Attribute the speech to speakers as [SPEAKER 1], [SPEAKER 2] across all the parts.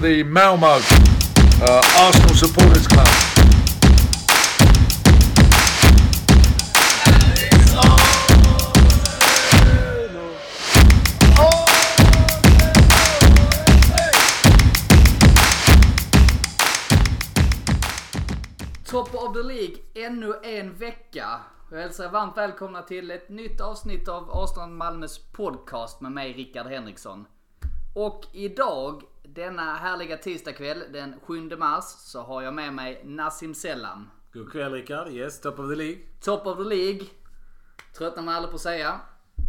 [SPEAKER 1] the Malmo uh, Arsenal Supporters Club.
[SPEAKER 2] Top of the League ännu en vecka. Jag hälsar er varmt välkomna till ett nytt avsnitt av Arsenal Malmös podcast med mig Rickard Henriksson. Och idag, denna härliga tisdagkväll den 7 mars, så har jag med mig Nassim Selam.
[SPEAKER 3] God kväll Rickard. Yes, top of the League.
[SPEAKER 2] Top of the League. Tröttnar man aldrig på att säga.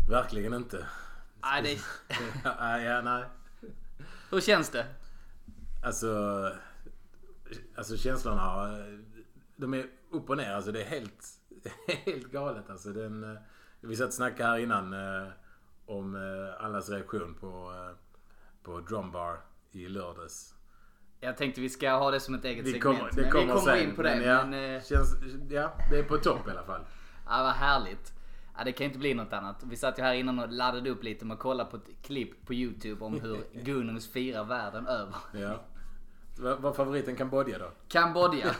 [SPEAKER 3] Verkligen inte.
[SPEAKER 2] Nej, det...
[SPEAKER 3] ja, ja, nej.
[SPEAKER 2] Hur känns det?
[SPEAKER 3] Alltså, alltså känslorna. De är upp och ner. Alltså det är helt, helt galet. Alltså, den, eh, vi satt och snackade här innan eh, om eh, allas reaktion på, eh, på Drumbar i lördags.
[SPEAKER 2] Jag tänkte vi ska ha det som ett eget
[SPEAKER 3] Vi
[SPEAKER 2] segment.
[SPEAKER 3] kommer,
[SPEAKER 2] men
[SPEAKER 3] det kommer,
[SPEAKER 2] vi kommer
[SPEAKER 3] sen,
[SPEAKER 2] in på det.
[SPEAKER 3] Men ja,
[SPEAKER 2] men, eh,
[SPEAKER 3] känns, ja, det är på topp i alla fall.
[SPEAKER 2] Ja, vad härligt. Ja, det kan inte bli något annat. Vi satt ju här innan och laddade upp lite med att kolla på ett klipp på YouTube om hur Gunungs firar världen över.
[SPEAKER 3] Ja. Vad vad är favoriten Kambodja då?
[SPEAKER 2] Kambodja.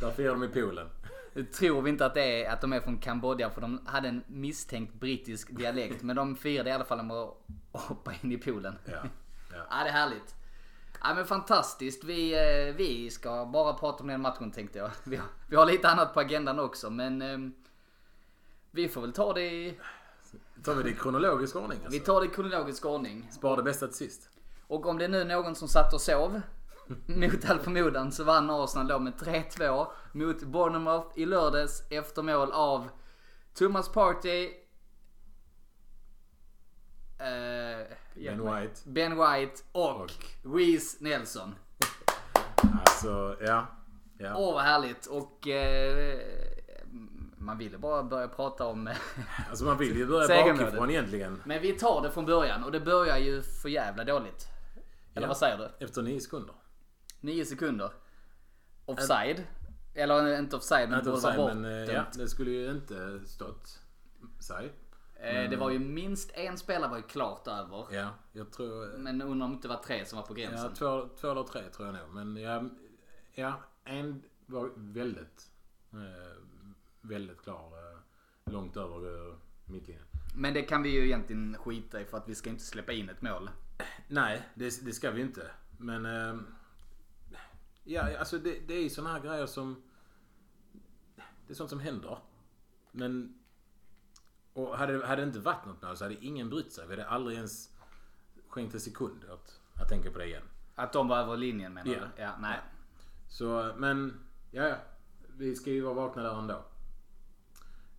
[SPEAKER 3] Där firar de i poolen.
[SPEAKER 2] Nu tror vi inte att, det är, att de är från Kambodja för de hade en misstänkt brittisk dialekt. Men de firade i alla fall med att hoppa in i poolen.
[SPEAKER 3] Ja. ja.
[SPEAKER 2] Ja, det är härligt. Ja, men fantastiskt. Vi, eh, vi ska bara prata om den matchen tänkte jag. Vi har, vi har lite annat på agendan också men ehm, vi får väl ta det i,
[SPEAKER 3] Tar vi det i kronologisk ordning alltså?
[SPEAKER 2] vi tar det i kronologisk ordning.
[SPEAKER 3] Spar det bästa till sist.
[SPEAKER 2] Och om det är nu någon som satt och sov, mot all förmodan, så vann Arsenal då med 3-2 mot Bournemouth i lördags efter mål av Thomas Partey, eh,
[SPEAKER 3] Ben White.
[SPEAKER 2] ben White och,
[SPEAKER 3] Och.
[SPEAKER 2] Reece Nelson.
[SPEAKER 3] Alltså, ja. ja.
[SPEAKER 2] Åh vad härligt och eh, man ville bara börja prata om...
[SPEAKER 3] Alltså man vill ju börja
[SPEAKER 2] Segermålet.
[SPEAKER 3] bakifrån egentligen.
[SPEAKER 2] Men vi tar det från början och det börjar ju för jävla dåligt. Eller
[SPEAKER 3] Ja.
[SPEAKER 2] vad säger du?
[SPEAKER 3] Efter nio sekunder.
[SPEAKER 2] 9 sekunder. Offside. Eller eh, inte offside men
[SPEAKER 3] Inte
[SPEAKER 2] det borde vara
[SPEAKER 3] offside,
[SPEAKER 2] bortdömt.
[SPEAKER 3] men eh, ja, det skulle ju inte stått. Säg.
[SPEAKER 2] Eh, Det var ju minst en spelare var ju klart över.
[SPEAKER 3] Ja, jag tror... eh,
[SPEAKER 2] Men undrar om det inte var tre som var på
[SPEAKER 3] Ja,
[SPEAKER 2] gränsen.
[SPEAKER 3] två, två eller tre tror jag nog. Men ja, ja en var väldigt, eh, väldigt klar. Eh, långt över eh, mittlinjen.
[SPEAKER 2] Men det kan vi ju egentligen skita i för att vi ska inte släppa in ett mål.
[SPEAKER 3] Nej, det, det ska vi inte. Men... ehm, ja, alltså det, det är ju såna här grejer som... Det är sånt som händer. Men... Och hade, det- hade det inte varit något mål så hade ingen brytt sig. Vi hade aldrig ens skänkt en sekund åt att tänka på det igen.
[SPEAKER 2] Att de var över linjen menar
[SPEAKER 3] Ja.
[SPEAKER 2] du? Ja, nej.
[SPEAKER 3] Så, men... Ja, ja. Vi ska ju vara vakna där ändå.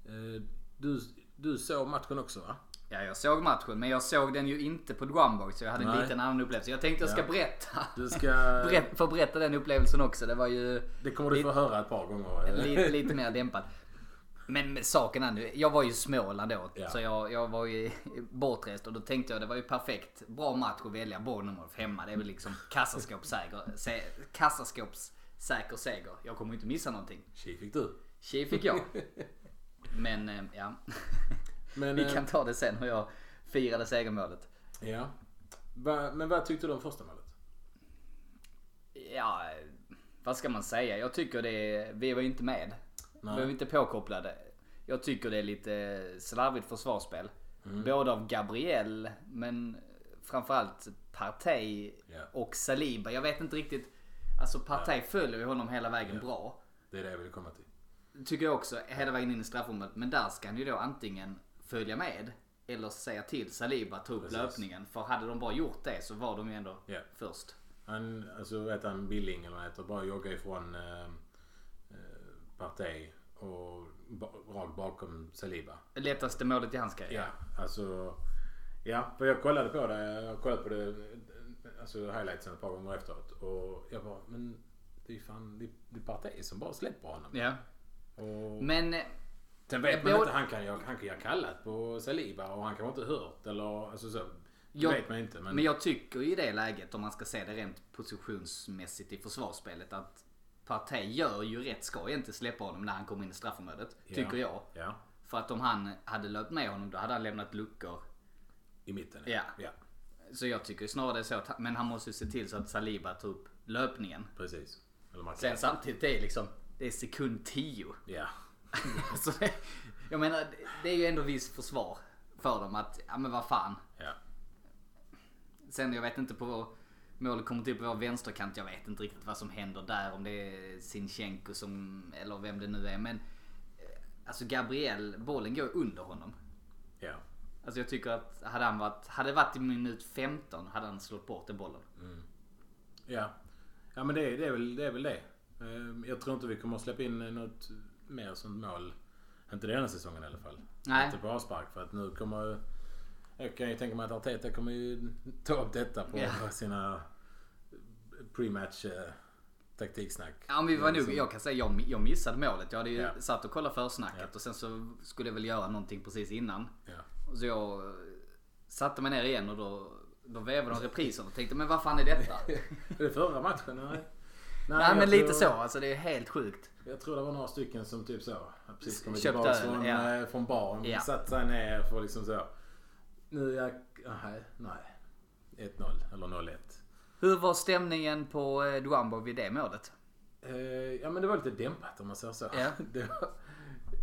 [SPEAKER 3] Eh, Du, du såg matchen också va?
[SPEAKER 2] Ja, jag såg matchen men jag såg den ju inte på Drumbox så jag hade en
[SPEAKER 3] Nej.
[SPEAKER 2] liten annan upplevelse. Jag tänkte jag ska
[SPEAKER 3] Ja.
[SPEAKER 2] berätta.
[SPEAKER 3] Du ska...
[SPEAKER 2] Berätt, få berätta den upplevelsen också. Det var ju...
[SPEAKER 3] Det kommer du få höra ett par gånger. eh.
[SPEAKER 2] lite, lite mer dämpad. Men med saken är nu, jag var ju i Småland då.
[SPEAKER 3] Ja.
[SPEAKER 2] Så jag, jag var ju bortrest och då tänkte jag det var ju perfekt. Bra match att välja Bournemouth hemma. Det är väl liksom kassaskåpssäker, se, kassaskåpssäker seger. Jag kommer ju inte missa någonting.
[SPEAKER 3] Tji fick du.
[SPEAKER 2] Tji fick jag. Men eh, ja.
[SPEAKER 3] Men,
[SPEAKER 2] Vi
[SPEAKER 3] eh,
[SPEAKER 2] kan ta det sen hur jag firade segermålet.
[SPEAKER 3] Ja. Va, men vad tyckte du om första målet?
[SPEAKER 2] Ja, eh, vad ska man säga? Jag tycker det är, vi var ju inte med.
[SPEAKER 3] Nej.
[SPEAKER 2] Vi var ju inte påkopplade. Jag tycker det är lite slarvigt försvarsspel.
[SPEAKER 3] Mm.
[SPEAKER 2] Både av Gabriel, men framförallt Partey
[SPEAKER 3] Ja.
[SPEAKER 2] och Saliba. Jag vet inte riktigt. Alltså Partey följer ju honom hela vägen bra.
[SPEAKER 3] Det är det jag vill komma till.
[SPEAKER 2] Tycker jag också, hela vägen in i straffområdet. Men där ska han ju då antingen följa med eller säga till Saliba att ta upp
[SPEAKER 3] Precis.
[SPEAKER 2] löpningen. För hade de bara gjort det så var de ju ändå
[SPEAKER 3] Ja.
[SPEAKER 2] först.
[SPEAKER 3] Han, alltså vet han Billing eller vad han heter, bara joggar ifrån eh, eh, Partey och ba, rakt bakom Saliba.
[SPEAKER 2] Lättaste målet i hans karriär.
[SPEAKER 3] Ja, alltså. Ja, för jag kollade på det. Jag har kollat på det, alltså highlightsen ett par gånger efteråt. Och jag bara, men det är ju fan, det är, det är Partey som bara släpper honom.
[SPEAKER 2] Ja.
[SPEAKER 3] Och
[SPEAKER 2] Men eh, jag
[SPEAKER 3] sen vet man
[SPEAKER 2] borde-
[SPEAKER 3] inte, han kan ju han kan ju ha kallat på Saliba och han kan inte ha hört eller alltså så. Det
[SPEAKER 2] Jag-
[SPEAKER 3] vet man inte.
[SPEAKER 2] Men jag tycker i det läget, om man ska se det rent positionsmässigt i försvarsspelet, att Partey gör ju rätt skoj inte släppa honom när han kommer in i straffområdet.
[SPEAKER 3] Ja.
[SPEAKER 2] Tycker jag.
[SPEAKER 3] Ja.
[SPEAKER 2] För att om han hade löpt med honom, då hade han lämnat luckor.
[SPEAKER 3] I mitten?
[SPEAKER 2] Ja.
[SPEAKER 3] ja.
[SPEAKER 2] Så jag tycker snarare det är så att, men han måste ju se till så att Saliba tar upp löpningen.
[SPEAKER 3] Precis. Eller man
[SPEAKER 2] Sen samtidigt det är liksom, det är sekund 10.
[SPEAKER 3] Ja.
[SPEAKER 2] så det, jag menar, det- det är ju ändå visst försvar för dem att, ja men vad fan.
[SPEAKER 3] Ja.
[SPEAKER 2] Sen jag vet inte på vår, målet kommer till på vår vänsterkant. Jag vet inte riktigt vad som händer där. Om det är Sinchenko som, eller vem det nu är. Men eh, alltså Gabriel, bollen går under honom.
[SPEAKER 3] Ja.
[SPEAKER 2] Alltså jag tycker att hade han varit, hade det varit i minut 15 hade han slått bort den bollen.
[SPEAKER 3] Mm. Ja. Ja men det, är- det, är, väl, det är väl det. Ehm, Jag tror inte vi kommer att släppa in något mer sånt mål. Inte denna säsongen i alla fall.
[SPEAKER 2] Nej.
[SPEAKER 3] Inte på avspark för att nu kommer ju- Jag kan ju tänka mig att Arteta kommer ju ta upp detta på
[SPEAKER 2] Ja.
[SPEAKER 3] sina pre-match eh, taktiksnack.
[SPEAKER 2] Ja, men vi var nog, jag kan säga jag, jag missade målet. Jag hade ju
[SPEAKER 3] Ja.
[SPEAKER 2] satt och kollat försnacket
[SPEAKER 3] Ja.
[SPEAKER 2] och sen så skulle jag väl göra någonting precis innan.
[SPEAKER 3] Ja.
[SPEAKER 2] Så jag eh, satte mig ner igen och då, då vevade de reprisen och tänkte men vad fan är detta? Nej,
[SPEAKER 3] Är det förra matchen? Nej. Nej, jag
[SPEAKER 2] men lite
[SPEAKER 3] tror-
[SPEAKER 2] så alltså det är helt sjukt.
[SPEAKER 3] Jag tror det var några stycken som typ så, har precis kommit
[SPEAKER 2] Köpt
[SPEAKER 3] tillbaka
[SPEAKER 2] öl,
[SPEAKER 3] från,
[SPEAKER 2] ja.
[SPEAKER 3] eh, från baren,
[SPEAKER 2] Ja.
[SPEAKER 3] satt sig ner för liksom så. Nu är jag, nej, nej. 1-0 eller 0-1.
[SPEAKER 2] Hur var stämningen på eh, Duambo vid det målet?
[SPEAKER 3] Eh, ja men det var lite dämpat om man säger så.
[SPEAKER 2] Ja.
[SPEAKER 3] Det var,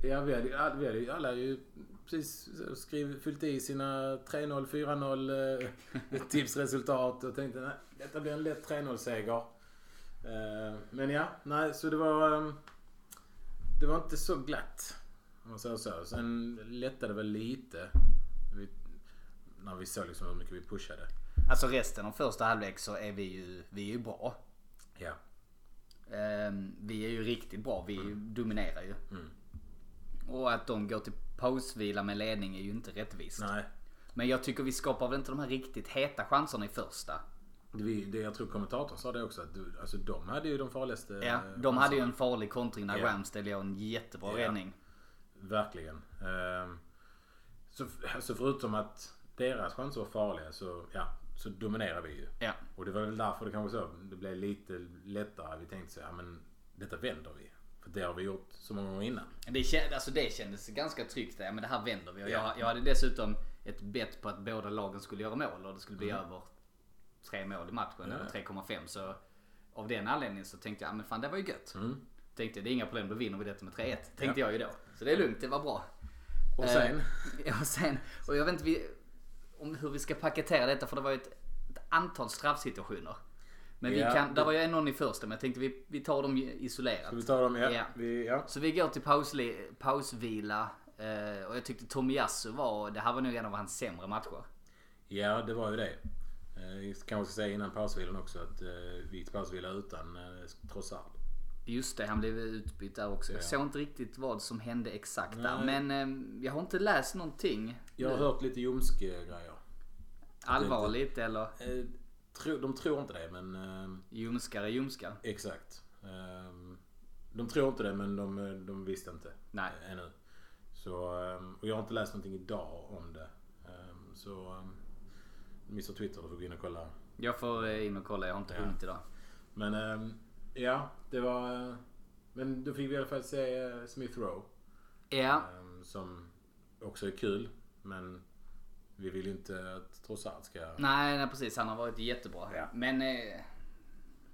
[SPEAKER 3] ja, vi hade, ju all- vi hade ju alla ju precis så skriv, fyllt i sina 3-0, 4-0 eh, tipsresultat och tänkte nej, detta blir en lätt 3-0-seger. Eh, men ja, nej så det var... ehm, det var inte så glatt. Om man säger så. Sen lättade det väl lite. Vi, när vi såg liksom hur mycket vi pushade.
[SPEAKER 2] Alltså resten av första halvlek så är vi ju, vi är ju bra.
[SPEAKER 3] Ja.
[SPEAKER 2] Ehm, vi är ju riktigt bra, vi
[SPEAKER 3] Mm.
[SPEAKER 2] dominerar ju. Och att de går till pausvila med ledning är ju inte rättvist.
[SPEAKER 3] Nej.
[SPEAKER 2] Men jag tycker vi skapar väl inte de här riktigt heta chanserna i första.
[SPEAKER 3] Vi, det, jag tror kommentatorn sa det också. Att du, alltså, de hade ju de farligaste.
[SPEAKER 2] Ja,
[SPEAKER 3] eh,
[SPEAKER 2] de hade ju en farlig kontring när
[SPEAKER 3] Ja.
[SPEAKER 2] Ramsdale gör en jättebra
[SPEAKER 3] Ja.
[SPEAKER 2] räddning.
[SPEAKER 3] Verkligen. Ehm, Så, så förutom att deras chanser var farliga så, ja, så dominerar vi ju.
[SPEAKER 2] Ja.
[SPEAKER 3] Och det var väl därför det kanske så, det blev lite lättare. Vi tänkte så, ja men detta vänder vi. För det har vi gjort så många gånger innan.
[SPEAKER 2] Det, kän- alltså det kändes ganska tryggt. där. men det här vänder vi. Och
[SPEAKER 3] Ja.
[SPEAKER 2] jag, jag hade dessutom ett bett på att båda lagen skulle göra mål och det skulle bli över tre mål i matchen,
[SPEAKER 3] Mm. Ja.
[SPEAKER 2] eller 3,5. Så av den anledningen så tänkte jag, "Ah, men fan det var ju gött.
[SPEAKER 3] Mm.
[SPEAKER 2] Tänkte jag, det är inga problem, då vinner vi detta med 3-1. Tänkte jag ju då. Så det är lugnt, det var bra.
[SPEAKER 3] Och sen?
[SPEAKER 2] Eh, och sen, och jag vet inte vi, om hur vi ska paketera detta för det var ju ett, ett antal straffsituationer. Men
[SPEAKER 3] Ja.
[SPEAKER 2] vi kan, där var ju någon i första men jag tänkte vi, vi tar dem isolerat.
[SPEAKER 3] Ska vi ta dem? Ja.
[SPEAKER 2] Ja.
[SPEAKER 3] Vi, ja.
[SPEAKER 2] Så vi går till pausli, pausvila eh, och jag tyckte Tomiyasu var, det här var nog en av hans sämre matcher.
[SPEAKER 3] ja, det var ju det. Eh, Kanske ska säga innan pausvilan också att eh, vi gick till pausvila utan eh, Trossard.
[SPEAKER 2] Just det, han blev utbytt där också. Jag
[SPEAKER 3] Ja.
[SPEAKER 2] såg inte riktigt vad som hände exakt där.
[SPEAKER 3] Nej.
[SPEAKER 2] Men eh, jag har inte läst någonting
[SPEAKER 3] Jag har hört lite ljumske-grejer.
[SPEAKER 2] allvarligt eller
[SPEAKER 3] Eh, tro, de tror inte det men... ehm,
[SPEAKER 2] ljumskare ljumskar.
[SPEAKER 3] Exakt. Ehm, De tror inte det men de, eh, de visste inte.
[SPEAKER 2] Nej.
[SPEAKER 3] eh, Ännu. Så, ehm, och jag har inte läst någonting idag om det. Ehm, Så ehm, missa Twitter, du får gå in och kolla.
[SPEAKER 2] Jag får eh, in och kolla, jag har inte
[SPEAKER 3] Ja.
[SPEAKER 2] hunnit idag.
[SPEAKER 3] Men ehm, ja, det var... eh, Men då fick vi i alla fall se eh, Smith Rowe.
[SPEAKER 2] Ja,
[SPEAKER 3] ehm, Som också är kul. Men vi vill ju inte att Trossard ska...
[SPEAKER 2] nej, nej precis, han har varit jättebra.
[SPEAKER 3] Ja.
[SPEAKER 2] Men eh,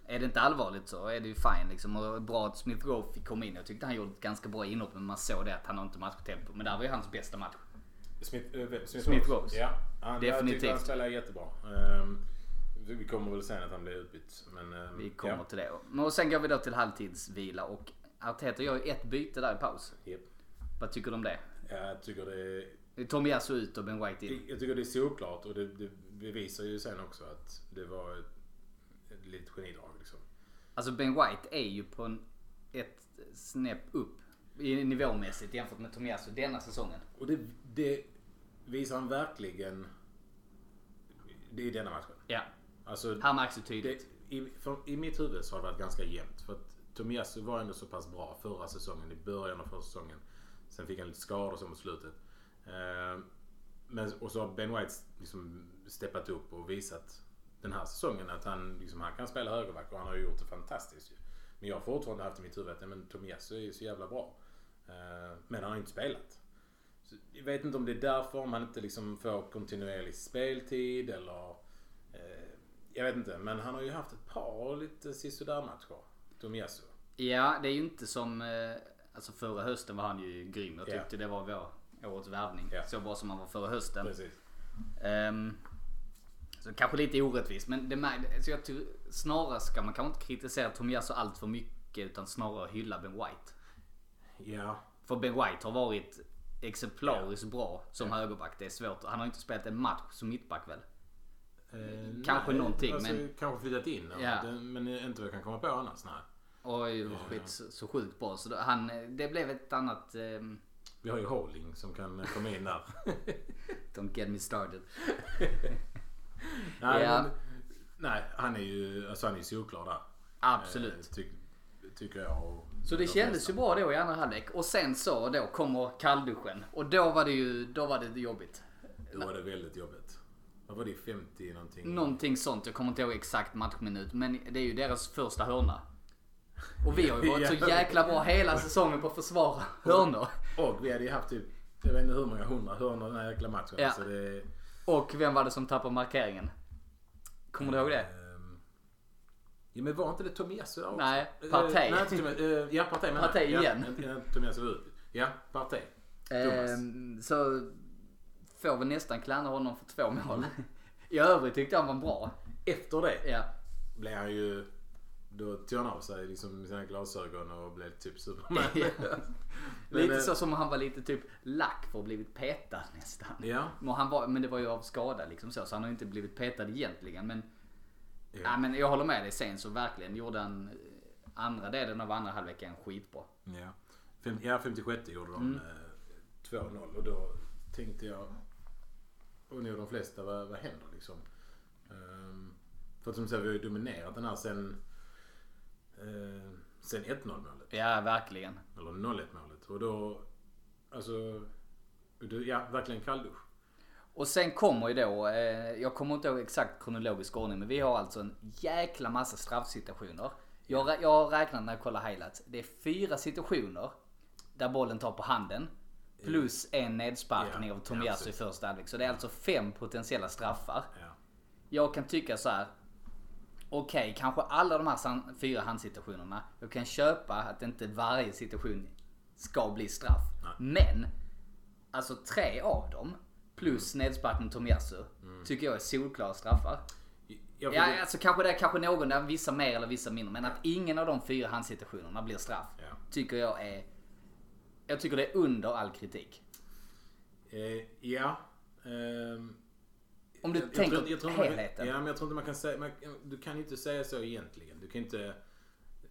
[SPEAKER 2] är det inte allvarligt så är det ju fine liksom. Och bra att Smith Rowe fick komma in. Jag tyckte han gjorde ett ganska bra inhopp men man såg det att han har inte matchtempo. Men det här var ju hans bästa match.
[SPEAKER 3] Smith, äh, Smith,
[SPEAKER 2] Smith Rhodes.
[SPEAKER 3] Ja, han, Jag tyckte
[SPEAKER 2] Definitivt.
[SPEAKER 3] han spelade jättebra. Ehm, vi kommer väl sen att han blir utbytt. Men, ehm,
[SPEAKER 2] Vi kommer
[SPEAKER 3] ja.
[SPEAKER 2] till det. Men och sen går vi då till halvtidsvila och Arteta gör ju ett byte där i paus.
[SPEAKER 3] Japp.
[SPEAKER 2] Vad tycker du om det?
[SPEAKER 3] Ja, Jag tycker det är,
[SPEAKER 2] Tomiyasu ut och Ben White in.
[SPEAKER 3] jag tycker det är såklart och det, det bevisar ju sen också att det var ett, ett litet genidrag. Liksom.
[SPEAKER 2] Alltså Ben White är ju på en, ett snäpp upp i nivåmässigt jämfört med Tomiyasu denna säsongen.
[SPEAKER 3] Och det, det visar han verkligen det i denna matchen.
[SPEAKER 2] Ja,
[SPEAKER 3] Alltså,
[SPEAKER 2] här märks det tydligt.
[SPEAKER 3] det, i, för, I mitt huvud så har det varit ganska jämnt. För att Tomiyasu var ändå så pass bra förra säsongen, i början av förra säsongen. Sen fick han lite skador som mot slutet. Eh, men, och så har Ben White liksom steppat upp och visat den här säsongen att han, liksom, han kan spela högerback och han har ju gjort det fantastiskt. ju. Men jag har fortfarande haft i mitt huvud att nej, men Tomiyasu är ju så jävla bra. Eh, men han har ju inte spelat. Så jag vet inte om det är därför, om han inte liksom får kontinuerlig speltid eller Jag vet inte, men han har ju haft ett par lite sisådär matcher. Tomiasu.
[SPEAKER 2] Ja, det är ju inte som... eh, Alltså förra hösten var han ju grym. Jag
[SPEAKER 3] Ja.
[SPEAKER 2] tyckte det var vår årets värvning.
[SPEAKER 3] Ja.
[SPEAKER 2] Så bra som han var förra hösten.
[SPEAKER 3] Precis.
[SPEAKER 2] Ehm, så kanske lite orättvist, men det mär- så jag tror, snarare ska man kanske inte kritisera Tomiasu allt för mycket utan snarare hylla Ben White.
[SPEAKER 3] Ja.
[SPEAKER 2] För Ben White har varit exemplariskt bra som högerback. Det är svårt. Han har inte spelat en match som mittback väl?
[SPEAKER 3] Eh,
[SPEAKER 2] Kanske någonting,
[SPEAKER 3] alltså,
[SPEAKER 2] men-
[SPEAKER 3] Kanske flyttat in.
[SPEAKER 2] Ja.
[SPEAKER 3] Ja. Det, men inte vad jag kan komma på annars. Nej.
[SPEAKER 2] Oj, vad skit, så, så sjukt bra. Så då, han, det blev ett annat... ehm,
[SPEAKER 3] Vi har ju Holding som kan komma in där.
[SPEAKER 2] don't get me started.
[SPEAKER 3] nej,
[SPEAKER 2] Ja.
[SPEAKER 3] men, nej, han är ju alltså, han är ju solklar där.
[SPEAKER 2] Absolut.
[SPEAKER 3] Eh, Ty, tycker jag. Och,
[SPEAKER 2] Så det kändes ju bra då i andra halvlek och sen så då kommer kallduschen och då var det ju då var det jobbigt.
[SPEAKER 3] Då var det väldigt jobbigt. Vad var det? 50 någonting?
[SPEAKER 2] Någonting sånt, jag kommer inte ihåg exakt matchminut men det är ju deras första hörna. Och vi har ju varit så
[SPEAKER 3] Ja.
[SPEAKER 2] jäkla bra hela säsongen på att försvara hörnor.
[SPEAKER 3] Och vi hade ju haft typ, jag vet inte hur många hundra hörnor den här jäkla matchen.
[SPEAKER 2] Ja.
[SPEAKER 3] Så det,
[SPEAKER 2] Och vem var det som tappade markeringen? Kommer du ihåg det?
[SPEAKER 3] ehm, ja men var inte det Tomiasu där också?
[SPEAKER 2] Nej,
[SPEAKER 3] Eh,
[SPEAKER 2] Partey.
[SPEAKER 3] nej, inte Tomiasu, eh, ja, Partey menar jag.
[SPEAKER 2] Partey
[SPEAKER 3] ja,
[SPEAKER 2] igen.
[SPEAKER 3] inte- inte Tomiasu var ut. Ja, Partey. Thomas.
[SPEAKER 2] Ehm, så får vi nästan klandra honom för två mål. I övrigt tyckte jag han var bra.
[SPEAKER 3] Efter det
[SPEAKER 2] Ja.
[SPEAKER 3] blev han ju... Då tog han av sig liksom sina glasögon och blev typ Superman.
[SPEAKER 2] Ja.
[SPEAKER 3] Men,
[SPEAKER 2] Lite
[SPEAKER 3] eh,
[SPEAKER 2] så som han var lite typ lack för att blivit petad nästan.
[SPEAKER 3] Ja.
[SPEAKER 2] Men, han var, men det var ju av skada liksom så, så han har ju inte blivit petad egentligen. Men,
[SPEAKER 3] Ja.
[SPEAKER 2] ja. men jag håller med dig, sen så verkligen gjorde han eh, andra delen av andra halvleken skitbra.
[SPEAKER 3] Ja, Fem, ja 56 gjorde de eh, 2-0 och då tänkte jag, och nog de flesta, vad, vad händer liksom? Ehm, för att som du säger, vi har ju dominerat den här sen, eh, sen 1-0 målet.
[SPEAKER 2] Ja, verkligen.
[SPEAKER 3] Eller 0-1 målet. Och då, alltså, du, ja verkligen kalldusch.
[SPEAKER 2] Och sen kommer ju då, eh, jag kommer inte ihåg exakt kronologisk ordning, men vi har alltså en jäkla massa straffsituationer. Jag, rä- jag har räknat när jag kollar highlights. Det är fyra situationer där bollen tar på handen. Plus en nedsparkning
[SPEAKER 3] Ja,
[SPEAKER 2] av
[SPEAKER 3] ja,
[SPEAKER 2] Tomiasu i
[SPEAKER 3] precis.
[SPEAKER 2] första halvlek. Så det är alltså fem potentiella straffar.
[SPEAKER 3] Ja.
[SPEAKER 2] Jag kan tycka så här. Okej, kanske alla de här san- fyra handsituationerna. Jag kan köpa att inte varje situation ska bli straff. Men, alltså tre av dem, plus nedspark mot Tomiasu, tycker jag är solklara straffar.
[SPEAKER 3] Mm. Jag,
[SPEAKER 2] Ja, alltså kanske det är kanske någon där, vissa mer eller vissa mindre. Men att ingen av de fyra handsituationerna blir straff,
[SPEAKER 3] Ja.
[SPEAKER 2] tycker jag är... Jag tycker det är under all kritik.
[SPEAKER 3] eh, ja. ehm,
[SPEAKER 2] Om du
[SPEAKER 3] Jag- jag
[SPEAKER 2] tänker
[SPEAKER 3] tror inte- jag tror inte man kan-
[SPEAKER 2] helheten.
[SPEAKER 3] Ja, men jag tror inte man kan säga... Man, du kan ju inte säga så egentligen. Du kan inte...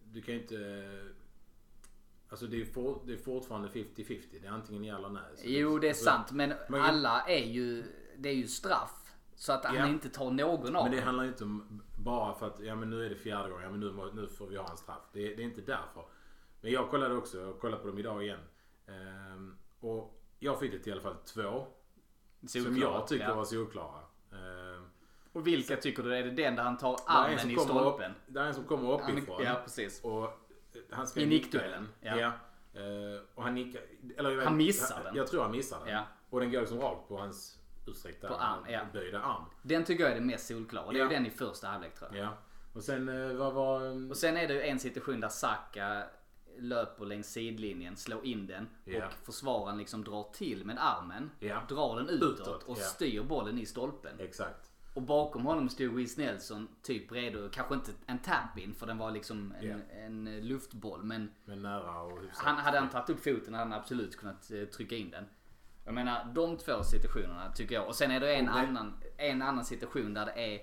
[SPEAKER 3] Du kan inte... Alltså det är, for, det är fortfarande 50-50. Det är antingen ja eller nej. Så
[SPEAKER 2] Jo, det är
[SPEAKER 3] alltså,
[SPEAKER 2] sant. Men
[SPEAKER 3] men-
[SPEAKER 2] alla är ju... Det är ju straff. Så att han
[SPEAKER 3] Ja.
[SPEAKER 2] inte tar någon av
[SPEAKER 3] Men det
[SPEAKER 2] dem.
[SPEAKER 3] handlar ju inte om bara för att ja, men nu är det fjärde gången. Ja, men nu, må- nu får vi ha en straff. Det, det är inte därför. Men jag kollade också. Jag kollade på dem idag igen. Ehm, och jag fick det i alla fall två. som
[SPEAKER 2] Solklara,
[SPEAKER 3] jag tycker
[SPEAKER 2] ja.
[SPEAKER 3] var solklara. Ehm,
[SPEAKER 2] Och vilka tycker du? Är det den där han tar
[SPEAKER 3] det är en
[SPEAKER 2] armen
[SPEAKER 3] som
[SPEAKER 2] i
[SPEAKER 3] kommer upp-
[SPEAKER 2] stolpen?
[SPEAKER 3] Det är en som kommer
[SPEAKER 2] Han-
[SPEAKER 3] uppifrån.
[SPEAKER 2] Ja, precis.
[SPEAKER 3] Och eh, han ska
[SPEAKER 2] I
[SPEAKER 3] nicka
[SPEAKER 2] nickduellen,
[SPEAKER 3] den.
[SPEAKER 2] ja.
[SPEAKER 3] Ja. Eh, och han nickar... Eller, jag vet
[SPEAKER 2] Han
[SPEAKER 3] inte,
[SPEAKER 2] missar
[SPEAKER 3] jag,
[SPEAKER 2] den.
[SPEAKER 3] Jag tror han missar den.
[SPEAKER 2] Ja.
[SPEAKER 3] Och den går liksom rakt på hans utsträckta
[SPEAKER 2] På arm, ja.
[SPEAKER 3] böjda arm.
[SPEAKER 2] Den tycker jag är den mest solklara. Och det är ju
[SPEAKER 3] Ja.
[SPEAKER 2] den i första halvlek tror jag.
[SPEAKER 3] Ja. Och sen eh, vad var...
[SPEAKER 2] Och sen är det ju en situation där Saka löper längs sidlinjen, slår in den
[SPEAKER 3] Ja.
[SPEAKER 2] och försvararen liksom drar till med armen,
[SPEAKER 3] Ja.
[SPEAKER 2] drar den utåt,
[SPEAKER 3] Utåt,
[SPEAKER 2] och
[SPEAKER 3] ja.
[SPEAKER 2] styr bollen i stolpen.
[SPEAKER 3] Exakt.
[SPEAKER 2] Och bakom honom stod Wiz Nelson typ redo, kanske inte en tap-in för den var liksom en,
[SPEAKER 3] Ja.
[SPEAKER 2] en luftboll men
[SPEAKER 3] Men nära och hyfsat.
[SPEAKER 2] han, hade han tagit upp foten hade han absolut kunnat eh, trycka in den. Jag menar de två situationerna tycker jag. Och sen är det en,
[SPEAKER 3] Och det-
[SPEAKER 2] annan, en annan situation där det är,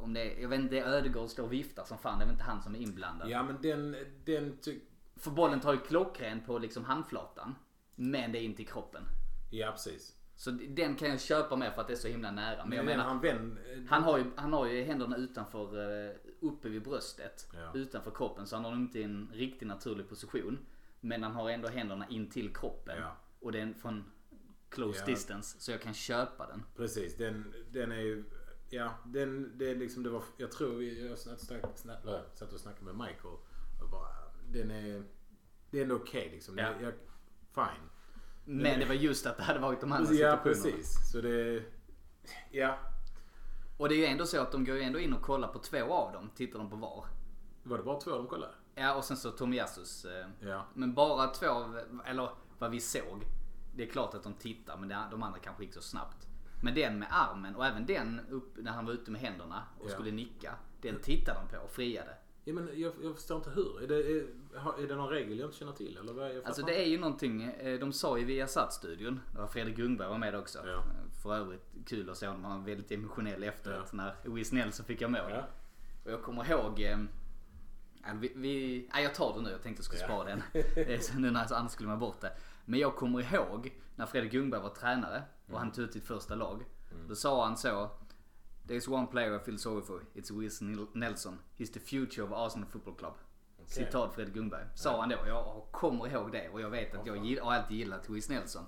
[SPEAKER 2] om det är jag vet inte, det är Ödegård står och viftar som fan. Det är väl inte han som är inblandad.
[SPEAKER 3] Ja men den... den ty...
[SPEAKER 2] För bollen tar ju klockren på liksom handflatan. Men det är inte i kroppen.
[SPEAKER 3] Ja precis.
[SPEAKER 2] Så d- den kan jag köpa med för att det är så himla nära. Men jag
[SPEAKER 3] Men
[SPEAKER 2] menar,
[SPEAKER 3] han vänd... eh,
[SPEAKER 2] han har, ju, han har ju händerna utanför, eh, uppe vid bröstet.
[SPEAKER 3] Ja.
[SPEAKER 2] Utanför kroppen. Så han har nog inte en riktigt naturlig position. Men han har ändå händerna in till kroppen.
[SPEAKER 3] Ja.
[SPEAKER 2] Och den från close
[SPEAKER 3] Ja.
[SPEAKER 2] distance. Så jag kan köpa den.
[SPEAKER 3] Precis. Den, den är ju... Ja, den, det är liksom, det var, jag tror, vi- jag snack, snack, snack, eller, jag satt och snackade med Michael. Och bara, den är, det är ändå okej liksom.
[SPEAKER 2] Ja.
[SPEAKER 3] Det, jag, fine.
[SPEAKER 2] Men det var just att det hade varit de andra
[SPEAKER 3] Mm. Ja,
[SPEAKER 2] situationerna.
[SPEAKER 3] precis. Så det... Ja.
[SPEAKER 2] Och det är ju ändå så att de går ju ändå in och kollar på två av dem. Tittar de på var.
[SPEAKER 3] Var det bara två de kollade?
[SPEAKER 2] Ja och sen så Tomiasus. Eh,
[SPEAKER 3] Ja.
[SPEAKER 2] Men bara två av, eller vad vi såg. Det är klart att de tittar men det- de andra kanske gick så snabbt. Men den med armen och även den upp, när han var ute med händerna och
[SPEAKER 3] Ja.
[SPEAKER 2] skulle nicka. Den tittade de på och friade.
[SPEAKER 3] ja men jag, jag förstår inte hur. Är det, är, har- är det någon regel jag inte känner till? Eller vad? Jag fattar
[SPEAKER 2] Alltså det är ju någonting, eh, de sa ju via Sat-studion, där Fredrik Ljungberg var med också.
[SPEAKER 3] Ja.
[SPEAKER 2] Eh, För övrigt kul att se honom, han var väldigt emotionell efteråt när Wiz Nelson fick jag mål.
[SPEAKER 3] inte. Ja.
[SPEAKER 2] Och jag kommer ihåg... Eh, ja, vi, vi, nej, jag tar det nu, jag tänkte jag skulle
[SPEAKER 3] Ja.
[SPEAKER 2] spara den. Eh, så nu när annars skulle man bort det. Men jag kommer ihåg när Fredrik Ljungberg var tränare och han tog ut sitt första lag. Då sa han så. There's one player I feel sorry for. It's Wiz Nil- Nelson. He's the future of Arsenal Football Club. Citat Fredrik Ljungberg. Sa han då. Jag kommer ihåg det och jag vet att jag gill- har alltid gillat Wiz Nelson.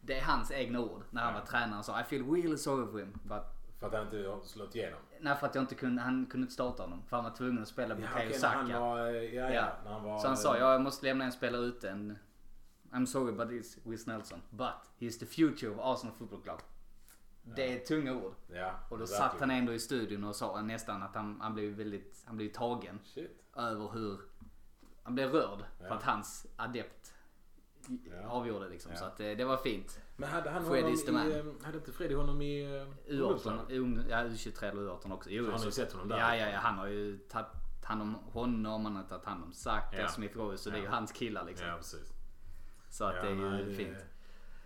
[SPEAKER 2] Det är hans egna ord när han var tränare. Han sa I feel really sorry for him. But
[SPEAKER 3] För att han inte har slått igenom.
[SPEAKER 2] Nej för att jag inte kunde, han kunde inte starta honom. För han var tvungen att spela
[SPEAKER 3] Ja,
[SPEAKER 2] Bukayo
[SPEAKER 3] okej, när han
[SPEAKER 2] Saka.
[SPEAKER 3] var, eh, ja, ja,
[SPEAKER 2] Ja.
[SPEAKER 3] När han var,
[SPEAKER 2] Så han sa, "Ja, jag måste lämna en spelare ute. En, I'm sorry but it's Wiz Nelson. But he's the future of Arsenal Football Club. Det är tunga ord.
[SPEAKER 3] Ja,
[SPEAKER 2] Och då
[SPEAKER 3] verkligen.
[SPEAKER 2] satt han ändå i studion och sa nästan att han, han blev väldigt, han blev tagen.
[SPEAKER 3] Shit.
[SPEAKER 2] Över hur, han blev rörd för
[SPEAKER 3] Ja.
[SPEAKER 2] att hans adept
[SPEAKER 3] Ja.
[SPEAKER 2] avgjorde liksom.
[SPEAKER 3] Ja.
[SPEAKER 2] Så att det, det var fint.
[SPEAKER 3] Men hade han
[SPEAKER 2] Freddy
[SPEAKER 3] honom
[SPEAKER 2] is the man.
[SPEAKER 3] i... eh, Hade inte Freddy honom i... eh, ungdomslaget?
[SPEAKER 2] U18, ung- ja, U23 eller U18 också. Jo,
[SPEAKER 3] Han har
[SPEAKER 2] så-
[SPEAKER 3] ju sett honom där. liksom?
[SPEAKER 2] Ja, ja, ja. Han har ju tagit hand om honom, han har tagit hand om Saka,
[SPEAKER 3] Ja.
[SPEAKER 2] Smith Rowe, så det är ju
[SPEAKER 3] Ja.
[SPEAKER 2] hans killar liksom.
[SPEAKER 3] Ja, precis.
[SPEAKER 2] Så att
[SPEAKER 3] Ja,
[SPEAKER 2] det är ju
[SPEAKER 3] nej, det-
[SPEAKER 2] fint.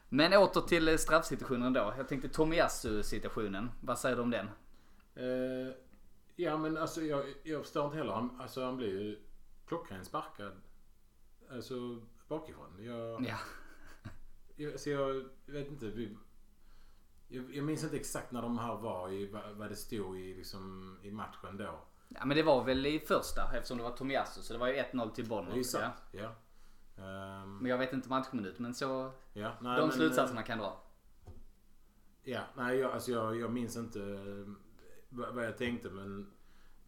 [SPEAKER 2] Men åter till eh, straffsituationen då. Jag tänkte Tomiyasu-situationen. Vad säger du om den?
[SPEAKER 3] Eh, ja, men alltså jag, jag förstår inte heller. Han, alltså, han blir ju klockren sparkad. Alltså bakifrån. Jag,
[SPEAKER 2] Ja,
[SPEAKER 3] jag, så jag vet inte. Vi, jag, jag minns inte exakt när de här var, i, vad, vad det stod i, liksom, i matchen då.
[SPEAKER 2] ja men det var väl i första eftersom det var Tomiyasu, så det var ju 1-0 till
[SPEAKER 3] Det är ju
[SPEAKER 2] Bournemouth. Ja.
[SPEAKER 3] sant. Ja. Ehm,
[SPEAKER 2] Men jag vet inte matchminut, men så...
[SPEAKER 3] ja. Nej,
[SPEAKER 2] de
[SPEAKER 3] men, eh,
[SPEAKER 2] slutsatserna kan dra.
[SPEAKER 3] Ja, nej jag, alltså jag, jag minns inte eh, vad, vad jag tänkte men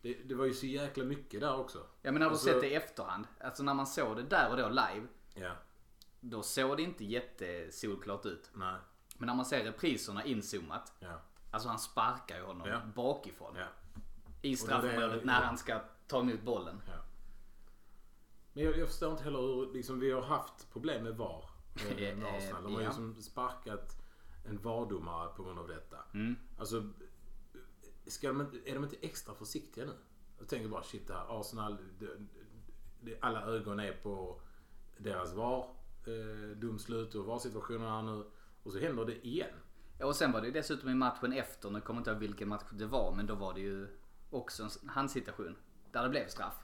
[SPEAKER 3] det, det var ju så jäkla mycket där också.
[SPEAKER 2] Ja men när du
[SPEAKER 3] Alltså-
[SPEAKER 2] sett det i efterhand. Alltså när man såg det där och då live.
[SPEAKER 3] Ja,
[SPEAKER 2] Då såg det inte jättesolklart ut.
[SPEAKER 3] nej,
[SPEAKER 2] Men när man ser repriserna inzoomat.
[SPEAKER 3] ja,
[SPEAKER 2] Alltså han sparkar ju honom
[SPEAKER 3] Ja.
[SPEAKER 2] bakifrån.
[SPEAKER 3] ja,
[SPEAKER 2] I
[SPEAKER 3] Och det
[SPEAKER 2] straffområdet
[SPEAKER 3] är-
[SPEAKER 2] när han ska ta emot bollen.
[SPEAKER 3] ja. Men jag, jag förstår inte heller hur liksom, vi har haft problem med VAR eh, med
[SPEAKER 2] Eh,
[SPEAKER 3] Arsenal. De har
[SPEAKER 2] ja.
[SPEAKER 3] ju som sparkat en VAR-domare på grund av detta.
[SPEAKER 2] Mm.
[SPEAKER 3] Alltså, ska de, inte- är de inte extra försiktiga nu? Jag tänker bara shit det här Arsenal, det, det, alla ögon är på deras VAR, eh, domslut och VAR-situationer här nu. Och så händer det igen.
[SPEAKER 2] Ja, Och sen var det ju dessutom i matchen efter, nu kommer jag inte ihåg vilken match det var, men då var det ju också en handsituation. Där det blev straff.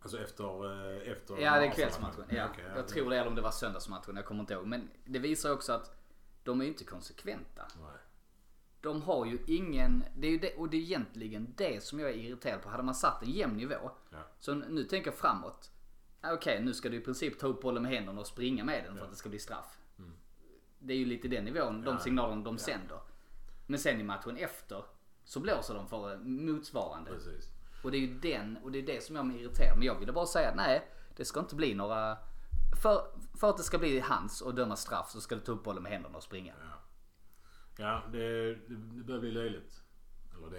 [SPEAKER 3] Alltså efter... eh,
[SPEAKER 2] Ja,
[SPEAKER 3] efter
[SPEAKER 2] det är
[SPEAKER 3] Arsenal-
[SPEAKER 2] kvällsmatchen. Ja,
[SPEAKER 3] Okej,
[SPEAKER 2] jag tror det, eller om det var söndagsmatchen, jag kommer inte ihåg. Men det visar ju också att de är ju inte konsekventa.
[SPEAKER 3] Nej.
[SPEAKER 2] De har ju ingen, det är ju det, och det är egentligen det som jag är irriterad på. Hade man satt en jämn nivå,
[SPEAKER 3] Ja.
[SPEAKER 2] så nu tänker jag framåt. Ja, Okej, nu ska du i princip ta upp bollen med händerna och springa med den för att det ska bli straff. Det är ju lite den nivån, de
[SPEAKER 3] Mm. Ja.
[SPEAKER 2] signalerna de sänder. Men sen i matchen efter så blåser de för eh, motsvarande.
[SPEAKER 3] Precis.
[SPEAKER 2] Och det är ju den, och det är det som jag är irriterad Men jag ville bara säga nej, det ska inte bli några... För, för att det ska bli hans och döma straff så ska du ta upp bollen med händerna och springa.
[SPEAKER 3] Ja, ja det, det börjar bli löjligt. Eller det.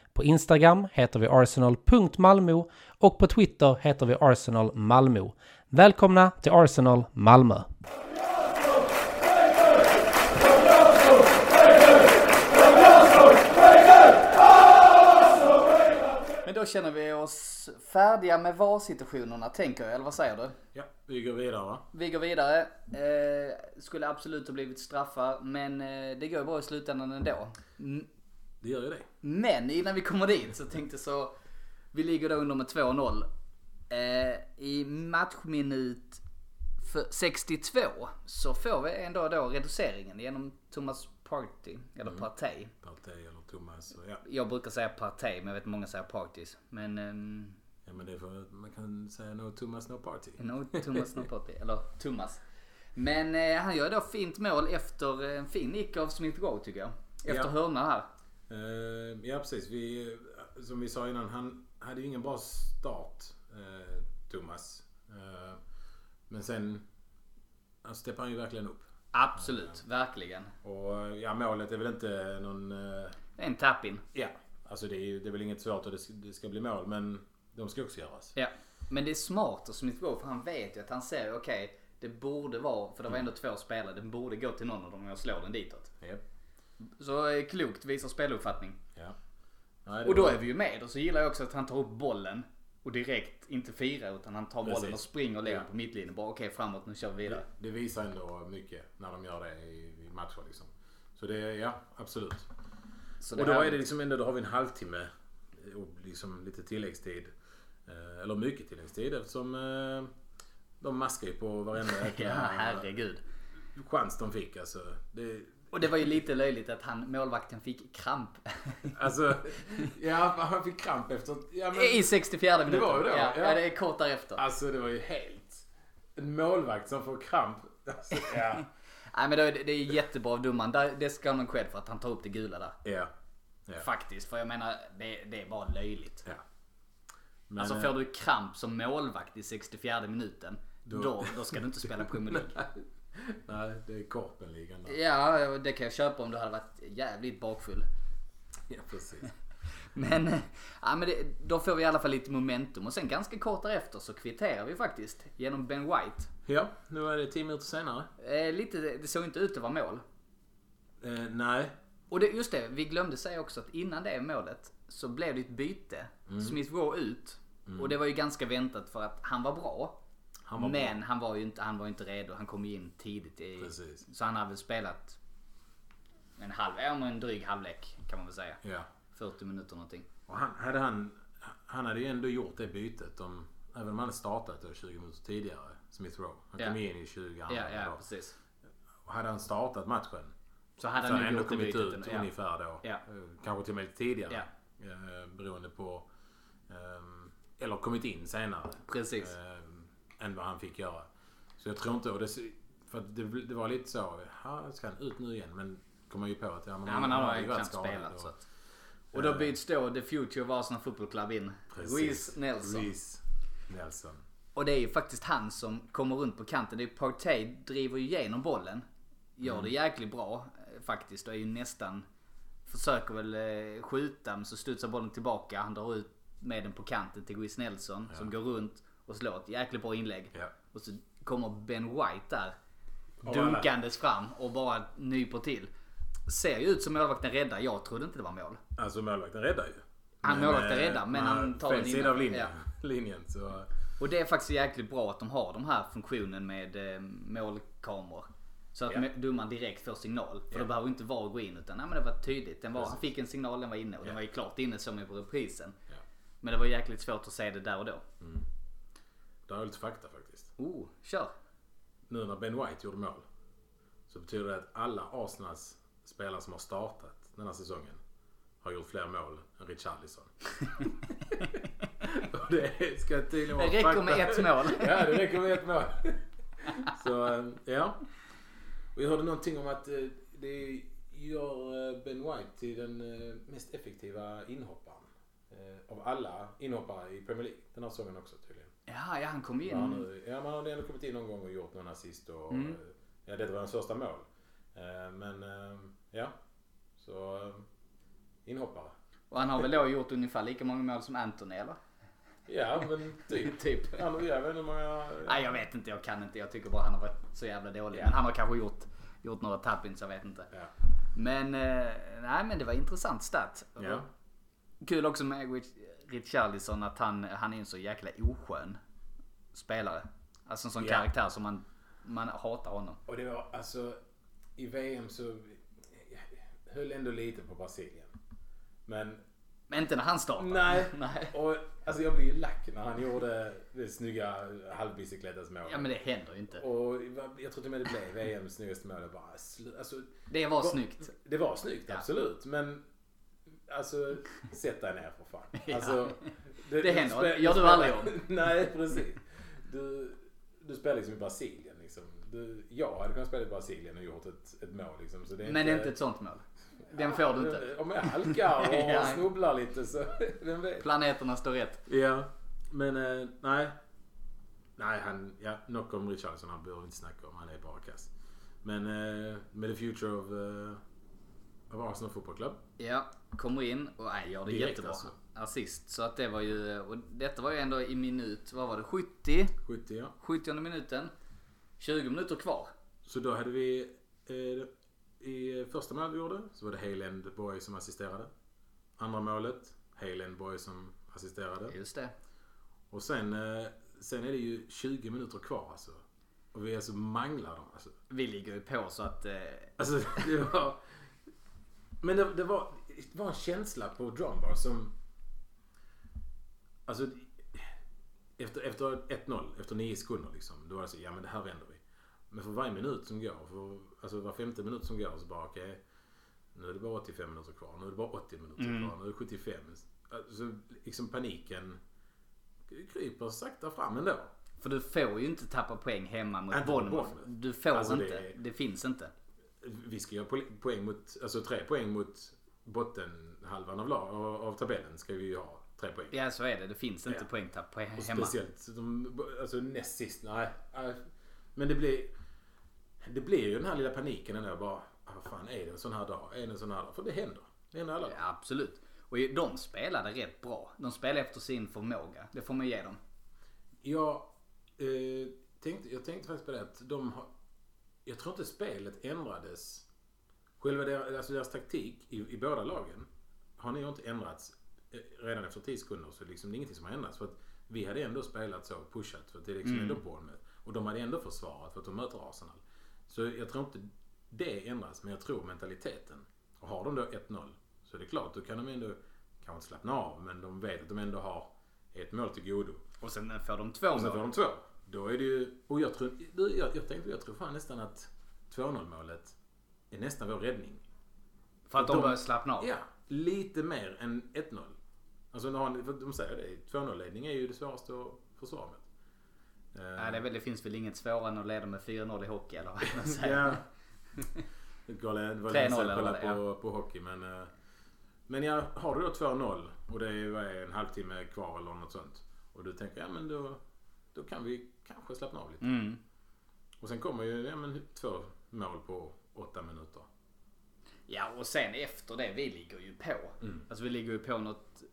[SPEAKER 4] på Instagram heter vi arsenal.malmo och på Twitter heter vi Arsenal Malmö. Välkomna till Arsenal Malmö!
[SPEAKER 2] Men då känner vi oss färdiga med VAR-situationerna tänker jag, eller vad säger du?
[SPEAKER 3] Ja, vi går vidare va?
[SPEAKER 2] Vi går vidare. Eh, skulle absolut ha blivit straffar, men eh, det går ju bra i slutändan ändå. M-
[SPEAKER 3] Det gör ju det.
[SPEAKER 2] Men innan vi kommer dit så tänkte jag så, vi ligger då under med 2-0. Eh, I matchminut för 62 så får vi ändå då reduceringen genom Thomas Party, eller Partey.
[SPEAKER 3] Partey eller Thomas. och- Ja,
[SPEAKER 2] Jag brukar säga Partey, men jag vet många säger Parties. Men... ehm,
[SPEAKER 3] ja men det är för, man kan säga no Thomas no party.
[SPEAKER 2] No, Thomas Napoti. Eller Thomas. Men eh, han gör då fint mål efter en fin nick av Smith Rowe tycker jag. Efter
[SPEAKER 3] Ja.
[SPEAKER 2] hörna här.
[SPEAKER 3] Eh, ja precis. Vi, eh, som vi sa innan, han hade ju ingen bra start, eh, Thomas. Eh, men sen han steppar han ju verkligen upp.
[SPEAKER 2] Absolut, verkligen.
[SPEAKER 3] Och eh, ja, målet är väl inte någon... eh,
[SPEAKER 2] Det är en tappin.
[SPEAKER 3] Ja, alltså det är, ju- det är väl inget svårt och det ska, det ska bli mål, men de ska också göras.
[SPEAKER 2] Ja. Men det är smart av Smith Rowe för han vet ju att han ser, okej, det borde vara, för det var ändå två spelare, den borde gå till någon av dem och jag slår den ditåt.
[SPEAKER 3] Ja.
[SPEAKER 2] Så eh, klokt visar speluppfattning.
[SPEAKER 3] ja. Nej, det
[SPEAKER 2] Och då
[SPEAKER 3] var-
[SPEAKER 2] är vi ju med och så gillar jag också att han tar upp bollen och direkt inte firar utan han tar bollen
[SPEAKER 3] Precis.
[SPEAKER 2] och springer och lägger
[SPEAKER 3] Ja.
[SPEAKER 2] på mittlinjen. Bara okej framåt nu kör vi vidare.
[SPEAKER 3] Det visar ändå mycket när de gör det i, i matcher liksom. Så det, ja absolut.
[SPEAKER 2] Så
[SPEAKER 3] Och då
[SPEAKER 2] här-
[SPEAKER 3] är det liksom ändå, då har vi en halvtimme eh, och liksom lite tilläggstid. Eh, Eller mycket tilläggstid eftersom eh, de maskar ju på varenda
[SPEAKER 2] Ja,
[SPEAKER 3] jäkla
[SPEAKER 2] herregud.
[SPEAKER 3] chans de fick alltså. Det,
[SPEAKER 2] Och det var ju lite löjligt att han, målvakten fick kramp.
[SPEAKER 3] alltså, ja han fick kramp efter... Ja, men,
[SPEAKER 2] I 64 minuten.
[SPEAKER 3] var ju då,
[SPEAKER 2] ja,
[SPEAKER 3] ja.
[SPEAKER 2] ja. det är kort därefter.
[SPEAKER 3] alltså det var ju helt... En målvakt som får kramp. Alltså, ja.
[SPEAKER 2] Nej men då är det, det är jättebra av domaren. Där- Det ska ha någon cred för att han tar upp det gula där.
[SPEAKER 3] ja. Ja.
[SPEAKER 2] Faktiskt, för jag menar det, det är bara löjligt.
[SPEAKER 3] ja. Men,
[SPEAKER 2] Alltså
[SPEAKER 3] eh,
[SPEAKER 2] får du kramp som målvakt i 64 minuten, då, då, ska du inte spela Premier League.
[SPEAKER 3] Nej, det är korpenligan där.
[SPEAKER 2] Ja, det kan jag köpa om du hade varit jävligt bakfull.
[SPEAKER 3] Ja, precis.
[SPEAKER 2] Men, eh, ja, men det, då får vi i alla fall lite momentum och sen ganska kort därefter så kvitterar vi faktiskt genom Ben White.
[SPEAKER 3] Ja, nu är det tio minuter senare.
[SPEAKER 2] Eh, lite, det såg inte ut att vara mål.
[SPEAKER 3] Eh, nej,
[SPEAKER 2] Och det, just det, vi glömde säga också att innan det målet så blev det ett byte.
[SPEAKER 3] Mm.
[SPEAKER 2] Smith Rowe ut. Och det var ju ganska väntat för att han var bra.
[SPEAKER 3] han var bra.
[SPEAKER 2] men han var ju inte, han var ju inte redo. Han kom ju in tidigt. I,
[SPEAKER 3] Precis.
[SPEAKER 2] Så han hade väl spelat en halv, ja men en dryg halvlek kan man väl säga.
[SPEAKER 3] Ja.
[SPEAKER 2] 40 minuter någonting.
[SPEAKER 3] Och han, hade han, han hade ju ändå gjort det bytet. Om, även om han hade startat då 20 minuter tidigare, Smith Rowe. Han
[SPEAKER 2] Ja.
[SPEAKER 3] kom in i 20 andra
[SPEAKER 2] Ja, ja
[SPEAKER 3] då.
[SPEAKER 2] precis.
[SPEAKER 3] Och Hade han startat matchen
[SPEAKER 2] Så hade
[SPEAKER 3] så
[SPEAKER 2] han
[SPEAKER 3] hade han
[SPEAKER 2] ju
[SPEAKER 3] ändå
[SPEAKER 2] gjort det
[SPEAKER 3] kommit
[SPEAKER 2] bytet.
[SPEAKER 3] ut
[SPEAKER 2] ja.
[SPEAKER 3] ungefär då.
[SPEAKER 2] Ja.
[SPEAKER 3] Eh, Kanske till och med lite tidigare.
[SPEAKER 2] Ja.
[SPEAKER 3] Eh, Beroende på... ehm, Eller kommit in senare.
[SPEAKER 2] Precis.
[SPEAKER 3] Eh, än vad han fick göra. Så jag tror inte... Och det, för att det, det var lite så... "Ha, Ska han ut nu igen? Men kommer ju på att... Ja, men,
[SPEAKER 2] Ja men han har ju
[SPEAKER 3] varit
[SPEAKER 2] knappt
[SPEAKER 3] skadad
[SPEAKER 2] spelat så
[SPEAKER 3] och-
[SPEAKER 2] att. Och då byts då The Future of Arsenal Football Club in.
[SPEAKER 3] Precis.
[SPEAKER 2] Ruiz Nelson.
[SPEAKER 3] Ruiz Nelson.
[SPEAKER 2] Och det är ju faktiskt han som kommer runt på kanten. Det är Partey driver ju igenom bollen. Gör det jäkligt bra eh, faktiskt och är ju nästan... Försöker väl eh, skjuta men så studsar bollen tillbaka. Han drar ut med den på kanten till Guis Nelson som går runt och slår ett jäkligt bra inlägg.
[SPEAKER 3] Ja.
[SPEAKER 2] Och så kommer Ben White där.
[SPEAKER 3] Och
[SPEAKER 2] Dunkandes fram och bara nyper till. Ser ju ut som målvakten räddar. Jag trodde inte det var mål.
[SPEAKER 3] Alltså målvakten räddar ju.
[SPEAKER 2] Han
[SPEAKER 3] Men,
[SPEAKER 2] målvakten
[SPEAKER 3] eh,
[SPEAKER 2] räddar, men
[SPEAKER 3] man
[SPEAKER 2] han tar
[SPEAKER 3] fel
[SPEAKER 2] den
[SPEAKER 3] sida
[SPEAKER 2] innan.
[SPEAKER 3] av linjen. linjen så,
[SPEAKER 2] Och det är faktiskt jäkligt bra att de har de här funktionen med eh, målkameror. Så att
[SPEAKER 3] Ja.
[SPEAKER 2] yeah. domaren direkt får signal. För
[SPEAKER 3] Ja.
[SPEAKER 2] det behöver inte VAR gå in utan nej, men det var tydligt. Den var, han
[SPEAKER 3] Precis.
[SPEAKER 2] fick en signal, den var inne och
[SPEAKER 3] Ja.
[SPEAKER 2] den var ju klart inne som i reprisen.
[SPEAKER 3] ja.
[SPEAKER 2] Men det var jäkligt svårt att se det där och då.
[SPEAKER 3] Där är lite fakta faktiskt.
[SPEAKER 2] Oh, kör!
[SPEAKER 3] Nu när Ben White gjorde mål så betyder det att alla Arsenals spelare som har startat den här säsongen har gjort fler mål än Richarlison. Och det ska tydligen vara
[SPEAKER 2] Det räcker
[SPEAKER 3] fakta.
[SPEAKER 2] med ett mål.
[SPEAKER 3] Ja, det räcker med ett mål. Så, eh, ja. Och jag hörde någonting om att eh, det gör eh, Ben White till den eh, mest effektiva inhopparen. eh, Av alla inhoppare i Premier League. Den här säsongen också tydligen.
[SPEAKER 2] Ja, ja han kom ju
[SPEAKER 3] Ja,
[SPEAKER 2] in.
[SPEAKER 3] nu, ja, man har ändå kommit in någon gång och gjort någon assist och... eh, Ja, detta var hans första mål. Eh, Men, eh, ja. Så, eh, inhoppare.
[SPEAKER 2] Och han har väl då gjort ungefär lika många mål som Anthony eller?
[SPEAKER 3] Ja, men typ.
[SPEAKER 2] Typ.
[SPEAKER 3] Ja, men jag vet inte hur många...
[SPEAKER 2] Nej jag vet inte, jag kan inte. Jag tycker bara han har varit så jävla dålig.
[SPEAKER 3] Ja.
[SPEAKER 2] Men han har kanske gjort, gjort några tappins, jag vet inte.
[SPEAKER 3] Ja.
[SPEAKER 2] Men, eh, nej men det var intressant stat.
[SPEAKER 3] Ja.
[SPEAKER 2] Kul också med Rich- Richarlison att han, han är en så jäkla oskön spelare. Alltså en sån
[SPEAKER 3] Ja.
[SPEAKER 2] karaktär som man, man hatar honom.
[SPEAKER 3] Och det var alltså i VM så höll ändå lite på Brasilien. Men
[SPEAKER 2] Men inte när han startar.
[SPEAKER 3] Nej.
[SPEAKER 2] Nej.
[SPEAKER 3] Och, alltså jag blir lack när han gjorde det snygga halvbicyklettas-målet.
[SPEAKER 2] Ja men det händer ju inte.
[SPEAKER 3] Och jag tror till och med det blev VMs snyggaste mål. Jag bara, slu- alltså,
[SPEAKER 2] Det var snyggt.
[SPEAKER 3] Det var snyggt,
[SPEAKER 2] Ja.
[SPEAKER 3] absolut. Men alltså, sätt dig ner för fan.
[SPEAKER 2] Ja.
[SPEAKER 3] Alltså,
[SPEAKER 2] Det händer.
[SPEAKER 3] spe-
[SPEAKER 2] Gör du
[SPEAKER 3] spelar-
[SPEAKER 2] aldrig om.
[SPEAKER 3] Nej, precis. Du, du spelar liksom i Brasilien. Liksom. Du, jag hade kunnat spela i Brasilien och gjort ett, ett mål. Liksom, så det är
[SPEAKER 2] Men
[SPEAKER 3] inte,
[SPEAKER 2] inte ett sånt mål. Den får du inte.
[SPEAKER 3] Om jag halkar och
[SPEAKER 2] Ja.
[SPEAKER 3] snubblar lite så vem vet.
[SPEAKER 2] Planeterna står rätt.
[SPEAKER 3] Ja, men eh, nej. Nej, han, ja, nog om Richardson. Han behöver vi inte snacka om. Han är bara kass. Men eh, med the future of, eh, of Arsenal Football Club.
[SPEAKER 2] Ja, kommer in och nej, gör det
[SPEAKER 3] Direkt
[SPEAKER 2] jättebra.
[SPEAKER 3] alltså.
[SPEAKER 2] Assist. Så att det var ju, och detta var ju ändå i minut, vad var det, 70?
[SPEAKER 3] 70 ja.
[SPEAKER 2] 70 minuten. 20 minuter kvar.
[SPEAKER 3] Så då hade vi eh, i första målet vi gjorde så var det Hayland Boy som assisterade. Andra målet Hayland Boy som assisterade.
[SPEAKER 2] Just det.
[SPEAKER 3] Och sen, eh, sen är det ju 20 minuter kvar alltså. Och vi är så manglar dem alltså.
[SPEAKER 2] Vi ligger ju på så att... Eh,
[SPEAKER 3] Alltså det var... Men det, det, var, det var en känsla på Drumbar som... Alltså... Efter, efter 1-0, efter 9 sekunder liksom. Då var det så, ja men det här vänder vi. Men för varje minut som går, för, alltså var femte minut som går så bara okej. nu är det bara 85 minuter kvar, nu är det bara 80 minuter kvar, nu är det 75. Alltså liksom paniken kryper sakta fram ändå.
[SPEAKER 2] för du får ju inte tappa poäng hemma mot
[SPEAKER 3] Äh, Inte mot
[SPEAKER 2] Bournemouth.
[SPEAKER 3] Bournemouth.
[SPEAKER 2] Du får
[SPEAKER 3] Alltså, det
[SPEAKER 2] inte. Det...
[SPEAKER 3] är-
[SPEAKER 2] finns inte.
[SPEAKER 3] vi ska göra po- poäng mot, alltså tre poäng mot bottenhalvan av, lag- av, av tabellen ska vi ju ha tre poäng.
[SPEAKER 2] Ja så är det. Det finns inte
[SPEAKER 3] Ja.
[SPEAKER 2] poängtapp på he-
[SPEAKER 3] Och
[SPEAKER 2] hemma.
[SPEAKER 3] speciellt de, alltså näst sist, nej. nej. Men det blir, det blir ju den här lilla paniken ändå bara, ah, vad fan är det en sån här dag? Är det en sån här dag? För det händer. Det händer alla dagar.
[SPEAKER 2] Ja, absolut. Och de spelade rätt bra. De spelade efter sin förmåga. Det får man ge dem.
[SPEAKER 3] Jag, eh, tänkte, jag tänkte faktiskt på det att de har, jag tror inte spelet ändrades. Själva deras, alltså deras taktik i, i båda lagen har nog inte ändrats eh, redan efter 10 sekunder. Så liksom, det är ingenting som har ändrats. För att vi hade ändå spelat så, pushat, för att det är liksom ändå Bournemouth. Och de hade ändå försvarat för att de möter Arsenal. Så jag tror inte det ändras, men jag tror mentaliteten. Och har de då 1-0 så är det klart, då kan de ändå, kanske inte slappna av, men de vet att de ändå har ett mål till godo.
[SPEAKER 2] Och sen eh, får de två
[SPEAKER 3] Och sen får
[SPEAKER 2] mål.
[SPEAKER 3] de två. Då är det ju... Och jag tror... du, Jag, jag tänkte, jag tror fan nästan att 2-0 målet är nästan vår räddning.
[SPEAKER 2] För att
[SPEAKER 3] de-
[SPEAKER 2] de börjar slappna av.
[SPEAKER 3] Ja, lite mer än 1-0. Alltså, nu har ni- för de säger det. 2-0-ledning är ju det svåraste att försvara med. Eh,
[SPEAKER 2] Nej, det, är väl, det finns väl inget svårare än att leda med 4-0 i hockey eller vad man säger.
[SPEAKER 3] Ja. Det var länge
[SPEAKER 2] 3-0
[SPEAKER 3] sedan
[SPEAKER 2] eller
[SPEAKER 3] jag kollade på,
[SPEAKER 2] vad det
[SPEAKER 3] på hockey men... eh, Men ja, har du då 2-0 och det är vad är det, en halvtimme kvar eller något sånt. Och du tänker ja men då, då kan vi kanske slappna av lite.
[SPEAKER 2] Mm.
[SPEAKER 3] Och sen kommer ju ja, men, två mål på åtta minuter.
[SPEAKER 2] Ja, och sen efter det, vi ligger ju på.
[SPEAKER 3] Mm.
[SPEAKER 2] Alltså vi ligger ju på något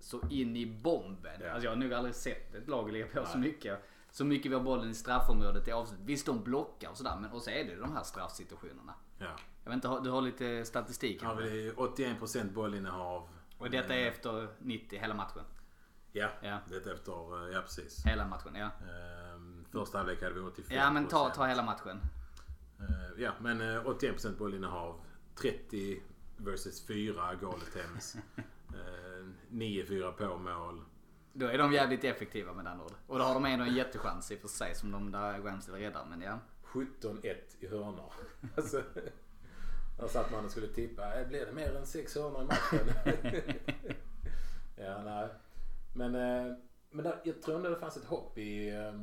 [SPEAKER 2] så in i bomben.
[SPEAKER 3] Ja.
[SPEAKER 2] Alltså jag har nog aldrig sett ett lag ligga på så mycket. Så mycket vi har bollen i straffområdet i avslut. Visst, de blockar och sådär, men och så är det ju de här straffsituationerna.
[SPEAKER 3] Ja.
[SPEAKER 2] Jag vet inte, har- du har lite statistik?
[SPEAKER 3] Har
[SPEAKER 2] här?
[SPEAKER 3] vi Mm. 81% bollinnehav.
[SPEAKER 2] Och detta är efter 90, hela matchen.
[SPEAKER 3] Ja,
[SPEAKER 2] Ja.
[SPEAKER 3] det är efter, eh, ja precis.
[SPEAKER 2] Hela matchen, ja.
[SPEAKER 3] Ehm, Första halvlek hade vi 85%.
[SPEAKER 2] Ja men ta, ta hela matchen.
[SPEAKER 3] Eh, Ja, men eh, 81% bollinnehav. 30 versus 4 goal attempts. Eh, 9-4 på mål.
[SPEAKER 2] Då är de jävligt effektiva med den ord. Och då har de ändå en jättechans i och för sig som de där Ramsey räddar. Men ja.
[SPEAKER 3] 17-1 i hörnor. Alltså, där satt man och skulle tippa. Eh, Blir det mer än 6 hörnor i matchen? ja, nej. Men, eh, men där, jag tror ändå det fanns ett hopp i, eh,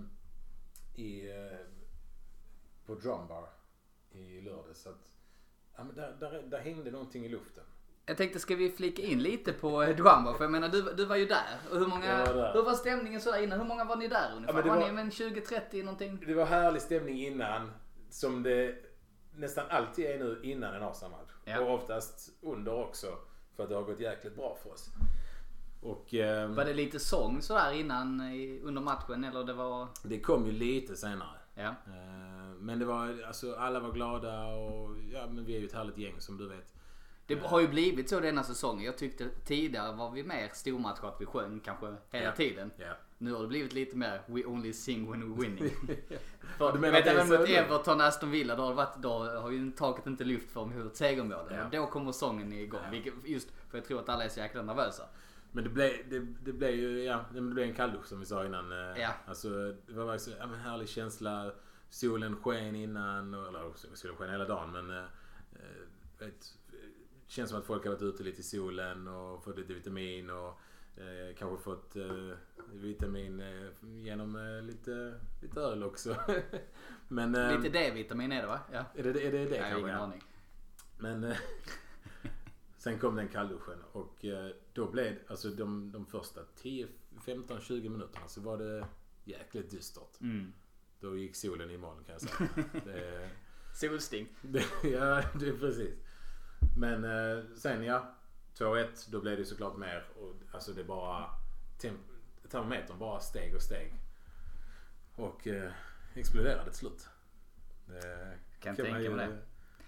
[SPEAKER 3] i, eh, på Drumbar i lördags. Att, ja, men där, där, där hängde någonting i luften.
[SPEAKER 2] Jag tänkte ska vi flika in lite på eh, Duambo? För jag menar du, du var ju där. Och hur, många,
[SPEAKER 3] Jag var där.
[SPEAKER 2] hur var stämningen så där inne? Hur många var ni där ungefär?
[SPEAKER 3] Ja, men det
[SPEAKER 2] var,
[SPEAKER 3] var-
[SPEAKER 2] ni men 20-30 någonting?
[SPEAKER 3] Det var härlig stämning innan. Som det nästan alltid är nu innan en Arsenal-match.
[SPEAKER 2] Ja.
[SPEAKER 3] Och oftast under också. För att det har gått jäkligt bra för oss. Och eh,
[SPEAKER 2] Var det lite sång sådär innan i- under matchen eller det var...
[SPEAKER 3] det kom ju lite senare. Ehm,
[SPEAKER 2] Ja.
[SPEAKER 3] Eh, Men det var, alltså alla var glada och ja, men vi är ju ett härligt gäng som du vet.
[SPEAKER 2] Det har ju blivit så denna säsongen. Jag tyckte tidigare var vi mer stormatcher att vi sjöng kanske hela
[SPEAKER 3] Ja.
[SPEAKER 2] tiden.
[SPEAKER 3] Ja.
[SPEAKER 2] Nu har det blivit lite mer We only sing when we're winning. för,
[SPEAKER 3] du
[SPEAKER 2] du
[SPEAKER 3] menar
[SPEAKER 2] vet,
[SPEAKER 3] att det är
[SPEAKER 2] även mot
[SPEAKER 3] så nu?
[SPEAKER 2] Everton och Aston Villa då har, det varit, då har ju taket inte lyft för om hur ett segerområde.
[SPEAKER 3] Ja.
[SPEAKER 2] Och Då kommer sången igång. Vilket, just för jag tror att alla är så jäkla nervösa.
[SPEAKER 3] Men det blev, det, det blev ju ja, det blev en kalldusch som vi sa innan. Eh,
[SPEAKER 2] Ja.
[SPEAKER 3] Alltså, det var verkligen så, ja, men härlig känsla. Solen sken innan. och- Eller också, solen sken hela dagen men... eh, eh, vet, det känns som att folk har varit ute lite i solen och fått lite vitamin och eh, kanske fått eh, vitamin eh, genom eh, lite, lite öl också. men... Eh,
[SPEAKER 2] Lite D-vitamin är det va? Ja.
[SPEAKER 3] Är det är det, är det
[SPEAKER 2] Jag har
[SPEAKER 3] kanske?
[SPEAKER 2] ingen aning.
[SPEAKER 3] Men eh, sen kom den kallduschen och eh, då blev alltså de, de första 10, 15, 20 minuterna så var det jäkligt dystert.
[SPEAKER 2] Mm.
[SPEAKER 3] Då gick solen i moln kan jag säga. det,
[SPEAKER 2] Solsting.
[SPEAKER 3] det, ja, det är precis. Men eh, sen ja, 2-1 då blev det såklart mer och alltså det bara temp, termometern bara steg och steg. Och eh, exploderade till slut. Det
[SPEAKER 2] Kan
[SPEAKER 3] man
[SPEAKER 2] tänka mig
[SPEAKER 3] ju-
[SPEAKER 2] det.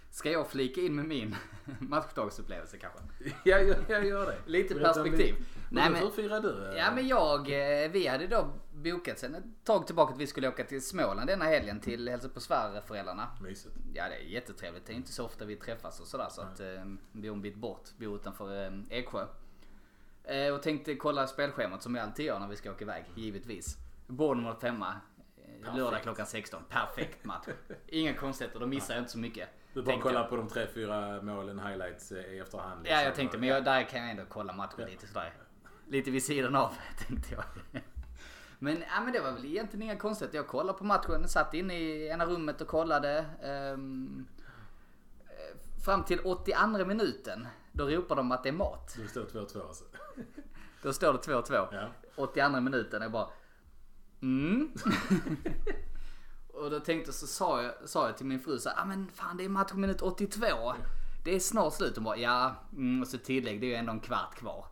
[SPEAKER 2] Ska jag flika in med min matchdagsupplevelse kanske?
[SPEAKER 3] Ja, jag, jag gör det.
[SPEAKER 2] Lite
[SPEAKER 3] Berätta om
[SPEAKER 2] perspektiv.
[SPEAKER 3] din-
[SPEAKER 2] Nej,
[SPEAKER 3] Men
[SPEAKER 2] men-
[SPEAKER 3] Hur firar du? eh,
[SPEAKER 2] Ja men jag, eh, vi hade då bokat sen ett tag tillbaka att vi skulle åka till Småland denna helgen till Hälsa på Sverige-föräldrarna.
[SPEAKER 3] Mysigt.
[SPEAKER 2] Ja det är jättetrevligt, det är inte så ofta vi träffas och sådär så att eh, vi bor en bit bort, bor utanför eh, Eksjö. Eh, och tänkte kolla spelschemat som jag alltid gör när vi ska åka iväg, givetvis. Bournemouth hemma, eh, lördag
[SPEAKER 3] Mm. Perfekt.
[SPEAKER 2] klockan 16. Perfekt match. Inga konstigheter, då missar jag inte så mycket.
[SPEAKER 3] Du bara
[SPEAKER 2] tänkte jag.
[SPEAKER 3] kollar på de tre, fyra målen, highlights eh, i efterhand.
[SPEAKER 2] Ja,
[SPEAKER 3] liksom.
[SPEAKER 2] jag tänkte, men jag, där kan jag ändå kolla matchen lite sådär. Lite vid sidan av, tänkte jag. Men, ja, men det var väl egentligen inga konstigheter. Jag kollade på matchen, satt inne i ena rummet och kollade. ehm, eh, fram till 82 minuten, då ropar de att det är mat.
[SPEAKER 3] Du står 2-2 alltså.
[SPEAKER 2] Då står det 2-2.
[SPEAKER 3] Ja.
[SPEAKER 2] 82 minuten, jag bara... Mm. och då tänkte så sa jag, sa jag till min fru så här, ah, men fan det är matchminut 82. Det är snart slut. Hon bara, ja, mm, och så tillägg, det är ju ändå en kvart kvar.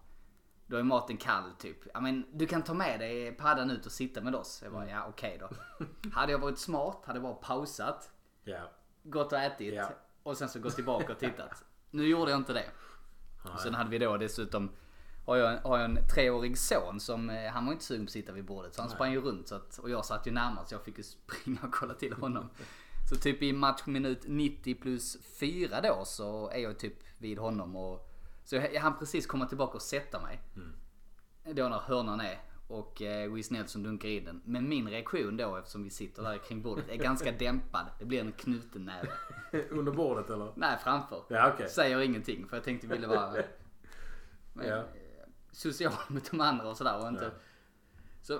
[SPEAKER 2] Då är maten kall typ. Ja men du kan ta med dig paddan ut och sitta med oss. Jag bara, ja okej då. hade jag varit smart, hade jag bara pausat,
[SPEAKER 3] Ja.
[SPEAKER 2] gått och ätit
[SPEAKER 3] Ja.
[SPEAKER 2] och sen så gått tillbaka och tittat. Nu gjorde jag inte det. Och sen hade vi då dessutom, har jag, har jag en treårig son som, eh, han var inte sugen på att sitta vid bordet så han sprang ju runt så att, och jag satt ju närmast så jag fick ju springa och kolla till honom. Så typ i matchminut 90 plus 4 då så är jag typ vid honom och så jag, jag hann precis komma tillbaka och sätta mig. Då när hörnan är och eh, Wiz Nelson dunkar in den. Men min reaktion då eftersom vi sitter där kring bordet är ganska dämpad. Det blir en knuten näve.
[SPEAKER 3] Under bordet eller?
[SPEAKER 2] Nej, framför.
[SPEAKER 3] Ja, okej.
[SPEAKER 2] Säger ingenting för jag tänkte ville vara men,
[SPEAKER 3] Ja.
[SPEAKER 2] eh, social med de andra och sådär. Och inte...
[SPEAKER 3] Ja.
[SPEAKER 2] Så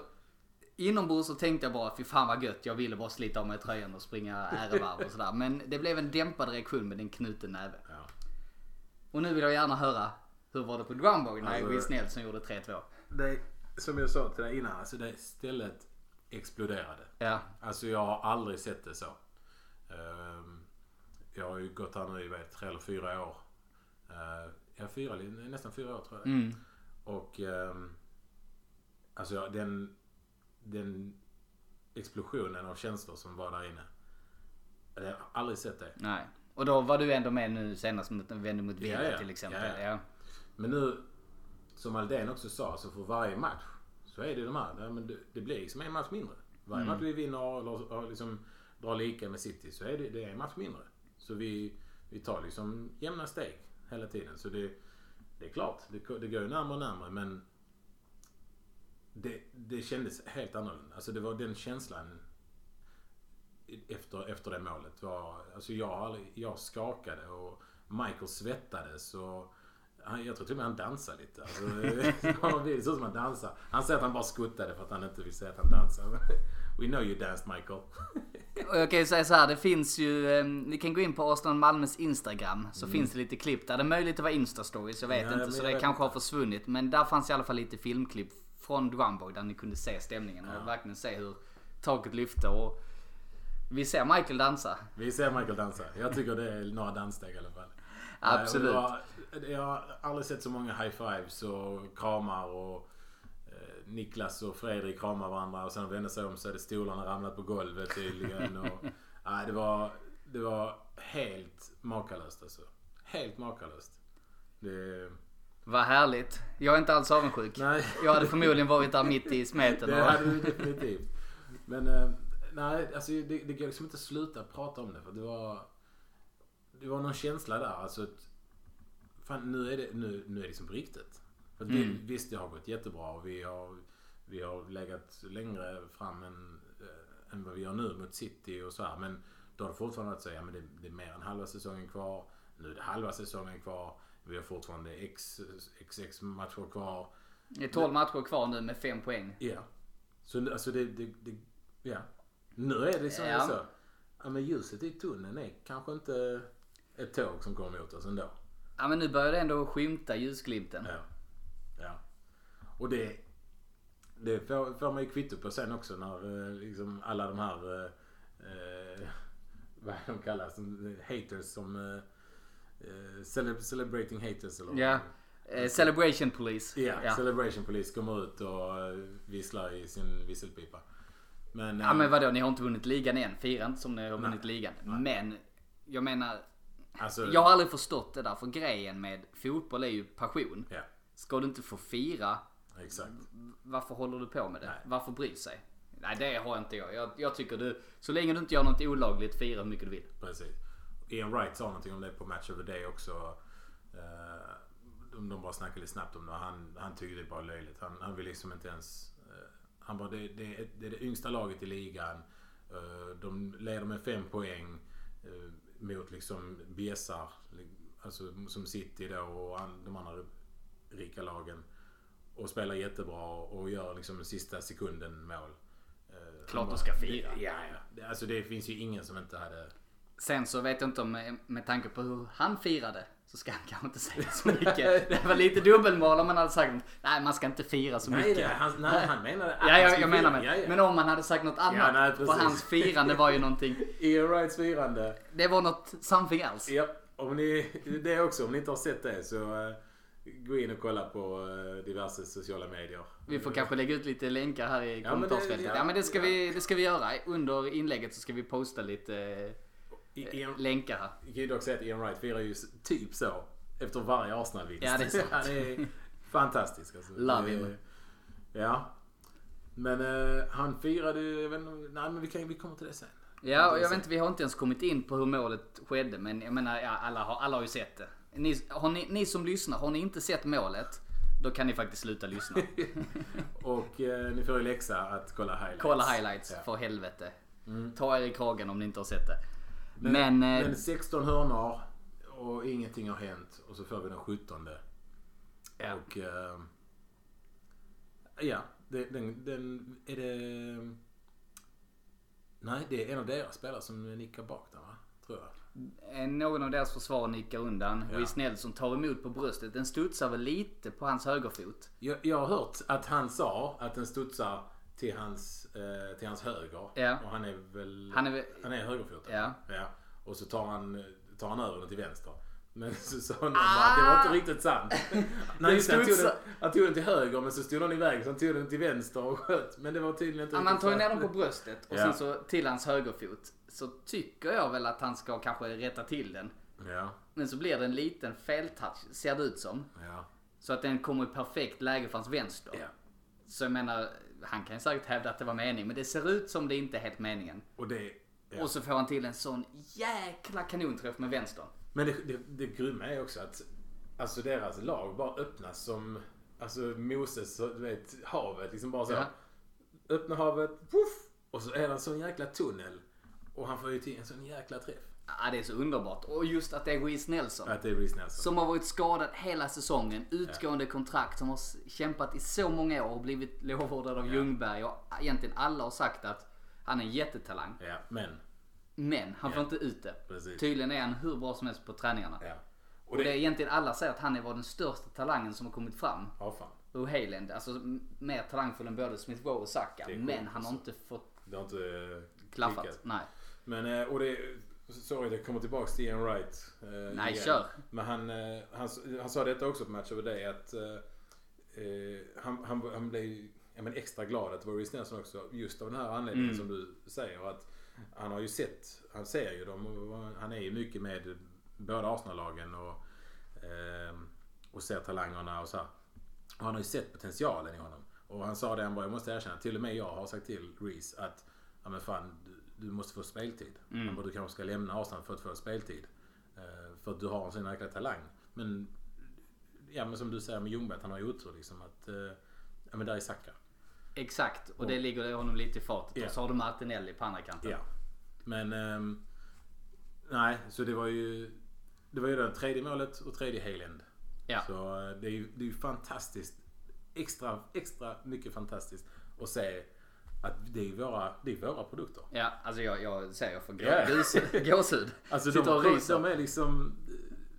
[SPEAKER 2] inombords så tänkte jag bara fy fan vad gött. Jag ville bara slita av mig tröjan och springa ärevarv och sådär. Men det blev en dämpad reaktion med en knuten näve.
[SPEAKER 3] Ja.
[SPEAKER 2] Och nu vill jag gärna höra hur var det på Groundbog när
[SPEAKER 3] Alltså-
[SPEAKER 2] Wiz Nelson gjorde 3-2?
[SPEAKER 3] Det, som jag sa till dig innan, alltså det stället exploderade.
[SPEAKER 2] Ja.
[SPEAKER 3] Alltså jag har aldrig sett det så. Ehm, jag har ju gått här nu i vad är det, tre eller fyra år. Uh, ja, fyra, nästan fyra år tror jag. Mm. Och ehm, alltså jag- den, den explosionen av känslor som var där inne. Jag har aldrig sett det.
[SPEAKER 2] Nej. Och då var du ändå med nu senast mot, vände mot Villa
[SPEAKER 3] Ja, ja.
[SPEAKER 2] till exempel.
[SPEAKER 3] Ja, ja.
[SPEAKER 2] Ja.
[SPEAKER 3] Men nu, som Aldén också sa, så för varje match så är det de här. ja, men det, det blir liksom en match mindre. Varje match vi vinner eller, eller liksom drar lika med City så är det, det är en match mindre. Så vi, vi tar liksom jämna steg hela tiden. Så det, det är klart, det, ko- det går ju närmare och närmare men det, det kändes helt annorlunda. Alltså det var den känslan i- efter, efter det målet var... Alltså jag, har aldrig- jag skakade och Michael svettades och... Han, jag tror till och med han dansade lite. Alltså, han blir så som han dansar. Han säger att han bara skuttade för att han inte vill säga att han dansar. We know you danced Michael.
[SPEAKER 2] Och jag kan ju säga så här, det finns ju, eh, ni kan gå in på Arsenal Malmös Instagram så finns det lite klipp där. Det är möjligt att vara Insta-stories, jag vet
[SPEAKER 3] Mm. Ja,
[SPEAKER 2] inte
[SPEAKER 3] men
[SPEAKER 2] så
[SPEAKER 3] jag
[SPEAKER 2] det
[SPEAKER 3] vet
[SPEAKER 2] kanske har försvunnit. Men där fanns i alla fall lite filmklipp från Drumboy där ni kunde se stämningen och verkligen se hur taket lyfte och vi ser Michael dansa.
[SPEAKER 3] Vi ser Michael dansa. Jag tycker det är några danssteg i alla fall.
[SPEAKER 2] Absolut.
[SPEAKER 3] Eh, och Jag, jag har aldrig sett så många high fives och kramar och eh, Niklas och Fredrik kramar varandra och sen vände sig om så hade stolarna ramlat på golvet tydligen. Och, nej, det, var, det var helt makalöst alltså. Helt makalöst. Det,
[SPEAKER 2] Vad härligt. Jag är inte alls avundsjuk.
[SPEAKER 3] nej.
[SPEAKER 2] Jag hade förmodligen varit där mitt i smeten.
[SPEAKER 3] Det
[SPEAKER 2] Och...
[SPEAKER 3] hade du definitivt. Men eh, nej, alltså, det, det går liksom inte att sluta prata om det. För det var, det var någon känsla där. Alltså, att, fan, nu, är det, nu, nu är det liksom på riktigt. För att vi, visst, det har gått jättebra. Och vi, har, vi har legat längre fram än, eh, än vad vi gör nu mot City och så här. Men då har det fortfarande varit så ja, men det, det är mer än halva säsongen kvar. Nu är det halva säsongen kvar. Vi har fortfarande x, x, x matcher kvar.
[SPEAKER 2] Det är 12 matcher kvar nu med 5 poäng.
[SPEAKER 3] Ja. Så nu- alltså det, det, det ja. Nu är det liksom
[SPEAKER 2] Ja.
[SPEAKER 3] så. Ja, men ljuset i tunneln är kanske inte ett tåg som kommer mot oss ändå.
[SPEAKER 2] Ja men nu börjar det ändå skymta ljusglimten.
[SPEAKER 3] Ja. ja. Och det, det får, får man ju kvitto på sen också när eh, liksom alla de här, eh, eh, vad är de kallas, Som- haters som eh, eh, cele- celebrating haters eller vad
[SPEAKER 2] Ja. Eh, Celebration Police.
[SPEAKER 3] Ja,
[SPEAKER 2] ja.
[SPEAKER 3] Celebration Police kommer ut och eh, visslar i sin visselpipa. Men,
[SPEAKER 2] Ja
[SPEAKER 3] eh,
[SPEAKER 2] men vadå, ni har inte vunnit ligan än. Fira inte som ni har vunnit ligan. Men, jag menar.
[SPEAKER 3] alltså,
[SPEAKER 2] Jag har aldrig förstått det där. För grejen med fotboll är ju passion.
[SPEAKER 3] Ja,
[SPEAKER 2] Ska du inte få fira,
[SPEAKER 3] exakt.
[SPEAKER 2] varför håller du på med det? Varför bryr sig? Nej det har inte jag. jag. Jag tycker du, så länge du inte gör något olagligt, fira hur mycket du vill.
[SPEAKER 3] Precis. Ian Wright sa någonting om det på Match of the Day också. Eh, De, de bara snackade lite snabbt om det. Han, han tyckte det var löjligt. Han, han vill liksom inte ens... eh, Han bara, det, det, är- det är det yngsta laget i ligan. Eh, De leder med fem poäng eh, mot liksom bjässar. Alltså som City då och an- de andra rika lagen. Och spelar jättebra och gör liksom sista sekunden mål. Eh, han
[SPEAKER 2] Klart de
[SPEAKER 3] bara,
[SPEAKER 2] ska fira.
[SPEAKER 3] Ja, ja. Det- Alltså det finns ju ingen som inte hade
[SPEAKER 2] Sen så vet jag inte om, med tanke på hur han firade, så ska han kanske inte säga så mycket. Det var lite dubbelmoral om man hade sagt nej man ska inte fira så
[SPEAKER 3] Nej,
[SPEAKER 2] mycket.
[SPEAKER 3] nej, han, nej, han menade att
[SPEAKER 2] Ja,
[SPEAKER 3] han
[SPEAKER 2] jag,
[SPEAKER 3] skulle
[SPEAKER 2] jag menar
[SPEAKER 3] fira.
[SPEAKER 2] med.
[SPEAKER 3] Ja, ja.
[SPEAKER 2] Men om man hade sagt något annat.
[SPEAKER 3] nej,
[SPEAKER 2] för
[SPEAKER 3] precis.
[SPEAKER 2] hans firande var ju någonting.
[SPEAKER 3] Ian Wrights firande.
[SPEAKER 2] Det var något something else.
[SPEAKER 3] Ja, om ni, det också. Om ni inte har sett det så eh, gå in och kolla på eh, diverse sociala medier.
[SPEAKER 2] Vi får kanske lägga ut lite länkar här i
[SPEAKER 3] Ja, men det-
[SPEAKER 2] kommentarsfältet.
[SPEAKER 3] ja,
[SPEAKER 2] Ja men det ska,
[SPEAKER 3] ja.
[SPEAKER 2] vi, det ska vi göra. Under inlägget så ska vi posta lite eh,
[SPEAKER 3] I- Ian,
[SPEAKER 2] länkar här.
[SPEAKER 3] jag kan ju dock säga att Ian Wright firar ju s- typ så efter varje Arsenal-vinst.
[SPEAKER 2] Ja, det är sant.
[SPEAKER 3] Han är fantastisk alltså.
[SPEAKER 2] Love
[SPEAKER 3] Det-
[SPEAKER 2] him.
[SPEAKER 3] Ja. Men eh, han firade ju- jag vet inte, nej men vi, kan, vi kommer till det sen.
[SPEAKER 2] Ja, och jag vet inte, vi har inte ens kommit in på hur målet skedde, men jag menar, ja, alla, har, alla har ju sett det. Ni, har ni, ni som lyssnar, har ni inte sett målet, då kan ni faktiskt sluta lyssna.
[SPEAKER 3] Och eh, ni får ju läxa att kolla highlights.
[SPEAKER 2] Kolla highlights,
[SPEAKER 3] Ja. Mm.
[SPEAKER 2] för helvete. Ta er i kragen om ni inte har sett det. Men, eh,
[SPEAKER 3] Men 16 hörnor och ingenting har hänt och så får vi den 17.
[SPEAKER 2] ja.
[SPEAKER 3] Och eh, ja, det- den, den är det... ehm, Nej, det är en av deras spelare som nickar bak där va? Tror jag.
[SPEAKER 2] Eh, någon av deras försvar nickar undan.
[SPEAKER 3] Ja.
[SPEAKER 2] Ja. Snäll som tar emot på bröstet. Den studsar väl lite på hans högerfot.
[SPEAKER 3] jag. Jag har hört att han sa att den studsar till hans, eh, till hans höger.
[SPEAKER 2] Ja.
[SPEAKER 3] Och han är väl...
[SPEAKER 2] Han är väl-
[SPEAKER 3] han är högerfotad.
[SPEAKER 2] Ja.
[SPEAKER 3] ja. Och så tar han, tar han över den till vänster. Men så sa någon bara att det var inte riktigt sant. Nej, just det, han, tog den,
[SPEAKER 2] Ah. studsar.
[SPEAKER 3] han tog den till höger men så stod den iväg så han tog den till vänster och sköt. Men det var tydligen inte
[SPEAKER 2] Ja, man tar ju ner
[SPEAKER 3] sant.
[SPEAKER 2] dem på bröstet och
[SPEAKER 3] Ja.
[SPEAKER 2] sen så till hans högerfot. Så tycker jag väl att han ska kanske rätta till den.
[SPEAKER 3] Ja,
[SPEAKER 2] Men så blir det en liten feltouch, ser det ut som.
[SPEAKER 3] ja,
[SPEAKER 2] Så att den kommer i perfekt läge för hans vänster.
[SPEAKER 3] ja.
[SPEAKER 2] Så jag menar, han kan ju säkert hävda att det var meningen, men det ser ut som det inte är helt meningen.
[SPEAKER 3] Och det... Ja.
[SPEAKER 2] Och så får han till en sån jäkla kanonträff med vänstern.
[SPEAKER 3] Men det, det, det grymma är också att alltså deras lag bara öppnas som alltså Moses, så, du vet, havet. Liksom bara så.
[SPEAKER 2] Ja.
[SPEAKER 3] Öppna havet, puff, Och så är det en sån jäkla tunnel. Och han får ju till en sån jäkla träff.
[SPEAKER 2] Ja, det är så underbart. Och just att det är Reece Nelson.
[SPEAKER 3] Att det är Reece Nelson.
[SPEAKER 2] Som har varit skadad hela säsongen, utgående kontrakt, som har s- kämpat i så många år och blivit lovordad av Ljungberg och egentligen alla har sagt att han är en jättetalang.
[SPEAKER 3] Ja, men.
[SPEAKER 2] Men han får inte ut det.
[SPEAKER 3] Precis.
[SPEAKER 2] Tydligen är han hur bra som helst på träningarna.
[SPEAKER 3] Ja.
[SPEAKER 2] Och det är egentligen alla säger att han är var den största talangen som har kommit fram.
[SPEAKER 3] Ja, fan.
[SPEAKER 2] Ur Hayland. Alltså m- mer talangfull än både Smith Rowe och Saka.
[SPEAKER 3] Det är
[SPEAKER 2] Men
[SPEAKER 3] sjukt,
[SPEAKER 2] han har
[SPEAKER 3] alltså.
[SPEAKER 2] inte fått
[SPEAKER 3] Det har inte eh,
[SPEAKER 2] klaffat.
[SPEAKER 3] klickat.
[SPEAKER 2] Nej.
[SPEAKER 3] Men, eh, och det... Sorry, jag kommer tillbaks till Ian Wright. eh,
[SPEAKER 2] Nej, kör.
[SPEAKER 3] Men han, eh, han, han sa detta också på Match of the Day att eh, eh, han, han, han blev ju, ja, men extra glad att det var Reece Nelson också. Just av den här anledningen som du säger. att Han har ju sett, han ser ju dem och han är ju mycket med båda Arsenal-lagen och eh, och ser talangerna och så här. Och han har ju sett potentialen i honom. Och han sa det, han bara, jag måste erkänna, till och med jag har sagt till Reese att ja men fan, du, du måste få speltid. Han bara, du kanske ska lämna Arsenal för att få speltid. Eh, för att du har en sån jäkla talang. Men, ja men som du säger med Ljungberg, att han har ju otur liksom att, eh, ja men där är Saka.
[SPEAKER 2] Exakt, och det ligger honom lite i fatet.
[SPEAKER 3] Ja.
[SPEAKER 2] Och så har du Martinelli på andra kanten.
[SPEAKER 3] Ja. Men, ehm, nej, så det var ju, det var ju det tredje målet och tredje Haaland.
[SPEAKER 2] Ja.
[SPEAKER 3] Så eh, det är ju, det är ju fantastiskt. Extra, extra mycket fantastiskt att se att det är våra, det är våra produkter.
[SPEAKER 2] Ja, alltså jag, jag säger jag får grå,
[SPEAKER 3] Ja.
[SPEAKER 2] gås- gåshud.
[SPEAKER 3] Alltså de,
[SPEAKER 2] Sitter och
[SPEAKER 3] de,
[SPEAKER 2] ryser.
[SPEAKER 3] de är liksom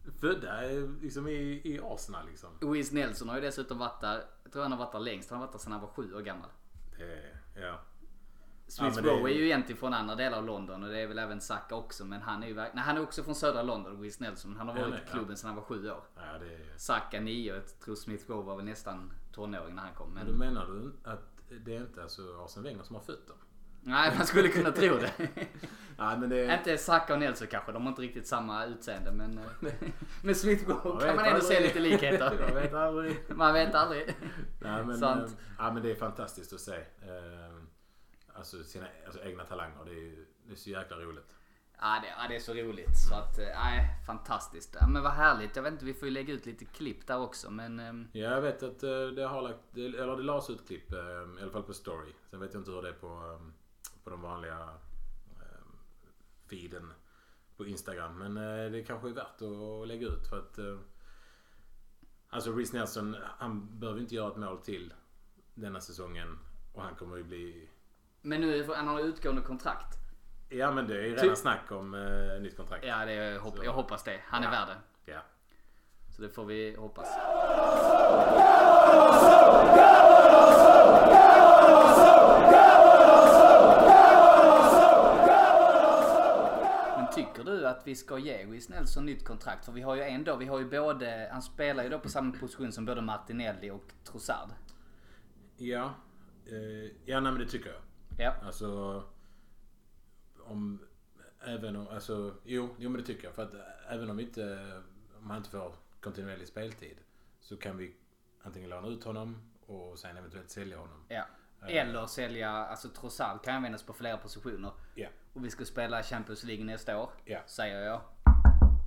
[SPEAKER 3] eh, födda eh, liksom i, i Arsenal liksom.
[SPEAKER 2] Wiz Nelson har ju dessutom varit där, jag tror han har varit där längst, han har varit där sedan han var sju år gammal.
[SPEAKER 3] Det, ja.
[SPEAKER 2] Smith
[SPEAKER 3] men det är-
[SPEAKER 2] Rowe är ju egentligen från andra delar av London och det är väl även Saka också men han är ju verk- Nej, han är också från södra London, Wiz Nelson. men Han har
[SPEAKER 3] Ja,
[SPEAKER 2] varit
[SPEAKER 3] nej,
[SPEAKER 2] i
[SPEAKER 3] ja.
[SPEAKER 2] klubben sedan han var sju år.
[SPEAKER 3] ja det är,
[SPEAKER 2] Saka nio, jag tror Smith Rowe var väl nästan tonåring när han kom. Men...
[SPEAKER 3] men då menar du att det är inte alltså Arsene Wenger som har fött dem?
[SPEAKER 2] Nej, man skulle kunna tro det.
[SPEAKER 3] Nej men det
[SPEAKER 2] inte Saka och Nelson kanske, de har inte riktigt samma utseende men... eh, men Smith
[SPEAKER 3] Jag
[SPEAKER 2] Rowe
[SPEAKER 3] vet
[SPEAKER 2] kan man ändå se
[SPEAKER 3] aldrig.
[SPEAKER 2] lite
[SPEAKER 3] Jag
[SPEAKER 2] likheter.
[SPEAKER 3] vet aldrig.
[SPEAKER 2] man vet aldrig.
[SPEAKER 3] Nej, men,
[SPEAKER 2] Sant.
[SPEAKER 3] eh, ja, men det är fantastiskt att se. Eh, Alltså sina alltså, egna talanger. Det är, ju- det är så jäkla roligt.
[SPEAKER 2] Ja det, ja, det är så roligt. Så att, eh, nej, fantastiskt. Ja, men vad härligt. Jag vet inte, vi får ju lägga ut lite klipp där också. Men ehm,
[SPEAKER 3] Ja, jag vet att eh, det har lagt, det- eller det lades ut klipp, eh, i alla fall på story. Sen vet jag inte hur det är på, eh, på de vanliga eh, feeden på Instagram. Men eh, det kanske är värt att lägga ut för att eh, Alltså Reece Nelson, han behöver inte göra ett mål till denna säsongen. Och han kommer ju bli...
[SPEAKER 2] men nu får han har utgående kontrakt.
[SPEAKER 3] Ja men det är ju redan snack om eh, nytt kontrakt.
[SPEAKER 2] Ja, det, jag, hopp, jag hoppas det. Han är värd det.
[SPEAKER 3] Ja.
[SPEAKER 2] Så det får vi hoppas. Men Tycker du att vi ska ge Wiz Nelson nytt kontrakt? För vi har ju ändå, vi har ju både, han spelar ju då på samma position som både Martinelli och Trossard.
[SPEAKER 3] Ja, eh, ja nej, men det tycker jag.
[SPEAKER 2] Ja.
[SPEAKER 3] Alltså, om, även om, alltså, jo, jo men det tycker jag. För att även om, inte, om han inte får kontinuerlig speltid så kan vi antingen låna ut honom och sen eventuellt sälja honom.
[SPEAKER 2] ja. Eller sälja, alltså Trossard kan användas på flera positioner.
[SPEAKER 3] Ja,
[SPEAKER 2] Och vi ska spela Champions League nästa år,
[SPEAKER 3] Ja.
[SPEAKER 2] säger jag.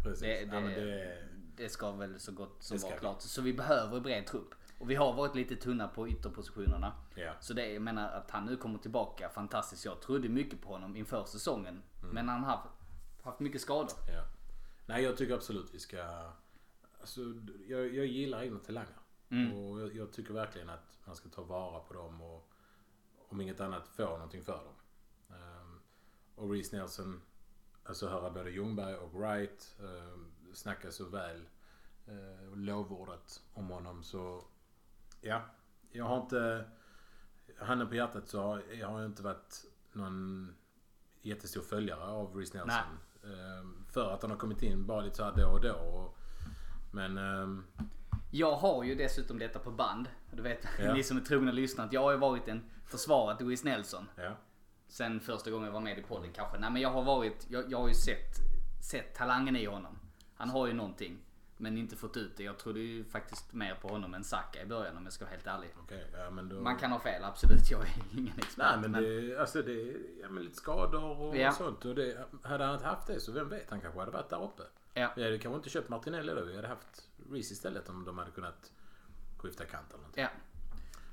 [SPEAKER 3] precis.
[SPEAKER 2] Det-
[SPEAKER 3] ja, men
[SPEAKER 2] det-
[SPEAKER 3] det,
[SPEAKER 2] Det ska väl så gott som
[SPEAKER 3] Det ska
[SPEAKER 2] vara
[SPEAKER 3] vi.
[SPEAKER 2] klart. Så vi behöver en bred trupp. Och vi har varit lite tunna på ytterpositionerna.
[SPEAKER 3] Ja.
[SPEAKER 2] Så det, jag menar att han nu kommer tillbaka, fantastiskt. Jag trodde mycket på honom inför säsongen.
[SPEAKER 3] Mm.
[SPEAKER 2] Men han har haft, haft mycket skador.
[SPEAKER 3] ja. Nej, jag tycker absolut vi ska... Alltså, jag, jag gillar egna talanger.
[SPEAKER 2] Mm.
[SPEAKER 3] Och jag, jag tycker verkligen att man ska ta vara på dem och om inget annat få någonting för dem. Ehm, och Reece Nelson, alltså höra både Ljungberg och Wright um, snacka så väl eh, och lovordat om honom så ja, jag har inte, handen på hjärtat så har jag har inte varit någon jättestor följare av Reece Nelson. Ehm, för att han har kommit in bara lite så här då och då. Och, men ehm,
[SPEAKER 2] Jag har ju dessutom detta på band. Du vet,
[SPEAKER 3] Ja.
[SPEAKER 2] ni som är trogna lyssnare, att jag har ju varit en försvarare till Wiz Nelson.
[SPEAKER 3] ja.
[SPEAKER 2] sen första gången jag var med i podden kanske. Nej men jag har varit, jag, jag har ju sett, sett talangen i honom. Han har ju någonting. Men inte fått ut det. Jag trodde ju faktiskt mer på honom än Saka i början om jag ska vara helt ärlig.
[SPEAKER 3] Okej, ja men då...
[SPEAKER 2] Man kan ha fel, absolut. Jag är ingen expert.
[SPEAKER 3] Nej men det, alltså det är ja, men lite skador och
[SPEAKER 2] Ja.
[SPEAKER 3] sånt. Och det, hade han inte haft det så vem vet, han kanske hade varit där uppe.
[SPEAKER 2] Ja.
[SPEAKER 3] Vi hade kanske inte köpt Martinelli då, vi hade haft Reece istället om de hade kunnat skifta kant eller någonting.
[SPEAKER 2] Ja.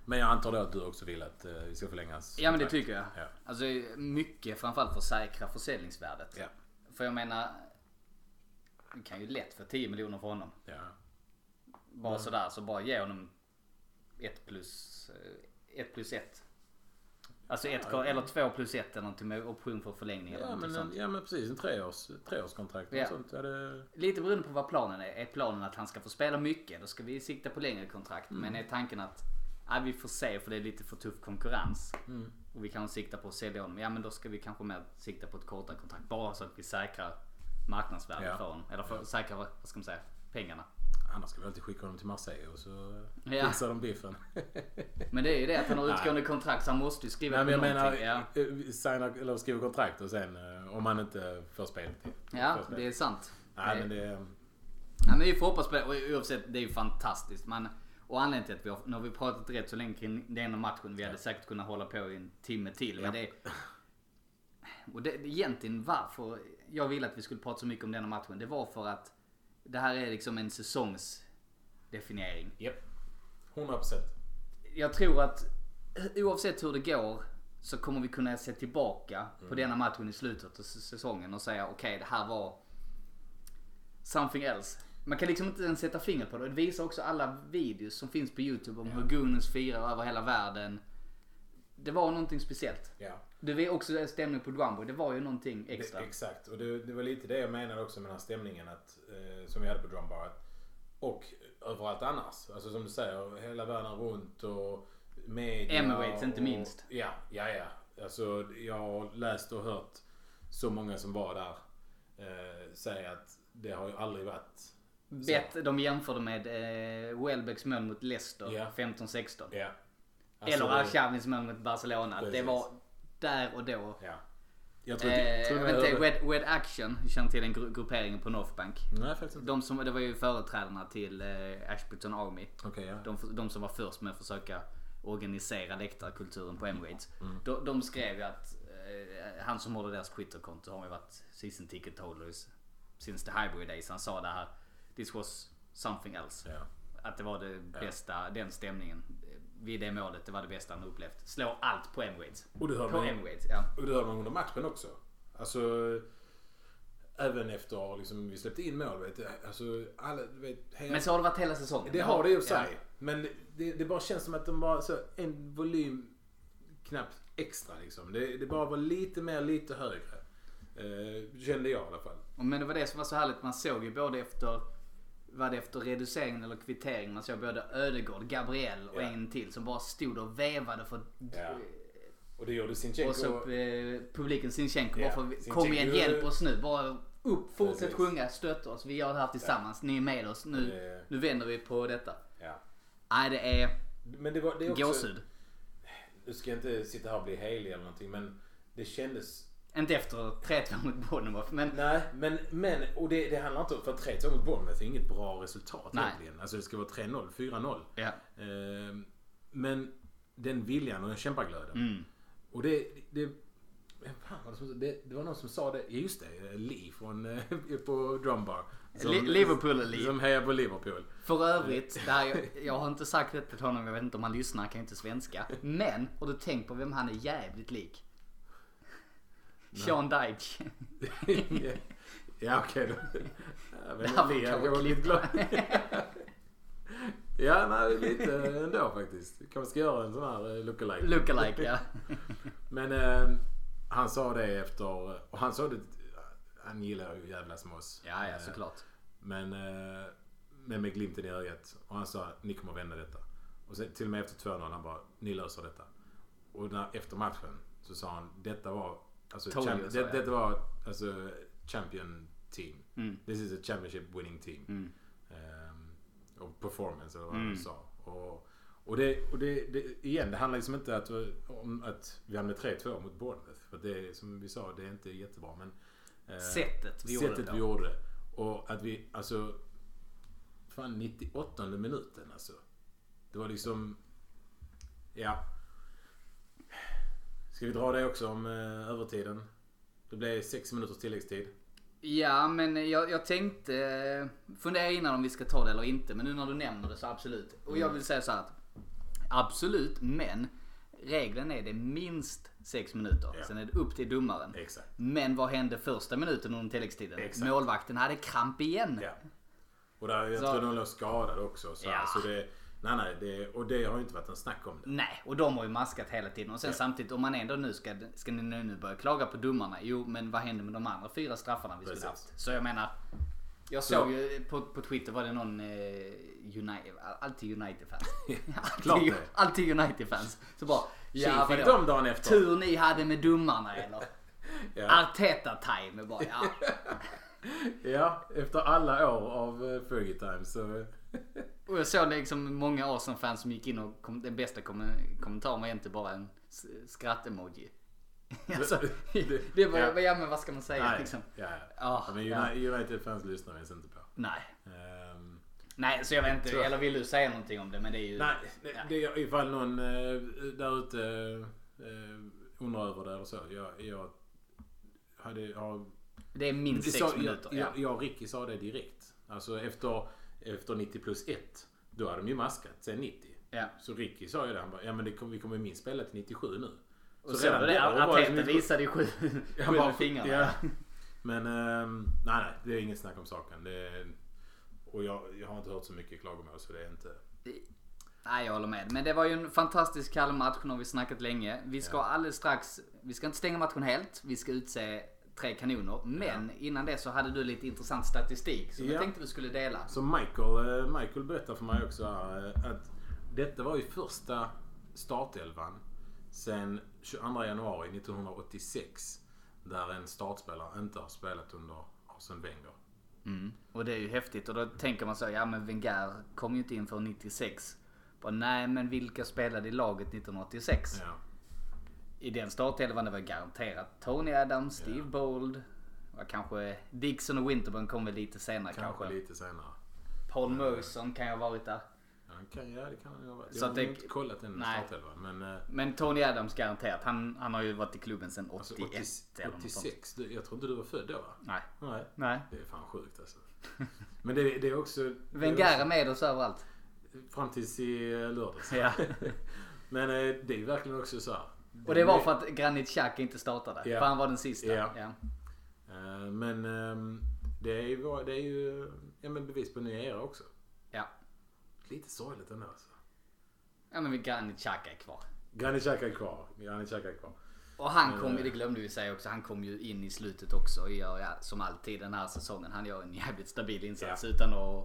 [SPEAKER 3] Men jag antar då att du också vill att eh, vi ska förlänga hans
[SPEAKER 2] ja men det
[SPEAKER 3] kontrakt.
[SPEAKER 2] tycker jag.
[SPEAKER 3] Ja.
[SPEAKER 2] Alltså mycket framförallt för att säkra försäljningsvärdet.
[SPEAKER 3] Ja.
[SPEAKER 2] För jag menar, vi kan ju lätt få 10 miljoner för honom.
[SPEAKER 3] ja.
[SPEAKER 2] Bara
[SPEAKER 3] Mm.
[SPEAKER 2] sådär, så bara ge honom 1 plus 1 plus 1. Alltså ett, eller 2 plus 1 eller någonting med option för förlängning eller
[SPEAKER 3] Ja,
[SPEAKER 2] någonting
[SPEAKER 3] men, en,
[SPEAKER 2] sånt.
[SPEAKER 3] ja men precis, en treårs, treårskontrakt och
[SPEAKER 2] Ja.
[SPEAKER 3] sånt. Ja, det,
[SPEAKER 2] Lite beroende på vad planen är. Är planen att han ska få spela mycket, då ska vi sikta på längre kontrakt.
[SPEAKER 3] Mm.
[SPEAKER 2] Men är tanken att ja, vi får se för det är lite för tuff konkurrens.
[SPEAKER 3] Mm.
[SPEAKER 2] Och vi kan sikta på att sälja honom. Ja men då ska vi kanske mer sikta på ett kortare kontrakt. Bara så att vi säkrar marknadsvärdet
[SPEAKER 3] Ja.
[SPEAKER 2] för honom. Eller för, säkrar, vad ska man säga, pengarna.
[SPEAKER 3] annars ska vi alltid skicka honom till Marseille och så
[SPEAKER 2] Ja.
[SPEAKER 3] fixar de biffen.
[SPEAKER 2] Men det är ju det att han har utgående kontrakt så han måste ju skriva
[SPEAKER 3] Nej men jag
[SPEAKER 2] på
[SPEAKER 3] menar,
[SPEAKER 2] någonting. ja.
[SPEAKER 3] eh, signa, eller skriva kontrakt och sen eh, om han inte får spel till.
[SPEAKER 2] Ja,
[SPEAKER 3] får spel.
[SPEAKER 2] det är sant.
[SPEAKER 3] Nej,
[SPEAKER 2] Det-
[SPEAKER 3] men det...
[SPEAKER 2] Nej, men vi får hoppas på det. Och Oavsett, det är ju fantastiskt. Man, och anledningen till att vi har, nu har vi pratat rätt så länge kring den matchen. Vi hade säkert kunnat hålla på i en timme till. Men det, och det, det, egentligen varför jag ville att vi skulle prata så mycket om denna matchen. Det var för att det här är liksom en säsongsdefiniering.
[SPEAKER 3] Japp. 100%.
[SPEAKER 2] Jag tror att oavsett hur det går så kommer vi kunna se tillbaka på
[SPEAKER 3] Mm.
[SPEAKER 2] denna matchen i slutet av s- säsongen och säga okej det här var something else. Man kan liksom inte ens sätta fingret på det. Det visar också alla videos som finns på YouTube om hur Gunnens firar över hela världen. Det var någonting speciellt.
[SPEAKER 3] Ja.
[SPEAKER 2] Det var också stämning på Guambo. Det var ju någonting extra.
[SPEAKER 3] Det, exakt, och det, det var lite det jag menade också med den här stämningen att, eh, som vi hade på Drumbar. Att, och överallt annars. Alltså som du säger, hela världen runt och media.
[SPEAKER 2] Emirates, inte
[SPEAKER 3] och-
[SPEAKER 2] minst.
[SPEAKER 3] Ja, ja, ja. Alltså jag har läst och hört så många som var där eh, säga att det har ju aldrig varit...
[SPEAKER 2] Bet, de jämförde med eh, Welbecks mål mot Leicester
[SPEAKER 3] Ja.
[SPEAKER 2] 15-16.
[SPEAKER 3] Ja. alltså
[SPEAKER 2] Eller Arshavins mål mot Barcelona. Det
[SPEAKER 3] Precis.
[SPEAKER 2] var där och då.
[SPEAKER 3] Ja. Jag tror,
[SPEAKER 2] Eh,
[SPEAKER 3] tror
[SPEAKER 2] jag
[SPEAKER 3] jag
[SPEAKER 2] vet inte,
[SPEAKER 3] hörde-
[SPEAKER 2] Red, Red Action känner till en gru- gruppering på Northbank.
[SPEAKER 3] Nej, faktiskt inte.
[SPEAKER 2] De som, det var ju företrädarna till eh, Ashburton Army.
[SPEAKER 3] Okej, ja.
[SPEAKER 2] De, de som var först med att försöka organisera läktarkulturen på Emirates.
[SPEAKER 3] Mm.
[SPEAKER 2] De, de skrev ju att eh, han som håller deras Twitterkonto har ju varit season ticket holders since the hybrid days. Han sa det här. This was something else.
[SPEAKER 3] Ja.
[SPEAKER 2] Att det var det bästa, den stämningen. eh, Vid det målet, det var det bästa han upplevt. Slå allt på Emirates.
[SPEAKER 3] Och du hör
[SPEAKER 2] På
[SPEAKER 3] mig.
[SPEAKER 2] Emirates, ja.
[SPEAKER 3] Och det hör man under matchen också. Alltså, även efter liksom, vi släppte in mål. Vet du. Alltså, alla, du vet, hela,
[SPEAKER 2] Men så har det varit hela säsongen.
[SPEAKER 3] det har det ju för
[SPEAKER 2] Ja.
[SPEAKER 3] sig. Men det, det bara känns som att de bara så en volym knappt extra liksom. Det, det bara var lite mer, lite högre. Eh, kände jag i alla fall.
[SPEAKER 2] Men det var det som var så härligt. Man såg ju både efter var det efter reduceringen eller kvitteringen. Man såg både Ödegård, Gabriel och
[SPEAKER 3] Ja.
[SPEAKER 2] en till som bara stod och vevade för...
[SPEAKER 3] Ja. Och det gjorde
[SPEAKER 2] Och så
[SPEAKER 3] Sinchenko.
[SPEAKER 2] eh, publiken Sinchenko bara
[SPEAKER 3] Ja.
[SPEAKER 2] för
[SPEAKER 3] Sinchenko-
[SPEAKER 2] kom igen hjälp oss nu. Bara upp, fortsätt
[SPEAKER 3] Precis.
[SPEAKER 2] sjunga, stötta oss. Vi gör det här tillsammans. Ni är med oss. Nu,
[SPEAKER 3] Det-
[SPEAKER 2] nu vänder vi på detta.
[SPEAKER 3] Ja.
[SPEAKER 2] Nej det är
[SPEAKER 3] Men det var det är också...
[SPEAKER 2] gåshud.
[SPEAKER 3] Nu ska jag inte sitta här och bli helig eller någonting men det kändes
[SPEAKER 2] Inte efter 3-2 mot Bournemouth men
[SPEAKER 3] Nej, men, men och det, det handlar inte om... För 3-2 mot Bournemouth är inget bra resultat
[SPEAKER 2] Nej.
[SPEAKER 3] egentligen. Alltså det ska vara 3-0, 4-0.
[SPEAKER 2] Ja.
[SPEAKER 3] Ehm, men den viljan och den kämpaglöden.
[SPEAKER 2] Mm.
[SPEAKER 3] Och det... det vem fan var det, som, det, det var någon som sa det. Ja, just det. Lee från, eh, på Drumbar.
[SPEAKER 2] Li- Liverpool-Lee.
[SPEAKER 3] Som hejar på Liverpool.
[SPEAKER 2] För övrigt, det här, jag, jag har inte sagt det till honom, jag vet inte om han lyssnar, han kan inte svenska. Men, har du tänkt på vem han är jävligt lik? Sean Dyche.
[SPEAKER 3] ja, okej då. Ja, men
[SPEAKER 2] här får
[SPEAKER 3] Lee hade
[SPEAKER 2] vi
[SPEAKER 3] varit lite glad. ja, nej, lite ändå faktiskt. Kanske ska göra en sån här eh, lookalike.
[SPEAKER 2] Lookalike ja.
[SPEAKER 3] Men eh, han sa det efter... Och han sa det... Han gillar ju att jävlas med oss.
[SPEAKER 2] Ja, ja
[SPEAKER 3] Eh,
[SPEAKER 2] såklart.
[SPEAKER 3] Men, eh, men med glimten i ögat. Och han sa ni kommer vända detta. Och sen, till och med efter 2-0 han bara ni löser detta. Och när, efter matchen så sa han detta var... Alltså,
[SPEAKER 2] Told you,
[SPEAKER 3] champ-
[SPEAKER 2] sa
[SPEAKER 3] det,
[SPEAKER 2] jag."
[SPEAKER 3] detta var alltså champion team. This is a championship winning team. Ehm, och performance eller vad han sa. Och, och, det, och det, det, igen, det handlar liksom inte att, om att vi hamnade 3-2 mot Bournemouth. För det är, som vi sa, det är inte jättebra. Men, eh,
[SPEAKER 2] Sättet vi gjorde det
[SPEAKER 3] sättet typ vi
[SPEAKER 2] på.
[SPEAKER 3] gjorde det. Och att vi, alltså... Fan, 98 minuten alltså. Det var liksom... Ja. Ska vi dra det också om eh, övertiden? Det blev 6 minuters tilläggstid.
[SPEAKER 2] Ja men jag, jag tänkte, eh, fundera innan om vi ska ta det eller inte. Men nu när du nämner det så absolut. Och
[SPEAKER 3] Mm.
[SPEAKER 2] jag vill säga så här att, absolut men regeln är det minst 6 minuter.
[SPEAKER 3] Ja.
[SPEAKER 2] Sen är det upp till domaren.
[SPEAKER 3] Exakt.
[SPEAKER 2] Men vad hände första minuten under tilläggstiden?
[SPEAKER 3] Exakt.
[SPEAKER 2] Målvakten hade kramp igen.
[SPEAKER 3] Ja. Och där, jag
[SPEAKER 2] Så-
[SPEAKER 3] tror de låg skadade också. Så,
[SPEAKER 2] Ja.
[SPEAKER 3] så det, nej, nej, det, och det har ju inte varit en snack om det.
[SPEAKER 2] Nej, och de har ju maskat hela tiden. Och sen samtidigt, om man ändå nu ska, ska ni nu börja klaga på domarna? Jo, men vad hände med de andra fyra straffarna vi skulle
[SPEAKER 3] Precis.
[SPEAKER 2] haft? Så jag menar, jag
[SPEAKER 3] Så-
[SPEAKER 2] såg ju på, på Twitter var det någon eh, United, alltid United-fans.
[SPEAKER 3] klart
[SPEAKER 2] alltid
[SPEAKER 3] det.
[SPEAKER 2] alltid United-fans. Så bara, ja
[SPEAKER 3] Tji, fick
[SPEAKER 2] vadå?
[SPEAKER 3] de dagen efter.
[SPEAKER 2] Tur ni hade med domarna eller?
[SPEAKER 3] Ja.
[SPEAKER 2] Arteta-time bara, ja.
[SPEAKER 3] ja, efter alla år av eh, Fergie Time så...
[SPEAKER 2] Och jag såg liksom många Arsenal-fans som gick in och kom, den bästa kom, kommentaren var egentligen bara en s- skratt-emoji. alltså, det,
[SPEAKER 3] Det-
[SPEAKER 2] var,
[SPEAKER 3] ja.
[SPEAKER 2] ja. men vad ska man säga
[SPEAKER 3] Nej,
[SPEAKER 2] liksom?
[SPEAKER 3] ja, ja.
[SPEAKER 2] Ah,
[SPEAKER 3] men
[SPEAKER 2] ja.
[SPEAKER 3] United-fans lyssnar vi ens inte på.
[SPEAKER 2] Nej.
[SPEAKER 3] Ehm,
[SPEAKER 2] Nej, så jag vet inte.
[SPEAKER 3] Tror jag.
[SPEAKER 2] Eller vill du säga någonting om det? Men det är ju...
[SPEAKER 3] Nej, det, det är ifall någon eh, där ute eh, undrar över det eller så. Jag, jag hade... Jag,
[SPEAKER 2] Det är minst sex
[SPEAKER 3] sa,
[SPEAKER 2] minuter.
[SPEAKER 3] jag, jag, jag och Ricky sa det direkt. Alltså efter, efter 90 plus 1. Då hade de ju maskat sen 90.
[SPEAKER 2] Ja.
[SPEAKER 3] Så Ricky sa ju det. Han bara, ja men det kommer, vi kommer minst spela till 97 nu.
[SPEAKER 2] Och så redan det,
[SPEAKER 3] då var jag
[SPEAKER 2] Arteta
[SPEAKER 3] liksom-
[SPEAKER 2] visade ju sju,
[SPEAKER 3] jag
[SPEAKER 2] sju
[SPEAKER 3] bara-
[SPEAKER 2] med fingrarna.
[SPEAKER 3] Ja. Men ehm, nej, nej, det är inget snack om saken. Det är, och jag, jag har inte hört så mycket klagomål så det är inte...
[SPEAKER 2] Nej, jag håller med. Men det var ju en fantastisk kall match, nu har vi snackat länge. Vi ska alldeles strax, vi ska inte stänga matchen helt. Vi ska utse tre kanoner. Men innan det så hade du lite intressant statistik som jag
[SPEAKER 3] Ja.
[SPEAKER 2] tänkte vi skulle dela.
[SPEAKER 3] Så Michael, eh, Michael berättade för mig också här, eh, att detta var ju första startelvan sen 22 januari 1986 där en startspelare inte har spelat under Arsene Wenger.
[SPEAKER 2] Mm. Och det är ju häftigt och då tänker man så, ja men Wenger kom ju inte in för 96. Bara, nej men vilka spelade i laget 1986?
[SPEAKER 3] Ja.
[SPEAKER 2] I den startelvan det var garanterat Tony Adams, Steve Bold. var Kanske Dixon och Winterburn kom väl lite senare kanske.
[SPEAKER 3] Kanske lite senare.
[SPEAKER 2] Paul Merson kan ju ha varit där.
[SPEAKER 3] Ja, det kan, ja, det kan jag vara.
[SPEAKER 2] Så
[SPEAKER 3] Jag har
[SPEAKER 2] att det-
[SPEAKER 3] inte kollat den
[SPEAKER 2] Nej.
[SPEAKER 3] startelvan. Men eh,
[SPEAKER 2] Men Tony Adams garanterat. Han, han har ju varit i klubben sedan 81
[SPEAKER 3] alltså,
[SPEAKER 2] eller
[SPEAKER 3] 80,
[SPEAKER 2] något sånt.
[SPEAKER 3] 86, du, jag tror inte du var född då va?
[SPEAKER 2] Nej.
[SPEAKER 3] Nej.
[SPEAKER 2] Nej.
[SPEAKER 3] Det är fan sjukt alltså. Men det, det är också... det är
[SPEAKER 2] Wenger är med oss överallt.
[SPEAKER 3] också- Fram tills i eh, lördags.
[SPEAKER 2] Ja.
[SPEAKER 3] Men eh, det är ju verkligen också så här.
[SPEAKER 2] Och det var för att Granit Xhaka inte startade.
[SPEAKER 3] Ja.
[SPEAKER 2] För han var den sista.
[SPEAKER 3] Ja.
[SPEAKER 2] Ja.
[SPEAKER 3] Eh, Men ehm, det är ju, det är ju ja, men bevis på en ny era också.
[SPEAKER 2] Ja.
[SPEAKER 3] Lite sorgligt ändå alltså.
[SPEAKER 2] ja men Granit Xhaka är kvar.
[SPEAKER 3] Granit Xhaka är kvar. Granit Xhaka är kvar.
[SPEAKER 2] Och han kom ju, det glömde vi säga också, han kom ju in i slutet också och gör ja, som alltid den här säsongen. Han gör en jävligt stabil insats utan att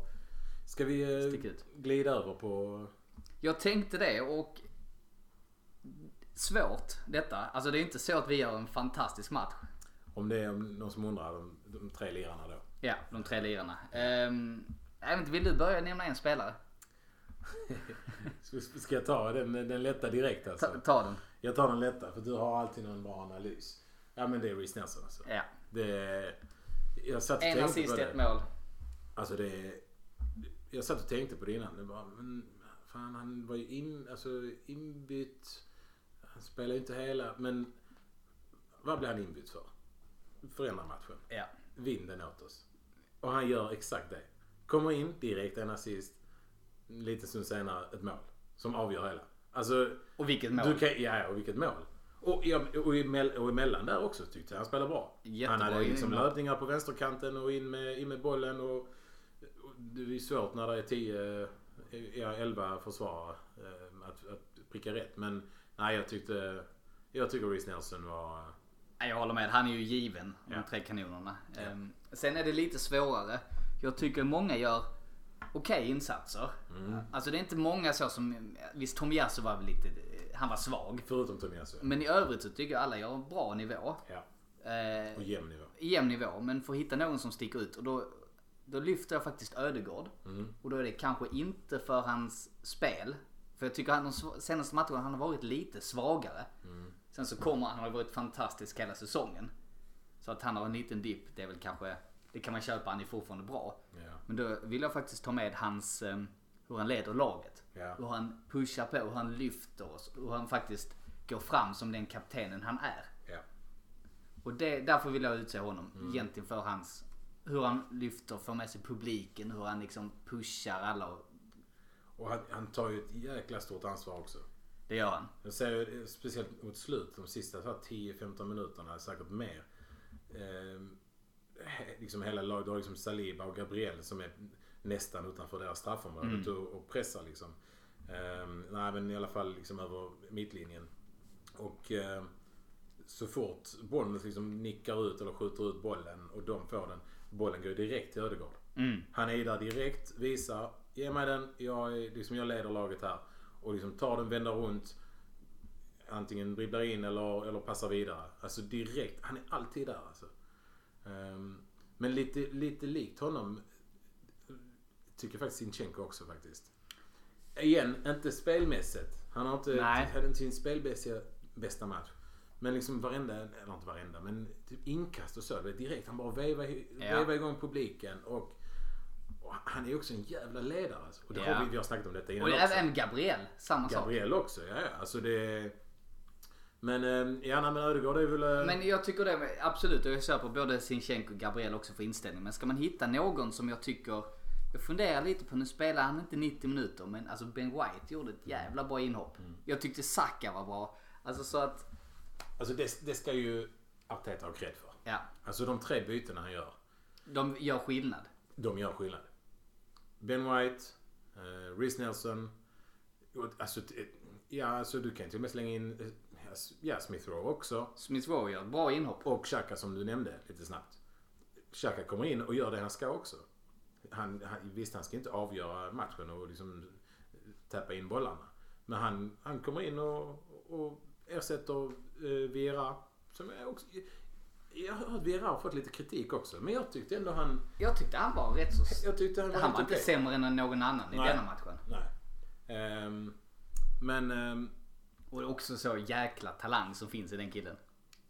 [SPEAKER 3] Ska vi
[SPEAKER 2] Stick
[SPEAKER 3] eh,
[SPEAKER 2] ut.
[SPEAKER 3] glida över på...
[SPEAKER 2] Jag tänkte det och svårt detta. Alltså det är inte så att vi gör en fantastisk match.
[SPEAKER 3] Om det är någon som undrar, de, de tre lirarna då.
[SPEAKER 2] Ja, de tre lirarna. Ehm, jag vet inte, vill du börja nämna en spelare?
[SPEAKER 3] Ska, ska jag ta den, den lätta direkt
[SPEAKER 2] Ta,
[SPEAKER 3] alltså?
[SPEAKER 2] ta den.
[SPEAKER 3] Jag tar den lätta för du har alltid någon bra analys. Ja men det är Reece Nelson alltså.
[SPEAKER 2] Ja.
[SPEAKER 3] Det är, jag satt och
[SPEAKER 2] En
[SPEAKER 3] tänkte på
[SPEAKER 2] assist,
[SPEAKER 3] det.
[SPEAKER 2] ett mål.
[SPEAKER 3] Alltså det... Jag satt och tänkte på det innan. Det bara, men fan, han var ju in, alltså, inbytt. Han spelade ju inte hela. Men vad blev han inbytt för? Förändra matchen.
[SPEAKER 2] Ja.
[SPEAKER 3] Vinn den åt oss. Och han gör exakt det. Kommer in direkt, en assist. Lite stund senare, ett mål. Som avgör hela. Alltså,
[SPEAKER 2] Och vilket mål.
[SPEAKER 3] du kan, ja, och vilket mål. Och, ja, och, emell, och emellan där också tyckte jag han spelade bra.
[SPEAKER 2] Jättebra
[SPEAKER 3] han hade liksom
[SPEAKER 2] inlägg.
[SPEAKER 3] löpningar på vänsterkanten och in med, in med bollen. Och, och det är ju svårt när det är 10, ja 11 försvarare eh, att, att pricka rätt. Men nej, jag tyckte... Jag tycker Reece Nelson var...
[SPEAKER 2] Ja, Jag håller med, han är ju given, de
[SPEAKER 3] Ja.
[SPEAKER 2] tre kanonerna. Ehm, Sen är det lite svårare. Jag tycker många gör okej insatser.
[SPEAKER 3] Mm.
[SPEAKER 2] Alltså det är inte många så som, visst Tom Yasu var väl lite, eh, han var svag.
[SPEAKER 3] Förutom Tomiasu.
[SPEAKER 2] Men i övrigt så tycker jag alla gör en bra nivå.
[SPEAKER 3] Ja,
[SPEAKER 2] Eh,
[SPEAKER 3] på jämn nivå.
[SPEAKER 2] jämn nivå, men får hitta någon som sticker ut. Och då, då lyfter jag faktiskt Ödegård.
[SPEAKER 3] Mm.
[SPEAKER 2] Och då är det kanske inte för hans spel. För jag tycker han de sv- senaste matcherna han har varit lite svagare.
[SPEAKER 3] Mm.
[SPEAKER 2] Sen så kommer han, han har varit fantastisk hela säsongen. Så att han har en liten dipp, det är väl kanske, det kan man köpa, han är fortfarande bra.
[SPEAKER 3] Ja.
[SPEAKER 2] Men då vill jag faktiskt ta med hans, eh, hur han leder laget.
[SPEAKER 3] Ja.
[SPEAKER 2] Hur han pushar på, hur han lyfter oss, hur han faktiskt går fram som den kaptenen han är.
[SPEAKER 3] Ja.
[SPEAKER 2] Och det, därför vill jag utse honom.
[SPEAKER 3] Mm.
[SPEAKER 2] Egentligen för hans... Hur han lyfter, får med sig publiken, hur han liksom pushar alla. och-
[SPEAKER 3] Och han, han tar ju ett jäkla stort ansvar också.
[SPEAKER 2] Det gör han.
[SPEAKER 3] Jag ser ju, eh, speciellt mot slut, de sista så här 10-15 minuterna, säkert mer. Ehm, he- liksom hela laget, du har liksom Saliba och Gabriel som är nästan utanför deras straffområde och, och pressar liksom. Ehm, nej men i alla fall liksom över mittlinjen. Och ehm, så fort Bournemouth liksom nickar ut eller skjuter ut bollen och de får den, bollen går ju direkt till Ödegård. Han är ju där direkt, visar, ge mig den, jag, är, liksom, jag leder laget här. Och liksom tar den, vänder runt antingen dribblar in eller, eller passar vidare. Alltså direkt. Han är alltid där alltså. Ehm, men lite, lite likt honom tycker faktiskt Sinchenko också faktiskt. Igen, inte spelmässigt. Han har inte,
[SPEAKER 2] Nej.
[SPEAKER 3] hade inte sin spelbästa bästa match. Men liksom varenda, eller inte varenda, men typ inkast och så. det är Direkt. Han bara vevar,
[SPEAKER 2] Ja.
[SPEAKER 3] vevar igång publiken och Och han är också en jävla ledare. Alltså. Och det
[SPEAKER 2] Ja.
[SPEAKER 3] har vi, vi har snackat om detta
[SPEAKER 2] Och alltså,
[SPEAKER 3] innan också.
[SPEAKER 2] även Gabriel, samma sak.
[SPEAKER 3] Gabriel också, ja, ja. Alltså det... Men, eh, ja, nej, men Ödegård är väl... eh,
[SPEAKER 2] Men jag tycker det, med- absolut, och jag köper både Sinchenko och Gabriel också för inställning. Men ska man hitta någon som jag tycker, jag funderar lite på, nu spelar han inte 90 minuter, men alltså Ben White gjorde
[SPEAKER 3] Mm.
[SPEAKER 2] ett jävla bra inhopp. Jag tyckte Saka var bra. Alltså så att,
[SPEAKER 3] Alltså det, det ska ju Arteta ha cred för.
[SPEAKER 2] ja,
[SPEAKER 3] Alltså de tre bytena han gör,
[SPEAKER 2] de gör skillnad.
[SPEAKER 3] de gör skillnad. Ben White, eh, Reece Nelson. och- Alltså, t- ja, alltså du kan till och med slänga in eh, ja, Smith Rowe också.
[SPEAKER 2] Smith Rowe gör ett bra inhopp.
[SPEAKER 3] Och Xhaka som du nämnde lite snabbt. Xhaka kommer in och gör det han ska också. Han, han, visst, han ska inte avgöra matchen och liksom tappa in bollarna. Men han, han kommer in och, och ersätter eh, Vera. Som är också, jag har hört att Vera har fått lite kritik också. Men jag tyckte ändå han...
[SPEAKER 2] Jag tyckte han var rätt så...
[SPEAKER 3] Jag tyckte han var
[SPEAKER 2] Han
[SPEAKER 3] helt
[SPEAKER 2] var inte
[SPEAKER 3] okej.
[SPEAKER 2] sämre än någon annan i
[SPEAKER 3] Nej.
[SPEAKER 2] denna matchen.
[SPEAKER 3] Nej. Ehm, men ehm,
[SPEAKER 2] Och också så jäkla talang som finns i den killen.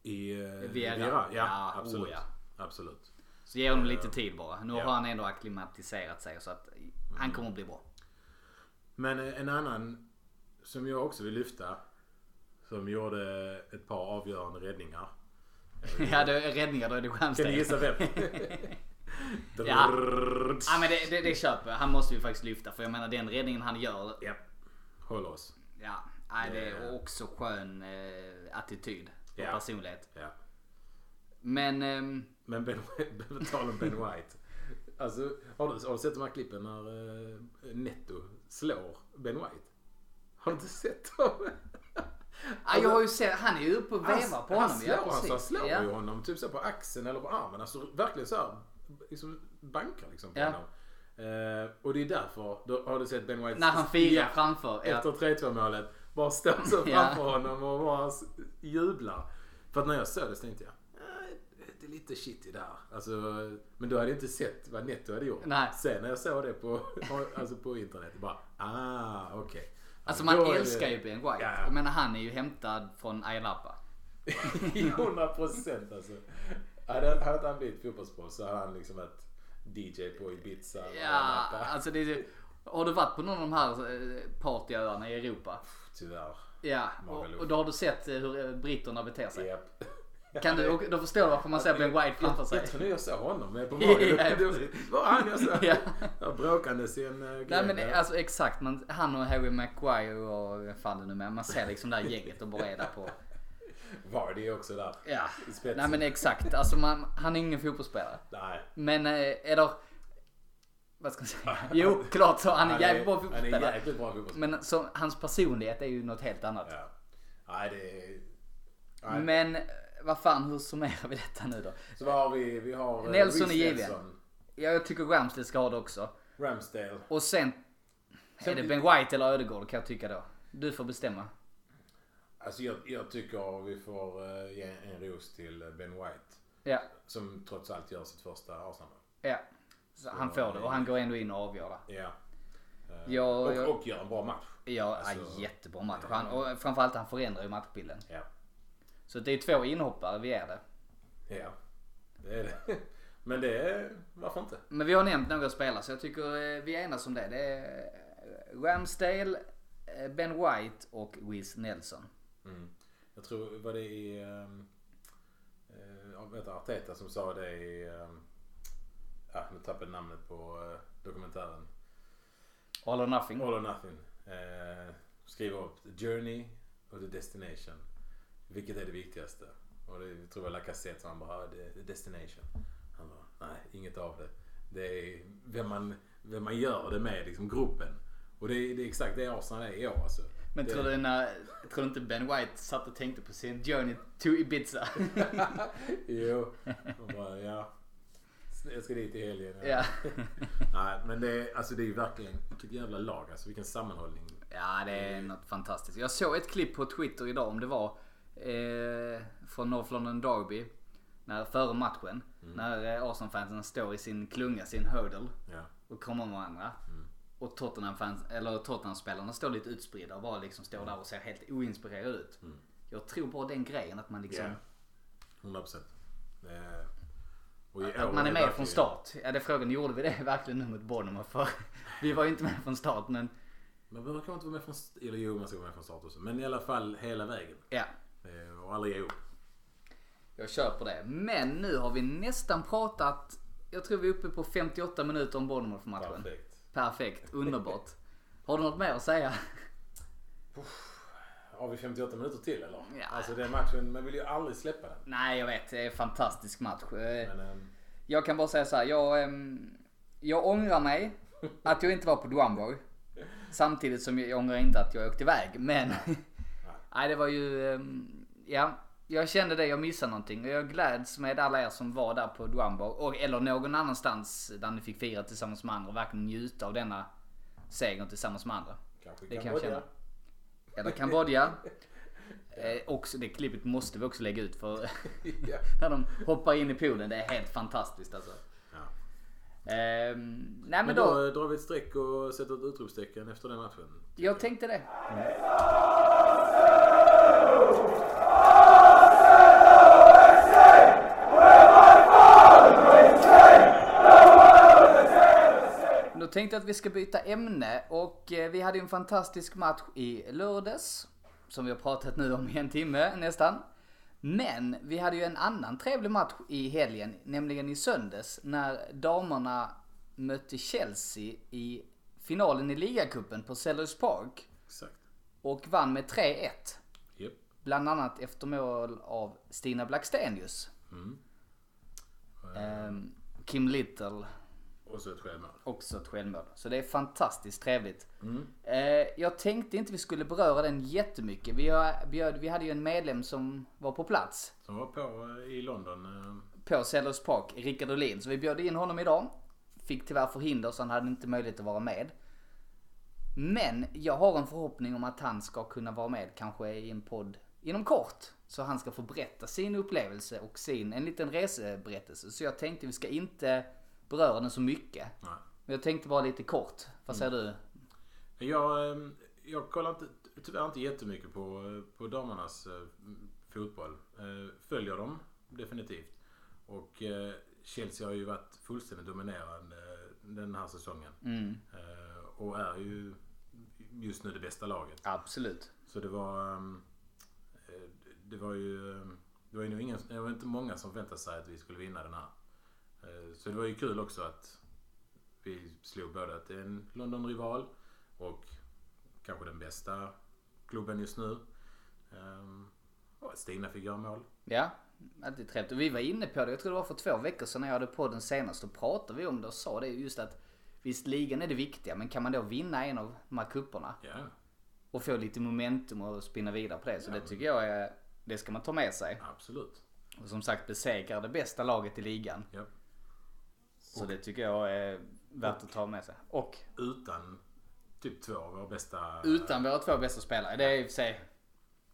[SPEAKER 3] i uh,
[SPEAKER 2] Vera.
[SPEAKER 3] Vera, ja,
[SPEAKER 2] Ja,
[SPEAKER 3] absolut.
[SPEAKER 2] oh ja.
[SPEAKER 3] Absolut.
[SPEAKER 2] Så ge honom lite tid bara. Nu
[SPEAKER 3] Eh, Ja. Mm.
[SPEAKER 2] har han ändå acklimatiserat sig så att han kommer att bli bra.
[SPEAKER 3] Men eh, en annan som jag också vill lyfta. Som gjorde ett par avgörande räddningar.
[SPEAKER 2] ja, det är räddningar då är det
[SPEAKER 3] Kan ni
[SPEAKER 2] Stjernstedt.
[SPEAKER 3] gissa vem?
[SPEAKER 2] Ja. Ja men det, det, det köper jag. Han måste vi faktiskt lyfta för jag menar den räddningen han gör.
[SPEAKER 3] ja. Håll oss.
[SPEAKER 2] Ja, nej, det är
[SPEAKER 3] Ja.
[SPEAKER 2] också skön eh, attityd och
[SPEAKER 3] Ja.
[SPEAKER 2] personlighet.
[SPEAKER 3] Ja.
[SPEAKER 2] Men ehm,
[SPEAKER 3] Men Ben, på tal om Ben White. Alltså, har, du, har du sett de här klippen när eh, Netto slår Ben White? Har du inte sett dem?
[SPEAKER 2] ja, jag har ju sett, han är ju uppe och
[SPEAKER 3] Alltså, Han-
[SPEAKER 2] vevar på
[SPEAKER 3] han
[SPEAKER 2] honom.
[SPEAKER 3] slår,
[SPEAKER 2] ja,
[SPEAKER 3] alltså, han
[SPEAKER 2] precis.
[SPEAKER 3] slår
[SPEAKER 2] ja.
[SPEAKER 3] ju honom typ så på axeln eller på armen. Alltså verkligen så här, liksom bankar liksom på
[SPEAKER 2] Ja.
[SPEAKER 3] honom. Eh, och det är därför, då har du sett Ben White
[SPEAKER 2] När han firar
[SPEAKER 3] Ja,
[SPEAKER 2] framför. Ja.
[SPEAKER 3] efter 3-2 målet. Bara står så framför
[SPEAKER 2] Ja.
[SPEAKER 3] honom och bara s- jublar. För att när jag såg det så tänkte jag, "Eh, det är lite shitty där. Alltså, men du hade jag inte sett vad Netto hade gjort.
[SPEAKER 2] Nej.
[SPEAKER 3] Sen när jag såg det på, alltså på internet, bara ah okej.
[SPEAKER 2] Alltså
[SPEAKER 3] Ja,
[SPEAKER 2] man
[SPEAKER 3] då är det-
[SPEAKER 2] älskar ju Ben White.
[SPEAKER 3] Ja.
[SPEAKER 2] Jag menar han är ju hämtad från Ayia Napa.
[SPEAKER 3] 100 procent alltså. Hade, hade inte han blivit fotbollsproffs så hade han liksom varit DJ på Ibiza. och
[SPEAKER 2] Ja,
[SPEAKER 3] annat där.
[SPEAKER 2] alltså det är ju... Har du varit på någon av de här eh, partyöarna i Europa?
[SPEAKER 3] Tyvärr.
[SPEAKER 2] Ja, och,
[SPEAKER 3] Magaluf.
[SPEAKER 2] och då har du sett eh, hur eh, britterna beter sig.
[SPEAKER 3] Japp.
[SPEAKER 2] Kan du, och då förstår du varför man ser Ben White framför sig.
[SPEAKER 3] Jag tror nog jag såg honom men på morgonen.
[SPEAKER 2] Ja,
[SPEAKER 3] Det var- var han jag såg.
[SPEAKER 2] Ja.
[SPEAKER 3] Jag bråkandes i en eh, grej.
[SPEAKER 2] Nej
[SPEAKER 3] där.
[SPEAKER 2] men alltså exakt, man, han och Harry Maguire och vem fan det nu är. Man ser liksom det här gänget och bara är där på...
[SPEAKER 3] Vardy är också där.
[SPEAKER 2] Ja.
[SPEAKER 3] I spetsen.
[SPEAKER 2] Nej men exakt, alltså man, han är ingen fotbollsspelare.
[SPEAKER 3] Nej.
[SPEAKER 2] Men eh, eller... Vad ska man säga? Jo, klart så. Han är jävligt bra
[SPEAKER 3] Han är
[SPEAKER 2] fotbollsspelare.
[SPEAKER 3] jävligt bra fotbollsspelare.
[SPEAKER 2] Men så, hans personlighet är ju något helt annat.
[SPEAKER 3] Ja. Nej det är... Nej.
[SPEAKER 2] Men eh, vad fan, hur summerar vi detta nu då?
[SPEAKER 3] Så vad har vi? Vi har... eh,
[SPEAKER 2] Nelson är
[SPEAKER 3] Reece
[SPEAKER 2] given.
[SPEAKER 3] Nelson,
[SPEAKER 2] Ja, Jag tycker Ramsdale ska ha det också.
[SPEAKER 3] Ramsdale.
[SPEAKER 2] Och sen, är det Ben White eller Ödegård kan jag tycka då. Du får bestämma.
[SPEAKER 3] Alltså jag, jag tycker vi får eh, ge en ros till eh, Ben White.
[SPEAKER 2] Ja,
[SPEAKER 3] Som trots allt gör sitt första Arsenal.
[SPEAKER 2] ja. Så han får det och han går ändå in och avgör det.
[SPEAKER 3] Ja.
[SPEAKER 2] Jag,
[SPEAKER 3] eh, Och,
[SPEAKER 2] jag,
[SPEAKER 3] och gör en bra match.
[SPEAKER 2] jag,
[SPEAKER 3] alltså-
[SPEAKER 2] ja, jättebra match. Han, och framförallt han förändrar ju matchbilden.
[SPEAKER 3] Ja.
[SPEAKER 2] Så det är två inhoppare vi är det.
[SPEAKER 3] Ja. Det är det. Men det är... Varför inte?
[SPEAKER 2] Men vi har nämnt några spelare så jag tycker eh, vi enas om det. Det är eh, Ramsdale, eh, Ben White och Wiz Nelson.
[SPEAKER 3] Jag tror, var det i... ehm, eh, Jag vet inte, Arteta som sa det i... ehm, Ah, nu tappade jag namnet på eh, dokumentären.
[SPEAKER 2] All or nothing.
[SPEAKER 3] All or nothing. Eh, skriva upp the journey och the destination. Vilket är det viktigaste? Och det jag tror jag Lacazette som han bara, "Ah, det är the destination. Han bara, nej inget av det. Det är vem man, vem man gör det med, liksom gruppen. Och det är, det är exakt det Arsenal är i år alltså.
[SPEAKER 2] Men
[SPEAKER 3] det,
[SPEAKER 2] tror du, när, tror du inte Ben White satt och tänkte på sin journey to Ibiza?
[SPEAKER 3] Jo. Han bara, ja. Jag ska dit i helgen. ja."
[SPEAKER 2] ja.
[SPEAKER 3] Nej men det är, alltså det är ju verkligen, vilket jävla lag alltså. Vilken sammanhållning.
[SPEAKER 2] ja, det är något fantastiskt. Jag såg ett klipp på Twitter idag om det var eh, från North London Derby. När, före matchen. När eh, Arsenal-fansen står i sin klunga, sin hurdle.
[SPEAKER 3] Ja.
[SPEAKER 2] Och kramar varandra. Och Tottenham-fans, eller Tottenham-spelarna står lite utspridda och bara liksom står där och ser helt oinspirerade ut. liksom. Jag tror bara den grejen att man liksom...
[SPEAKER 3] Ja. 100 procent. Eh, Och i
[SPEAKER 2] Att
[SPEAKER 3] år
[SPEAKER 2] man är med
[SPEAKER 3] verkligen-
[SPEAKER 2] från start. Ja, det är frågan. Gjorde vi det verkligen nu mot Bournemouth? För vi var ju inte med från start, men
[SPEAKER 3] Man brukar inte vara med från start. Eller jo, man ska vara med från start också. Men i alla fall hela vägen.
[SPEAKER 2] ja.
[SPEAKER 3] Eh, Och aldrig ge upp.
[SPEAKER 2] Jag köper det. Men nu har vi nästan pratat. Jag tror vi är uppe på 58 minuter om Bournemouth-matchen.
[SPEAKER 3] Perfekt.
[SPEAKER 2] Perfekt. Underbart. Har du något mer att säga?
[SPEAKER 3] Har vi 58 minuter till eller?
[SPEAKER 2] Ja.
[SPEAKER 3] Alltså den matchen, man vill ju aldrig släppa den.
[SPEAKER 2] Nej, jag vet. Det är en fantastisk match. Eh,
[SPEAKER 3] Men, ehm,
[SPEAKER 2] Jag kan bara säga så här. Jag, ehm, jag ångrar mig att jag inte var på Duambo. Samtidigt som jag ångrar inte att jag åkte iväg. Men nej, det var ju... ehm, Ja, jag kände det. Jag missade någonting. Och jag gläds med alla er som var där på Duambo. Och, eller någon annanstans där ni fick fira tillsammans med andra. Och verkligen njuta av denna segern tillsammans med andra.
[SPEAKER 3] kanske
[SPEAKER 2] Det kan jag
[SPEAKER 3] Kambodja.
[SPEAKER 2] känna. Eller Kambodja. Eh, också, det klippet måste vi också lägga ut för
[SPEAKER 3] ja.
[SPEAKER 2] när de hoppar in i poolen. Det är helt fantastiskt alltså.
[SPEAKER 3] Ja.
[SPEAKER 2] Ehm, nej men
[SPEAKER 3] Men då
[SPEAKER 2] då,
[SPEAKER 3] eh, drar vi ett streck och sätter ett utropstecken efter den matchen.
[SPEAKER 2] jag tänkte det. Då tänkte jag att vi ska byta ämne och eh, vi hade ju en fantastisk match i lördags. Som vi har pratat nu om i en timme nästan. Men vi hade ju en annan trevlig match i helgen, nämligen i söndags när damerna mötte Chelsea i finalen i ligacupen på Sellers Park
[SPEAKER 3] Exakt.
[SPEAKER 2] och vann med 3-1.
[SPEAKER 3] Japp.
[SPEAKER 2] Bland annat efter mål av Stina Blackstenius. Ehm, Kim Little
[SPEAKER 3] Och så ett självmål.
[SPEAKER 2] också ett självmål. Så det är fantastiskt trevligt. Eh, jag tänkte inte vi skulle beröra den jättemycket. Vi, har, bjöd, vi hade ju en medlem som var på plats
[SPEAKER 3] Som var på eh, i London. eh,
[SPEAKER 2] på Sellers Park, Rickard Olin. Så vi bjöd in honom idag. Fick tyvärr förhinder så han hade inte möjlighet att vara med. Men jag har en förhoppning om att han ska kunna vara med kanske i en podd inom kort. Så han ska få berätta sin upplevelse och sin, en liten reseberättelse. Så jag tänkte vi ska inte beröra den så mycket.
[SPEAKER 3] Nej.
[SPEAKER 2] Men jag tänkte bara lite kort. Vad säger du?
[SPEAKER 3] Jag, eh, jag kollar inte, tyvärr inte jättemycket på, eh, på damernas eh, fotboll. Eh, Följer dem definitivt. Och eh, Chelsea har ju varit fullständigt dominerande eh, den här säsongen. Eh, Och är ju just nu det bästa laget.
[SPEAKER 2] Absolut.
[SPEAKER 3] Så det var... ehm, eh, Det var ju... ehm, Det var ju nog ingen, det var inte många som väntade sig att vi skulle vinna den här. Eh, Så det var ju kul också att vi slog både att det är en London-rival och kanske den bästa klubben just nu. Ehm, Och att Stina fick göra mål.
[SPEAKER 2] Ja, alltid trevligt. Och vi var inne på det, jag tror det var för två veckor sedan när jag hade podden senast, då pratade vi om det och sa det just att visst ligan är det viktiga, men kan man då vinna en av de här cuperna
[SPEAKER 3] Ja,
[SPEAKER 2] och få lite momentum och spinna vidare på det, så det tycker jag är, det ska man ta med sig.
[SPEAKER 3] absolut.
[SPEAKER 2] Och som sagt besegra det bästa laget i ligan.
[SPEAKER 3] Ja.
[SPEAKER 2] Så det tycker jag är värt att ta med sig. Och
[SPEAKER 3] Utan typ två av våra bästa...
[SPEAKER 2] utan våra två bästa spelare, det är i och för sig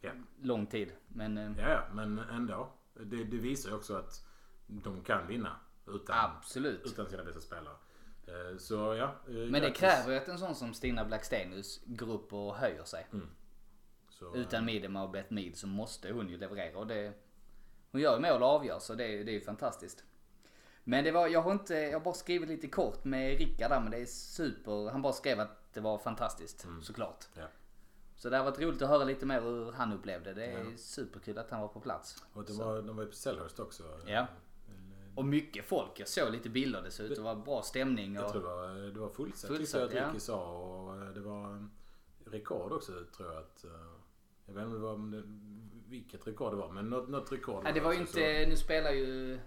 [SPEAKER 3] Ja.
[SPEAKER 2] lång tid, men eh,
[SPEAKER 3] Ja, ja, men ändå. Det, det visar ju också att de kan vinna utan,
[SPEAKER 2] absolut.
[SPEAKER 3] utan sina bästa spelare. Eh, Så ja. eh,
[SPEAKER 2] Men det
[SPEAKER 3] grattis.
[SPEAKER 2] kräver ju att en sån som Stina Blackstenius går upp och höjer sig.
[SPEAKER 3] Så, eh,
[SPEAKER 2] Utan Midema och Bett Mid så måste hon ju leverera och det... Hon gör ju mål och avgör så det, är- det är ju fantastiskt. Men det var, jag har inte, jag har bara skrivit lite kort med Rickard där men det är super, han bara skrev att det var fantastiskt
[SPEAKER 3] Mm.
[SPEAKER 2] såklart.
[SPEAKER 3] Ja.
[SPEAKER 2] Så det har varit roligt att höra lite mer hur han upplevde det. Det är superkul att han var på plats.
[SPEAKER 3] Och det var, de var ju på Sellhurst också.
[SPEAKER 2] Ja. Och mycket folk, jag såg lite bilder dessutom, det var bra stämning
[SPEAKER 3] Jag
[SPEAKER 2] och...
[SPEAKER 3] tror det var, det var fullsatt.
[SPEAKER 2] Fullsatt,
[SPEAKER 3] Fullsatt,
[SPEAKER 2] ja.
[SPEAKER 3] jag Ricky sa. Och eh, det var eh, rekord också tror jag. Att, eh, jag vet inte om det var, om det, vilket rekord det var. Men något, något rekord. alltså,
[SPEAKER 2] Nej, det var ju
[SPEAKER 3] också,
[SPEAKER 2] inte, nu spelar ju,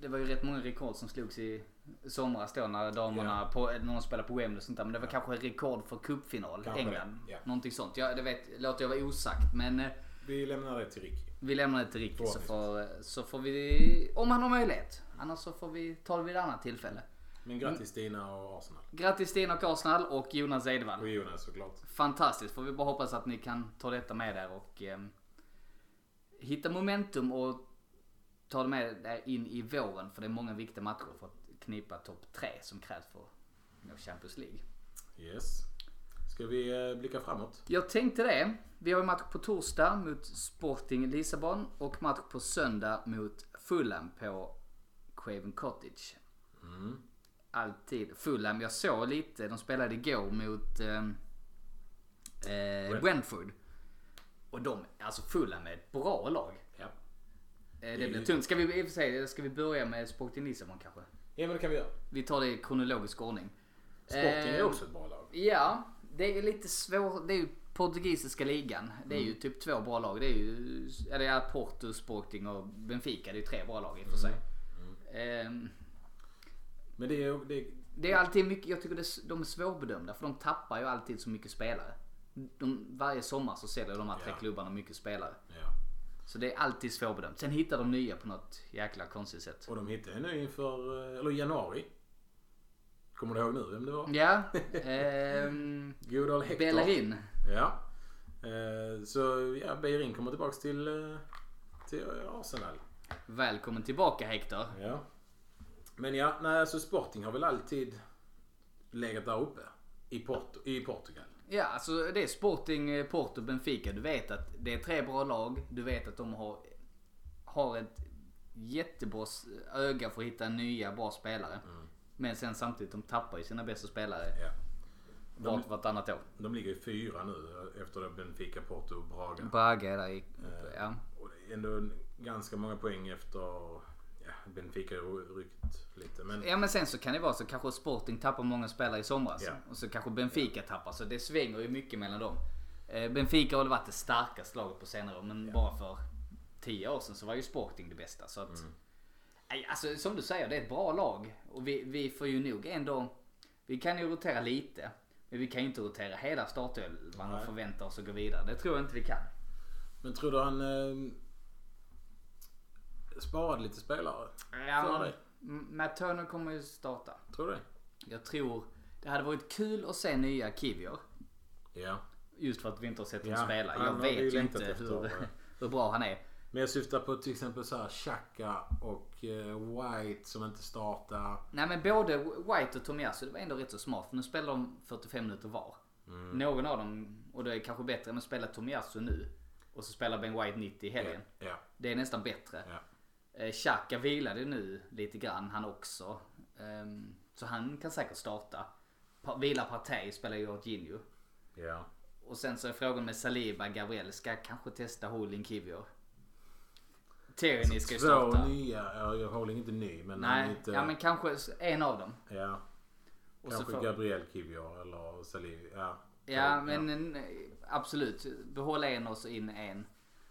[SPEAKER 2] det var ju rätt många rekord som slogs i somras då när damerna,
[SPEAKER 3] Ja.
[SPEAKER 2] på, någon spelade på Wembley och sånt där. Men det var kanske rekord för cupfinal,
[SPEAKER 3] Kanske
[SPEAKER 2] England.
[SPEAKER 3] det, ja.
[SPEAKER 2] Någonting sånt. Ja, det vet, låter jag vara osagt men eh,
[SPEAKER 3] Så vi lämnar det till Ricky.
[SPEAKER 2] vi lämnar det till Ricky så
[SPEAKER 3] Förhoppningsvis.
[SPEAKER 2] får, så får vi, om han har möjlighet. Annars så får vi ta det vid ett annat tillfälle. Mm.
[SPEAKER 3] Men grattis Stina och Arsenal.
[SPEAKER 2] Grattis Stina och Arsenal och Jonas Edvall.
[SPEAKER 3] Och Jonas såklart.
[SPEAKER 2] Fantastiskt, får vi bara hoppas att ni kan ta detta med er och ehm, hitta momentum och ta det med er in i våren. För det är många viktiga matcher för att knipa topp 3 som krävs för att nå Champions League.
[SPEAKER 3] Yes. Ska vi eh, blicka framåt?
[SPEAKER 2] Jag tänkte det. Vi har ju match på torsdag mot Sporting Lissabon och match på söndag mot Fulham på Craven Cottage.
[SPEAKER 3] Mm.
[SPEAKER 2] Alltid. Fulham, jag såg lite. De spelade igår mot ehm, eh, Brentford. Och de, alltså Fulham är ett bra lag.
[SPEAKER 3] Ja.
[SPEAKER 2] Eh, det
[SPEAKER 3] Det är
[SPEAKER 2] blir
[SPEAKER 3] ju-
[SPEAKER 2] tungt. Ska vi, i och för sig, ska vi börja med Sporting Lissabon kanske?
[SPEAKER 3] ja, men det kan vi göra.
[SPEAKER 2] Vi tar det i kronologisk ordning.
[SPEAKER 3] Sporting är
[SPEAKER 2] Eh,
[SPEAKER 3] också ett bra lag.
[SPEAKER 2] Ja, det är lite svårt. Det är ju portugisiska ligan. Det är
[SPEAKER 3] Mm.
[SPEAKER 2] ju typ två bra lag. Det är ju eller ja, Porto, Sporting och Benfica. Det är ju tre bra lag i och för sig.
[SPEAKER 3] Mm.
[SPEAKER 2] Ehm,
[SPEAKER 3] Men det är, det är
[SPEAKER 2] Det är alltid mycket, jag tycker det, är s- de är svårbedömda för de tappar ju alltid så mycket spelare. De, varje sommar så säljer de här tre
[SPEAKER 3] Ja.
[SPEAKER 2] klubbarna mycket spelare.
[SPEAKER 3] ja.
[SPEAKER 2] Så det är alltid svårbedömt. Sen hittar de nya på något jäkla konstigt sätt.
[SPEAKER 3] Och de hittade nu inför, eh, eller i januari. Kommer du ihåg nu vem det var?
[SPEAKER 2] Ja, ehm,
[SPEAKER 3] Godal Hector.
[SPEAKER 2] Mm. Bellerin.
[SPEAKER 3] Ja. Eh, Så ja, Bellerin kommer tillbaks till, eh, till Arsenal.
[SPEAKER 2] Välkommen tillbaka Hector.
[SPEAKER 3] Ja. Men ja, nej, alltså Sporting har väl alltid legat där uppe. I, Porto, i Portugal.
[SPEAKER 2] Ja, alltså det är Sporting, eh, Porto, Benfica. Du vet att det är tre bra lag. Du vet att de har, har ett jättebra s- öga för att hitta nya bra spelare. Men sen samtidigt, de tappar ju sina bästa spelare
[SPEAKER 3] Ja.
[SPEAKER 2] vart vartannat år.
[SPEAKER 3] De ligger ju fyra nu eh, efter Benfica, Porto och Braga.
[SPEAKER 2] Braga är där i... Ja.
[SPEAKER 3] Och det är ändå ganska många poäng efter... Ja, Benfica har ju ryckt lite. Men
[SPEAKER 2] ja, men sen så kan det vara så kanske Sporting tappar många spelare i somras.
[SPEAKER 3] Ja.
[SPEAKER 2] Och så kanske Benfica tappar. Så det svänger ju mycket mellan dem. Eh, Benfica har väl varit det starkaste laget på senare år, men bara för tio år sedan så var ju Sporting det bästa. Så att,
[SPEAKER 3] Mm.
[SPEAKER 2] Nej, alltså, som du säger, det är ett bra lag. Och vi, vi får ju nog ändå... Vi kan ju rotera lite. Men vi kan ju inte rotera hela startelvan och
[SPEAKER 3] Nej.
[SPEAKER 2] förvänta oss att gå vidare. Det tror jag inte vi kan.
[SPEAKER 3] Men tror du han eh, sparade lite spelare? Tror du
[SPEAKER 2] Ja,
[SPEAKER 3] det?
[SPEAKER 2] M- Matt Turner kommer ju starta.
[SPEAKER 3] Tror du det?
[SPEAKER 2] Jag tror det hade varit kul att se nya Kivior.
[SPEAKER 3] Ja.
[SPEAKER 2] Just för att vi inte har sett honom
[SPEAKER 3] Ja,
[SPEAKER 2] spela.
[SPEAKER 3] han
[SPEAKER 2] Jag
[SPEAKER 3] har vi
[SPEAKER 2] vet ju
[SPEAKER 3] längtat
[SPEAKER 2] inte
[SPEAKER 3] efter,
[SPEAKER 2] hur,
[SPEAKER 3] ja.
[SPEAKER 2] hur bra han är.
[SPEAKER 3] Men jag syftar på till exempel så här Xhaka och eh, White som inte startar.
[SPEAKER 2] Nej men både White och Tomiyasu, det var ändå rätt så smart. För nu spelar de 45 minuter var.
[SPEAKER 3] Mm.
[SPEAKER 2] Någon av dem, och det är kanske bättre än att spela Tomiyasu nu. Och så spelar Ben White 90 i helgen.
[SPEAKER 3] Ja.
[SPEAKER 2] Det är nästan bättre.
[SPEAKER 3] ja.
[SPEAKER 2] Eh, Xhaka vilade nu lite grann han också. Ehm, så han kan säkert starta. Pa- Vila Partey spelar Jorginho.
[SPEAKER 3] ja.
[SPEAKER 2] Och sen så är frågan med Saliba, Gabriel, ska jag kanske testa Holding Kivior? Tierney ska ju
[SPEAKER 3] Alltså, Två
[SPEAKER 2] starta.
[SPEAKER 3] nya. Ja, jag håller inte ny men han
[SPEAKER 2] Nej,
[SPEAKER 3] är inte...
[SPEAKER 2] ja men kanske en av dem.
[SPEAKER 3] ja.
[SPEAKER 2] Och så
[SPEAKER 3] Kanske
[SPEAKER 2] får-
[SPEAKER 3] Gabriel Kivior eller Saliv. Ja.
[SPEAKER 2] Ja men en- absolut, behåll en och så in en.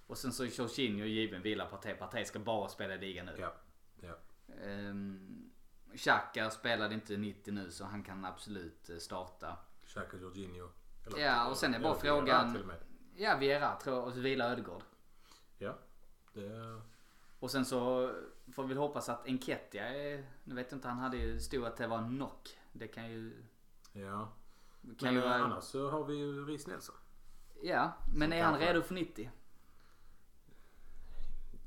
[SPEAKER 2] Och sen så är Jorginho given vila Partey. Partey ska bara spela i ligan nu.
[SPEAKER 3] Ja. ja.
[SPEAKER 2] Ehm, Xhaka spelade inte 90 nu så han kan absolut eh, starta.
[SPEAKER 3] Xhaka Jorginho. Eller-
[SPEAKER 2] Ja, och sen är bara
[SPEAKER 3] eller Vieira
[SPEAKER 2] frågan-
[SPEAKER 3] till och med.
[SPEAKER 2] Ja, Vera tror jag och så vilar Ödegård.
[SPEAKER 3] Ja. Det...
[SPEAKER 2] Och sen så får vi väl hoppas att Enketia är... Nu vet jag inte, han hade ju stod att det var en knock. Det kan ju...
[SPEAKER 3] Ja.
[SPEAKER 2] Kan
[SPEAKER 3] Men
[SPEAKER 2] ju
[SPEAKER 3] eh,
[SPEAKER 2] vara,
[SPEAKER 3] annars så har vi ju Ris Nelson.
[SPEAKER 2] ja, men är han
[SPEAKER 3] kanske-
[SPEAKER 2] redo för 90?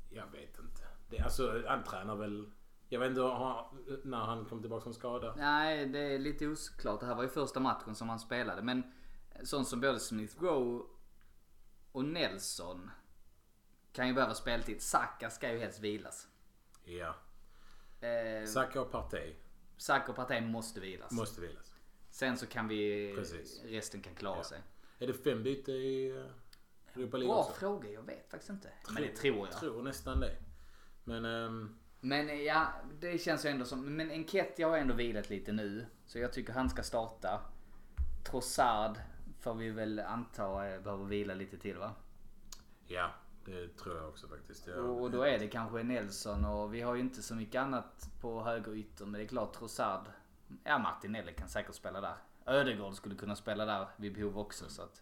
[SPEAKER 3] Jag vet inte. Det, alltså, han tränar väl... Jag vet inte har, när han kom tillbaka från skada.
[SPEAKER 2] Nej, det är lite oklart. Det här var ju första matchen som han spelade. Men sånt som både Smith Rowe och Nelson kan ju behöva speltid. Saka ska ju helst vilas.
[SPEAKER 3] Ja.
[SPEAKER 2] Eh,
[SPEAKER 3] Saka och Partey
[SPEAKER 2] Saka och Partey måste vilas.
[SPEAKER 3] måste vilas.
[SPEAKER 2] Sen så kan vi...
[SPEAKER 3] Precis.
[SPEAKER 2] Resten kan klara
[SPEAKER 3] Ja.
[SPEAKER 2] sig.
[SPEAKER 3] Är det fem byte i eh, Europa League
[SPEAKER 2] Bra
[SPEAKER 3] också?
[SPEAKER 2] fråga, jag vet faktiskt inte. Men det tror jag.
[SPEAKER 3] Tror nästan det. Men... ehm,
[SPEAKER 2] Men eh, ja, det känns ju ändå som... Men Enketia har ändå vilat lite nu. Så jag tycker han ska starta. Trossard får vi väl anta eh, behöver vila lite till va?
[SPEAKER 3] ja, det tror jag också faktiskt. Jag,
[SPEAKER 2] Och då är det kanske Nelson och vi har ju inte så mycket annat på höger ytter. Men det är klart Trossard. Ja, Martinelli kan säkert spela där. Ödegård skulle kunna spela där vid behov också. Så att.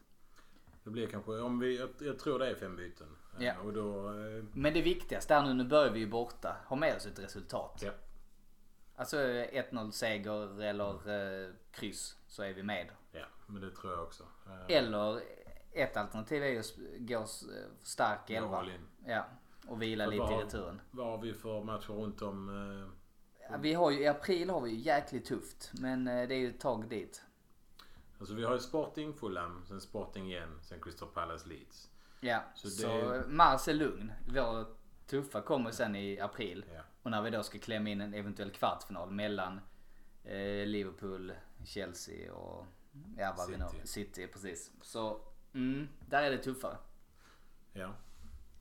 [SPEAKER 3] det blir kanske... Om vi, jag, jag tror det är fem byten. Eh,
[SPEAKER 2] Ja.
[SPEAKER 3] Och då... eh,
[SPEAKER 2] Men det viktigaste är nu, nu börjar vi ju borta. Ha med oss ett resultat.
[SPEAKER 3] ja.
[SPEAKER 2] Alltså eh, 1-0 seger eller eh, kryss så är vi med.
[SPEAKER 3] ja, men det tror jag också. Eh,
[SPEAKER 2] Eller ett alternativ är ju att gå s- stark i elva.
[SPEAKER 3] all in.
[SPEAKER 2] Ja, och vila
[SPEAKER 3] Så
[SPEAKER 2] lite i
[SPEAKER 3] vad-
[SPEAKER 2] returen.
[SPEAKER 3] Vad har vi för matcher runt om... eh,
[SPEAKER 2] Ja, Vi har ju, I april har vi ju jäkligt tufft, men eh, det är ju ett tag dit.
[SPEAKER 3] Alltså vi har ju Sporting, Fulham, sen Sporting igen, sen Crystal Palace, Leeds.
[SPEAKER 2] Ja, så,
[SPEAKER 3] Så det-
[SPEAKER 2] mars är lugn. Vår tuffa kommer sen i april.
[SPEAKER 3] Ja.
[SPEAKER 2] Och när vi då ska klämma in en eventuell kvartsfinal mellan eh, Liverpool, Chelsea och ja, vad vi nu,
[SPEAKER 3] City.
[SPEAKER 2] City. Precis. Så mm, där är det tuffare.
[SPEAKER 3] Ja.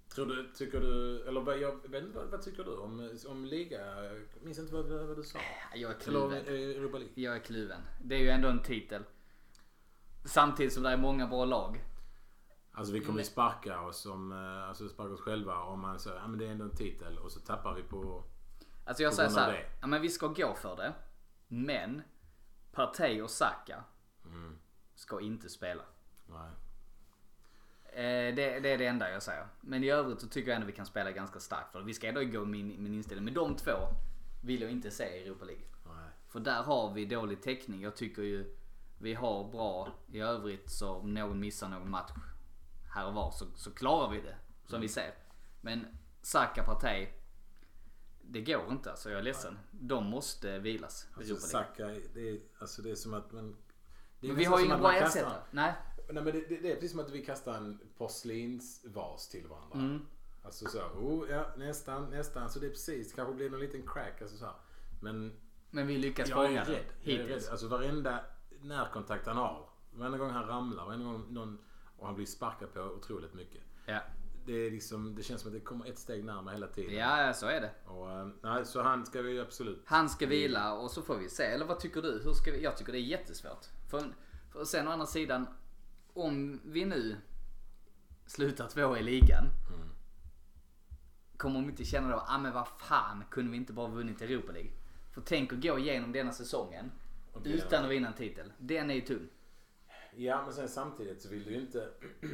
[SPEAKER 3] Tror du, tycker du, eller vad, jag vet inte, vad, vad tycker du om, eh, om liga? Jag minns inte vad, vad, vad du sa.
[SPEAKER 2] Jag är
[SPEAKER 3] Eller om
[SPEAKER 2] kluven.
[SPEAKER 3] eh, Europa League.
[SPEAKER 2] Jag är kluven. Det är ju ändå en titel. Samtidigt som det är många bra lag.
[SPEAKER 3] Alltså vi kommer ju sparka oss, om, eh, alltså sparka oss själva om man säger ja men det är ändå en titel och så tappar vi på...
[SPEAKER 2] Alltså jag
[SPEAKER 3] På
[SPEAKER 2] säger
[SPEAKER 3] grund av
[SPEAKER 2] såhär,
[SPEAKER 3] det?
[SPEAKER 2] ja men vi ska gå för det. Men Partey och Saka
[SPEAKER 3] Mm.
[SPEAKER 2] ska inte spela.
[SPEAKER 3] Nej.
[SPEAKER 2] Eh, det, det är det enda jag säger. Men i övrigt så tycker jag ändå vi kan spela ganska starkt för det. Vi ska ändå gå min, min inställning. Men de två vill jag inte se i Europa League.
[SPEAKER 3] Nej.
[SPEAKER 2] För där har vi dålig täckning. Jag tycker ju vi har bra i övrigt så om någon missar någon match här och var så, så klarar vi det. Som
[SPEAKER 3] Mm.
[SPEAKER 2] vi ser. Men Saka Partey. Det går inte alltså. Jag är ledsen. De måste vilas. i
[SPEAKER 3] Alltså,
[SPEAKER 2] Europa League.
[SPEAKER 3] Saka, det är, alltså det är som att man... det är
[SPEAKER 2] Men vi
[SPEAKER 3] nästan
[SPEAKER 2] har ju
[SPEAKER 3] som
[SPEAKER 2] ingen
[SPEAKER 3] att man
[SPEAKER 2] bra
[SPEAKER 3] kastar-
[SPEAKER 2] ersättare. Nej.
[SPEAKER 3] Nej, men det, det, det är precis som att vi kastar en porslinsvas till varandra.
[SPEAKER 2] Mm.
[SPEAKER 3] Alltså så, oh, ja, nästan, nästan. Så det är precis, kanske blir någon liten crack. Alltså så här. Men
[SPEAKER 2] Men vi lyckas
[SPEAKER 3] jag
[SPEAKER 2] fånga
[SPEAKER 3] är
[SPEAKER 2] den
[SPEAKER 3] rädd. Jag är rädd.
[SPEAKER 2] hittills.
[SPEAKER 3] Alltså varenda närkontakt han har. Varenda gång han ramlar. Varenda gång någon, och han blir sparkad på otroligt mycket.
[SPEAKER 2] Ja.
[SPEAKER 3] Det, är liksom, det känns som att det kommer ett steg närmare hela tiden.
[SPEAKER 2] ja, så är det.
[SPEAKER 3] Och, eh, nej, så han ska vi ju absolut...
[SPEAKER 2] Han ska vila och så får vi se. Eller vad tycker du? Hur ska vi? Jag tycker det är jättesvårt. För, för sen å andra sidan, om vi nu slutar två i ligan. Kommer de inte känna då, ah men vad fan kunde vi inte bara vunnit Europa League? För tänk att gå igenom denna säsongen
[SPEAKER 3] Okej.
[SPEAKER 2] utan att vinna en titel. Den är ju tung.
[SPEAKER 3] Ja, men sen samtidigt så vill du ju inte...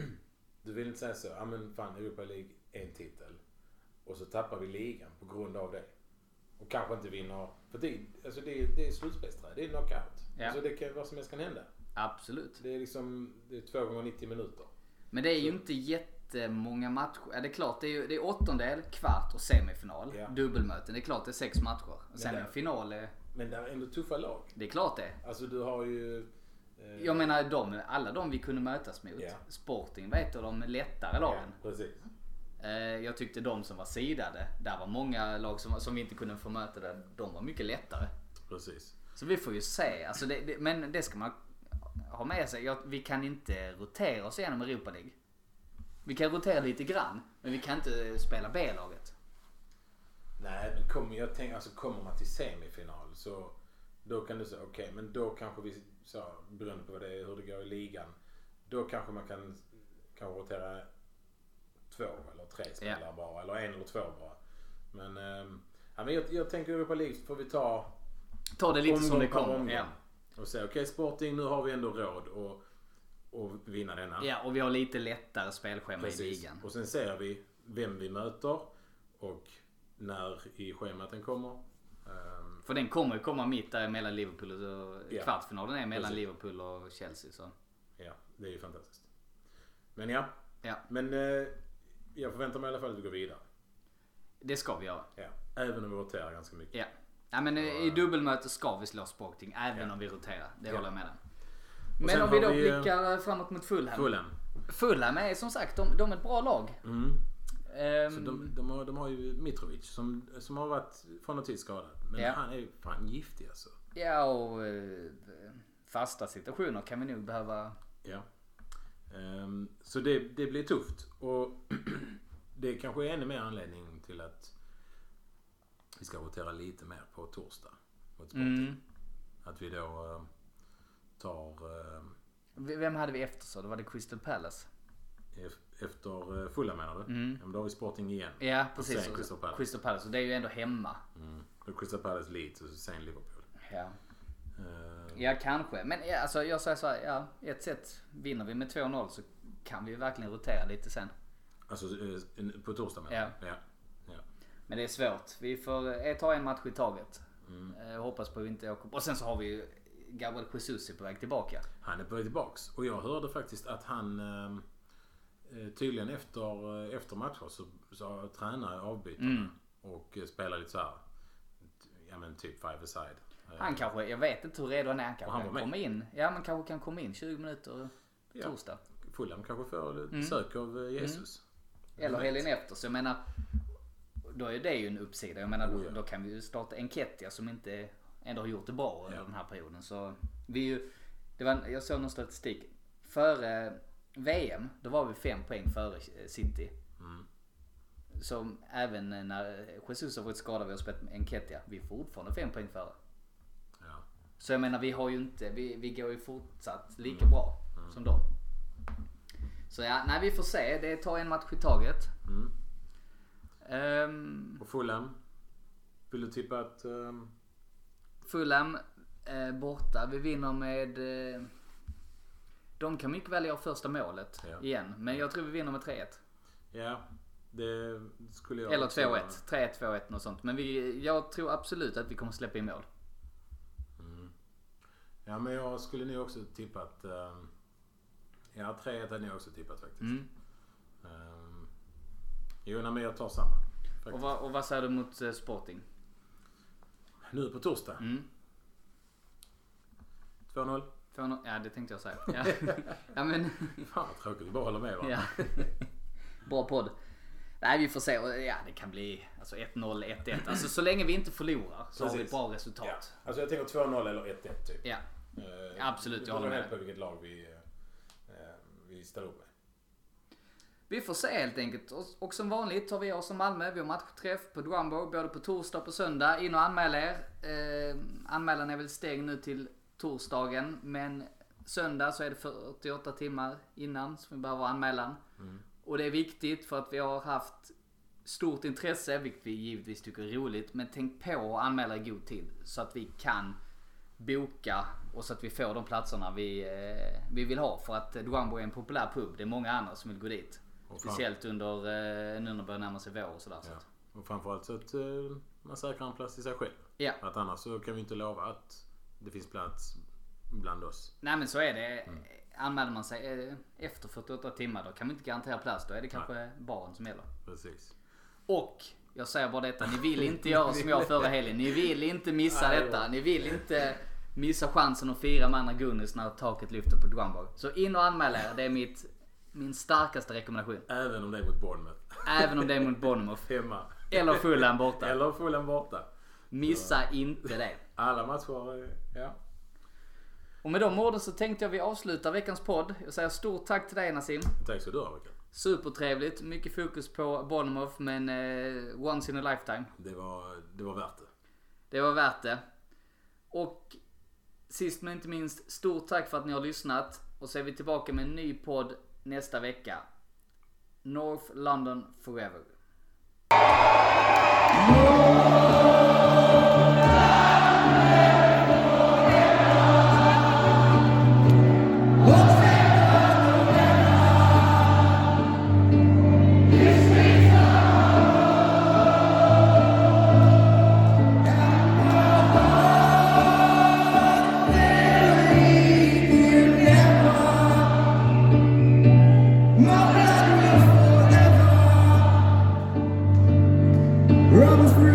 [SPEAKER 3] Du vill inte säga så, ja men fan Europa League är en titel. Och så tappar vi ligan på grund av det. Och kanske inte vinner. För det, alltså det, det är slutspelsträd, det är knockout.
[SPEAKER 2] Ja.
[SPEAKER 3] Alltså det kan, vad som helst kan hända.
[SPEAKER 2] Absolut.
[SPEAKER 3] Det är liksom, det är två gånger 90 minuter.
[SPEAKER 2] Men det är ju inte jättemånga matcher. Ja, det är klart, det är, ju, det är åttondel, kvart och semifinal.
[SPEAKER 3] Ja.
[SPEAKER 2] Dubbelmöten, det är klart det är sex matcher. Sen
[SPEAKER 3] där-
[SPEAKER 2] en final, är-
[SPEAKER 3] Men det är ändå tuffa lag.
[SPEAKER 2] det är klart det.
[SPEAKER 3] Alltså du har ju... Eh,
[SPEAKER 2] Jag menar de, alla de vi kunde mötas mot.
[SPEAKER 3] Ja.
[SPEAKER 2] Sporting var ett av de lättare
[SPEAKER 3] ja,
[SPEAKER 2] lagen.
[SPEAKER 3] precis.
[SPEAKER 2] Eh, Jag tyckte de som var sidade, där var många lag som, som vi inte kunde få möta där, de var mycket lättare.
[SPEAKER 3] Precis.
[SPEAKER 2] Så vi får ju se. Alltså det, det, men det ska man ha med sig. Jag, vi kan inte rotera oss igenom Europa League. Vi kan rotera lite grann, men vi kan inte spela B-laget.
[SPEAKER 3] Nej, men kommer, jag tänker, alltså, kommer man till semifinal så då kan du säga okej, men då kanske vi, så, beroende på vad det är, hur det går i ligan, då kanske man kan kanske rotera två eller tre spelare bara, eller en eller två bara. Men, ehm, ja, men jag, jag tänker Europa League får vi ta
[SPEAKER 2] Ta det lite som det
[SPEAKER 3] per
[SPEAKER 2] kommer. Ja.
[SPEAKER 3] Och säga okej Sporting, nu har vi ändå råd att och vinna denna.
[SPEAKER 2] ja, och vi har lite lättare spelschema i
[SPEAKER 3] Precis.
[SPEAKER 2] ligan.
[SPEAKER 3] Och sen ser vi vem vi möter och när i schemat den kommer. Ehm,
[SPEAKER 2] För den kommer ju komma mitt där mellan Liverpool och...
[SPEAKER 3] Ja.
[SPEAKER 2] Kvartsfinalen är mellan
[SPEAKER 3] Precis.
[SPEAKER 2] Liverpool och Chelsea. Så.
[SPEAKER 3] Ja, det är ju fantastiskt. Men ja,
[SPEAKER 2] Ja,
[SPEAKER 3] men eh, jag förväntar mig i alla fall att vi går vidare.
[SPEAKER 2] det ska vi göra.
[SPEAKER 3] Ja. Även om vi roterar ganska mycket.
[SPEAKER 2] Ja. ja men eh, i i dubbelmöte ska vi slå Sporting, även om vi roterar. Det håller jag med om. Men
[SPEAKER 3] sen
[SPEAKER 2] om vi
[SPEAKER 3] har
[SPEAKER 2] då
[SPEAKER 3] vi, eh,
[SPEAKER 2] blickar framåt mot Fulham.
[SPEAKER 3] Fulham.
[SPEAKER 2] Fulham är som sagt, de, de är ett bra lag. Ehm,
[SPEAKER 3] Mm. Så de, de, har, de har ju Mitrovic som, som har varit från och till skadad. Men
[SPEAKER 2] Ja.
[SPEAKER 3] han är ju fan giftig alltså.
[SPEAKER 2] Ja, och eh, fasta situationer kan vi nog behöva.
[SPEAKER 3] Ja. Ehm, så det, det blir tufft. Och det kanske är ännu mer anledning till att vi ska rotera lite mer på torsdag. Mot Sporting. Att vi då eh, tar eh,
[SPEAKER 2] V- Vem hade vi efter så? Det var det Crystal Palace.
[SPEAKER 3] Ef- Efter eh, Fulham menar du? Ja, men då har vi Sporting igen.
[SPEAKER 2] Ja,
[SPEAKER 3] Och
[SPEAKER 2] precis.
[SPEAKER 3] Sen Crystal Palace.
[SPEAKER 2] Crystal Palace. Och det är ju ändå hemma.
[SPEAKER 3] Mm. Då Crystal Palace Leeds och sen Liverpool.
[SPEAKER 2] Ja.
[SPEAKER 3] Eh,
[SPEAKER 2] Ja, kanske. Men ja, alltså, jag säger så här, ja, ett sätt. Vinner vi med 2-0 så kan vi ju verkligen rotera lite sen.
[SPEAKER 3] alltså eh, en- på torsdag menar du? Ja. ja.
[SPEAKER 2] Men det är svårt. Vi får eh, ta en match i taget.
[SPEAKER 3] Mm.
[SPEAKER 2] Eh, hoppas på att vi inte åker Och sen så har vi ju Gabriel Jesus är på väg tillbaka.
[SPEAKER 3] Han är på väg tillbaks. Och jag hörde faktiskt att han ehm, eh, tydligen efter, eh, efter matcher så, så tränar jag avbytarna. Och eh, spelar lite så här. t- Ja men typ five aside.
[SPEAKER 2] Han kanske, jag vet inte hur redo han är. Han
[SPEAKER 3] Och
[SPEAKER 2] kanske
[SPEAKER 3] han
[SPEAKER 2] kan
[SPEAKER 3] var med.
[SPEAKER 2] komma in. Ja, man kanske kan komma in 20 minuter
[SPEAKER 3] Ja.
[SPEAKER 2] torsdag.
[SPEAKER 3] Fulham kanske får mm. sök av eh, Jesus.
[SPEAKER 2] Eller helgen efter. Så jag menar, Då är det ju en uppsida. Jag menar
[SPEAKER 3] Oh,
[SPEAKER 2] då,
[SPEAKER 3] ja.
[SPEAKER 2] då kan vi ju starta Enketia som inte ändå har gjort det bra under
[SPEAKER 3] Ja.
[SPEAKER 2] den här perioden. Så vi är ju, det var, en- jag såg någon statistik. Före VM, då var vi fem poäng före eh, City.
[SPEAKER 3] Mm.
[SPEAKER 2] Som även när Jesus har varit skadad vi har spelat med Enketia. Vi är fortfarande fem poäng före.
[SPEAKER 3] Ja.
[SPEAKER 2] Så jag menar vi har ju inte, vi, vi går ju fortsatt lika
[SPEAKER 3] Mm.
[SPEAKER 2] bra som dem. Så ja, nej vi får se. Det tar en match i taget.
[SPEAKER 3] Mm.
[SPEAKER 2] Ehm,
[SPEAKER 3] Och Fulham? Vill du tippa att... ehm,
[SPEAKER 2] Fulham eh, borta. Vi vinner med... Eh, de kan mycket väl göra första målet
[SPEAKER 3] Ja.
[SPEAKER 2] igen. Men jag tror vi vinner med 3-1.
[SPEAKER 3] ja, det skulle jag
[SPEAKER 2] Eller
[SPEAKER 3] också
[SPEAKER 2] 2-1.
[SPEAKER 3] göra.
[SPEAKER 2] 3-1, 2-1 något sånt. Men vi, jag tror absolut att vi kommer släppa in mål.
[SPEAKER 3] Ja, men jag skulle nog också tippat... ehm, ja, 3-1 hade jag också tippat faktiskt.
[SPEAKER 2] Mm.
[SPEAKER 3] Ehm, jo, nej, men jag tar samma. Faktiskt.
[SPEAKER 2] Och vad, och vad säger du mot eh, Sporting?
[SPEAKER 3] Nu på torsdag.
[SPEAKER 2] Mm.
[SPEAKER 3] 2-0.
[SPEAKER 2] 2-0? Ja, det tänkte jag säga. Ja, ja men...
[SPEAKER 3] Fan vad tråkigt, vi bara håller med varandra.
[SPEAKER 2] Ja. Bra podd. Nej, vi får se. Och, Ja, det kan bli alltså 1-0, 1-1. Alltså så länge vi inte förlorar så har vi
[SPEAKER 3] Precis.
[SPEAKER 2] ett bra resultat.
[SPEAKER 3] Alltså jag tänker 2-0 eller 1-1 typ.
[SPEAKER 2] Ja.
[SPEAKER 3] Eh,
[SPEAKER 2] Absolut,
[SPEAKER 3] det
[SPEAKER 2] jag håller
[SPEAKER 3] beror
[SPEAKER 2] med.
[SPEAKER 3] helt på vilket lag vi, eh, vi ställer upp med.
[SPEAKER 2] Vi får se helt enkelt. Och, och som vanligt tar vi oss som Malmö. Vi har matchträff på Drumbo både på torsdag och på söndag. In och anmäl er. Eh, anmälan är väl stängd nu till torsdagen. Men söndag så är det 48 timmar innan som vi behöver anmälan. Och det är viktigt för att vi har haft stort intresse, vilket vi givetvis tycker är roligt. Men tänk på att anmäla i god tid så att vi kan boka och så att vi får de platserna vi, eh, vi vill ha. För att eh, Duambo är en populär pub. Det är många andra som vill gå dit.
[SPEAKER 3] Och
[SPEAKER 2] Speciellt under, eh, nu när det börjar närma sig vår och sådär. Så
[SPEAKER 3] Ja.
[SPEAKER 2] att,
[SPEAKER 3] Och framförallt så att eh, man säkrar en plats till sig själv.
[SPEAKER 2] ja.
[SPEAKER 3] Att annars så kan vi inte lova att det finns plats bland oss.
[SPEAKER 2] Nej men så är det.
[SPEAKER 3] Mm.
[SPEAKER 2] Anmäler man sig eh, efter 48 timmar då kan vi inte garantera plats. Då är det kanske baren som gäller.
[SPEAKER 3] Precis.
[SPEAKER 2] Och jag säger bara detta, ni vill inte göra som jag förra helgen. Ni vill inte missa
[SPEAKER 3] Nej,
[SPEAKER 2] detta. Ni vill inte missa chansen att fira med andra Gunnels när taket lyfter på Gumbog. Så in och anmäl er. Det är mitt, min starkaste rekommendation.
[SPEAKER 3] Även om det är mot Bournemouth.
[SPEAKER 2] Även om det är mot Bournemouth.
[SPEAKER 3] Hemma.
[SPEAKER 2] Eller Fulham borta.
[SPEAKER 3] Eller Fulham borta.
[SPEAKER 2] Missa inte det.
[SPEAKER 3] Alla matcher, eh, ja.
[SPEAKER 2] Och med de orden så tänkte jag vi avslutar veckans podd. Jag säger stort tack till dig Nassim.
[SPEAKER 3] Tack så du ha Rickard.
[SPEAKER 2] Supertrevligt, mycket fokus på Bournemouth men eh, once in a lifetime.
[SPEAKER 3] Det var, det var värt det.
[SPEAKER 2] Det var värt det. Och sist men inte minst, stort tack för att ni har lyssnat. Och så är vi tillbaka med en ny podd nästa vecka. North London Forever.
[SPEAKER 5] Run free.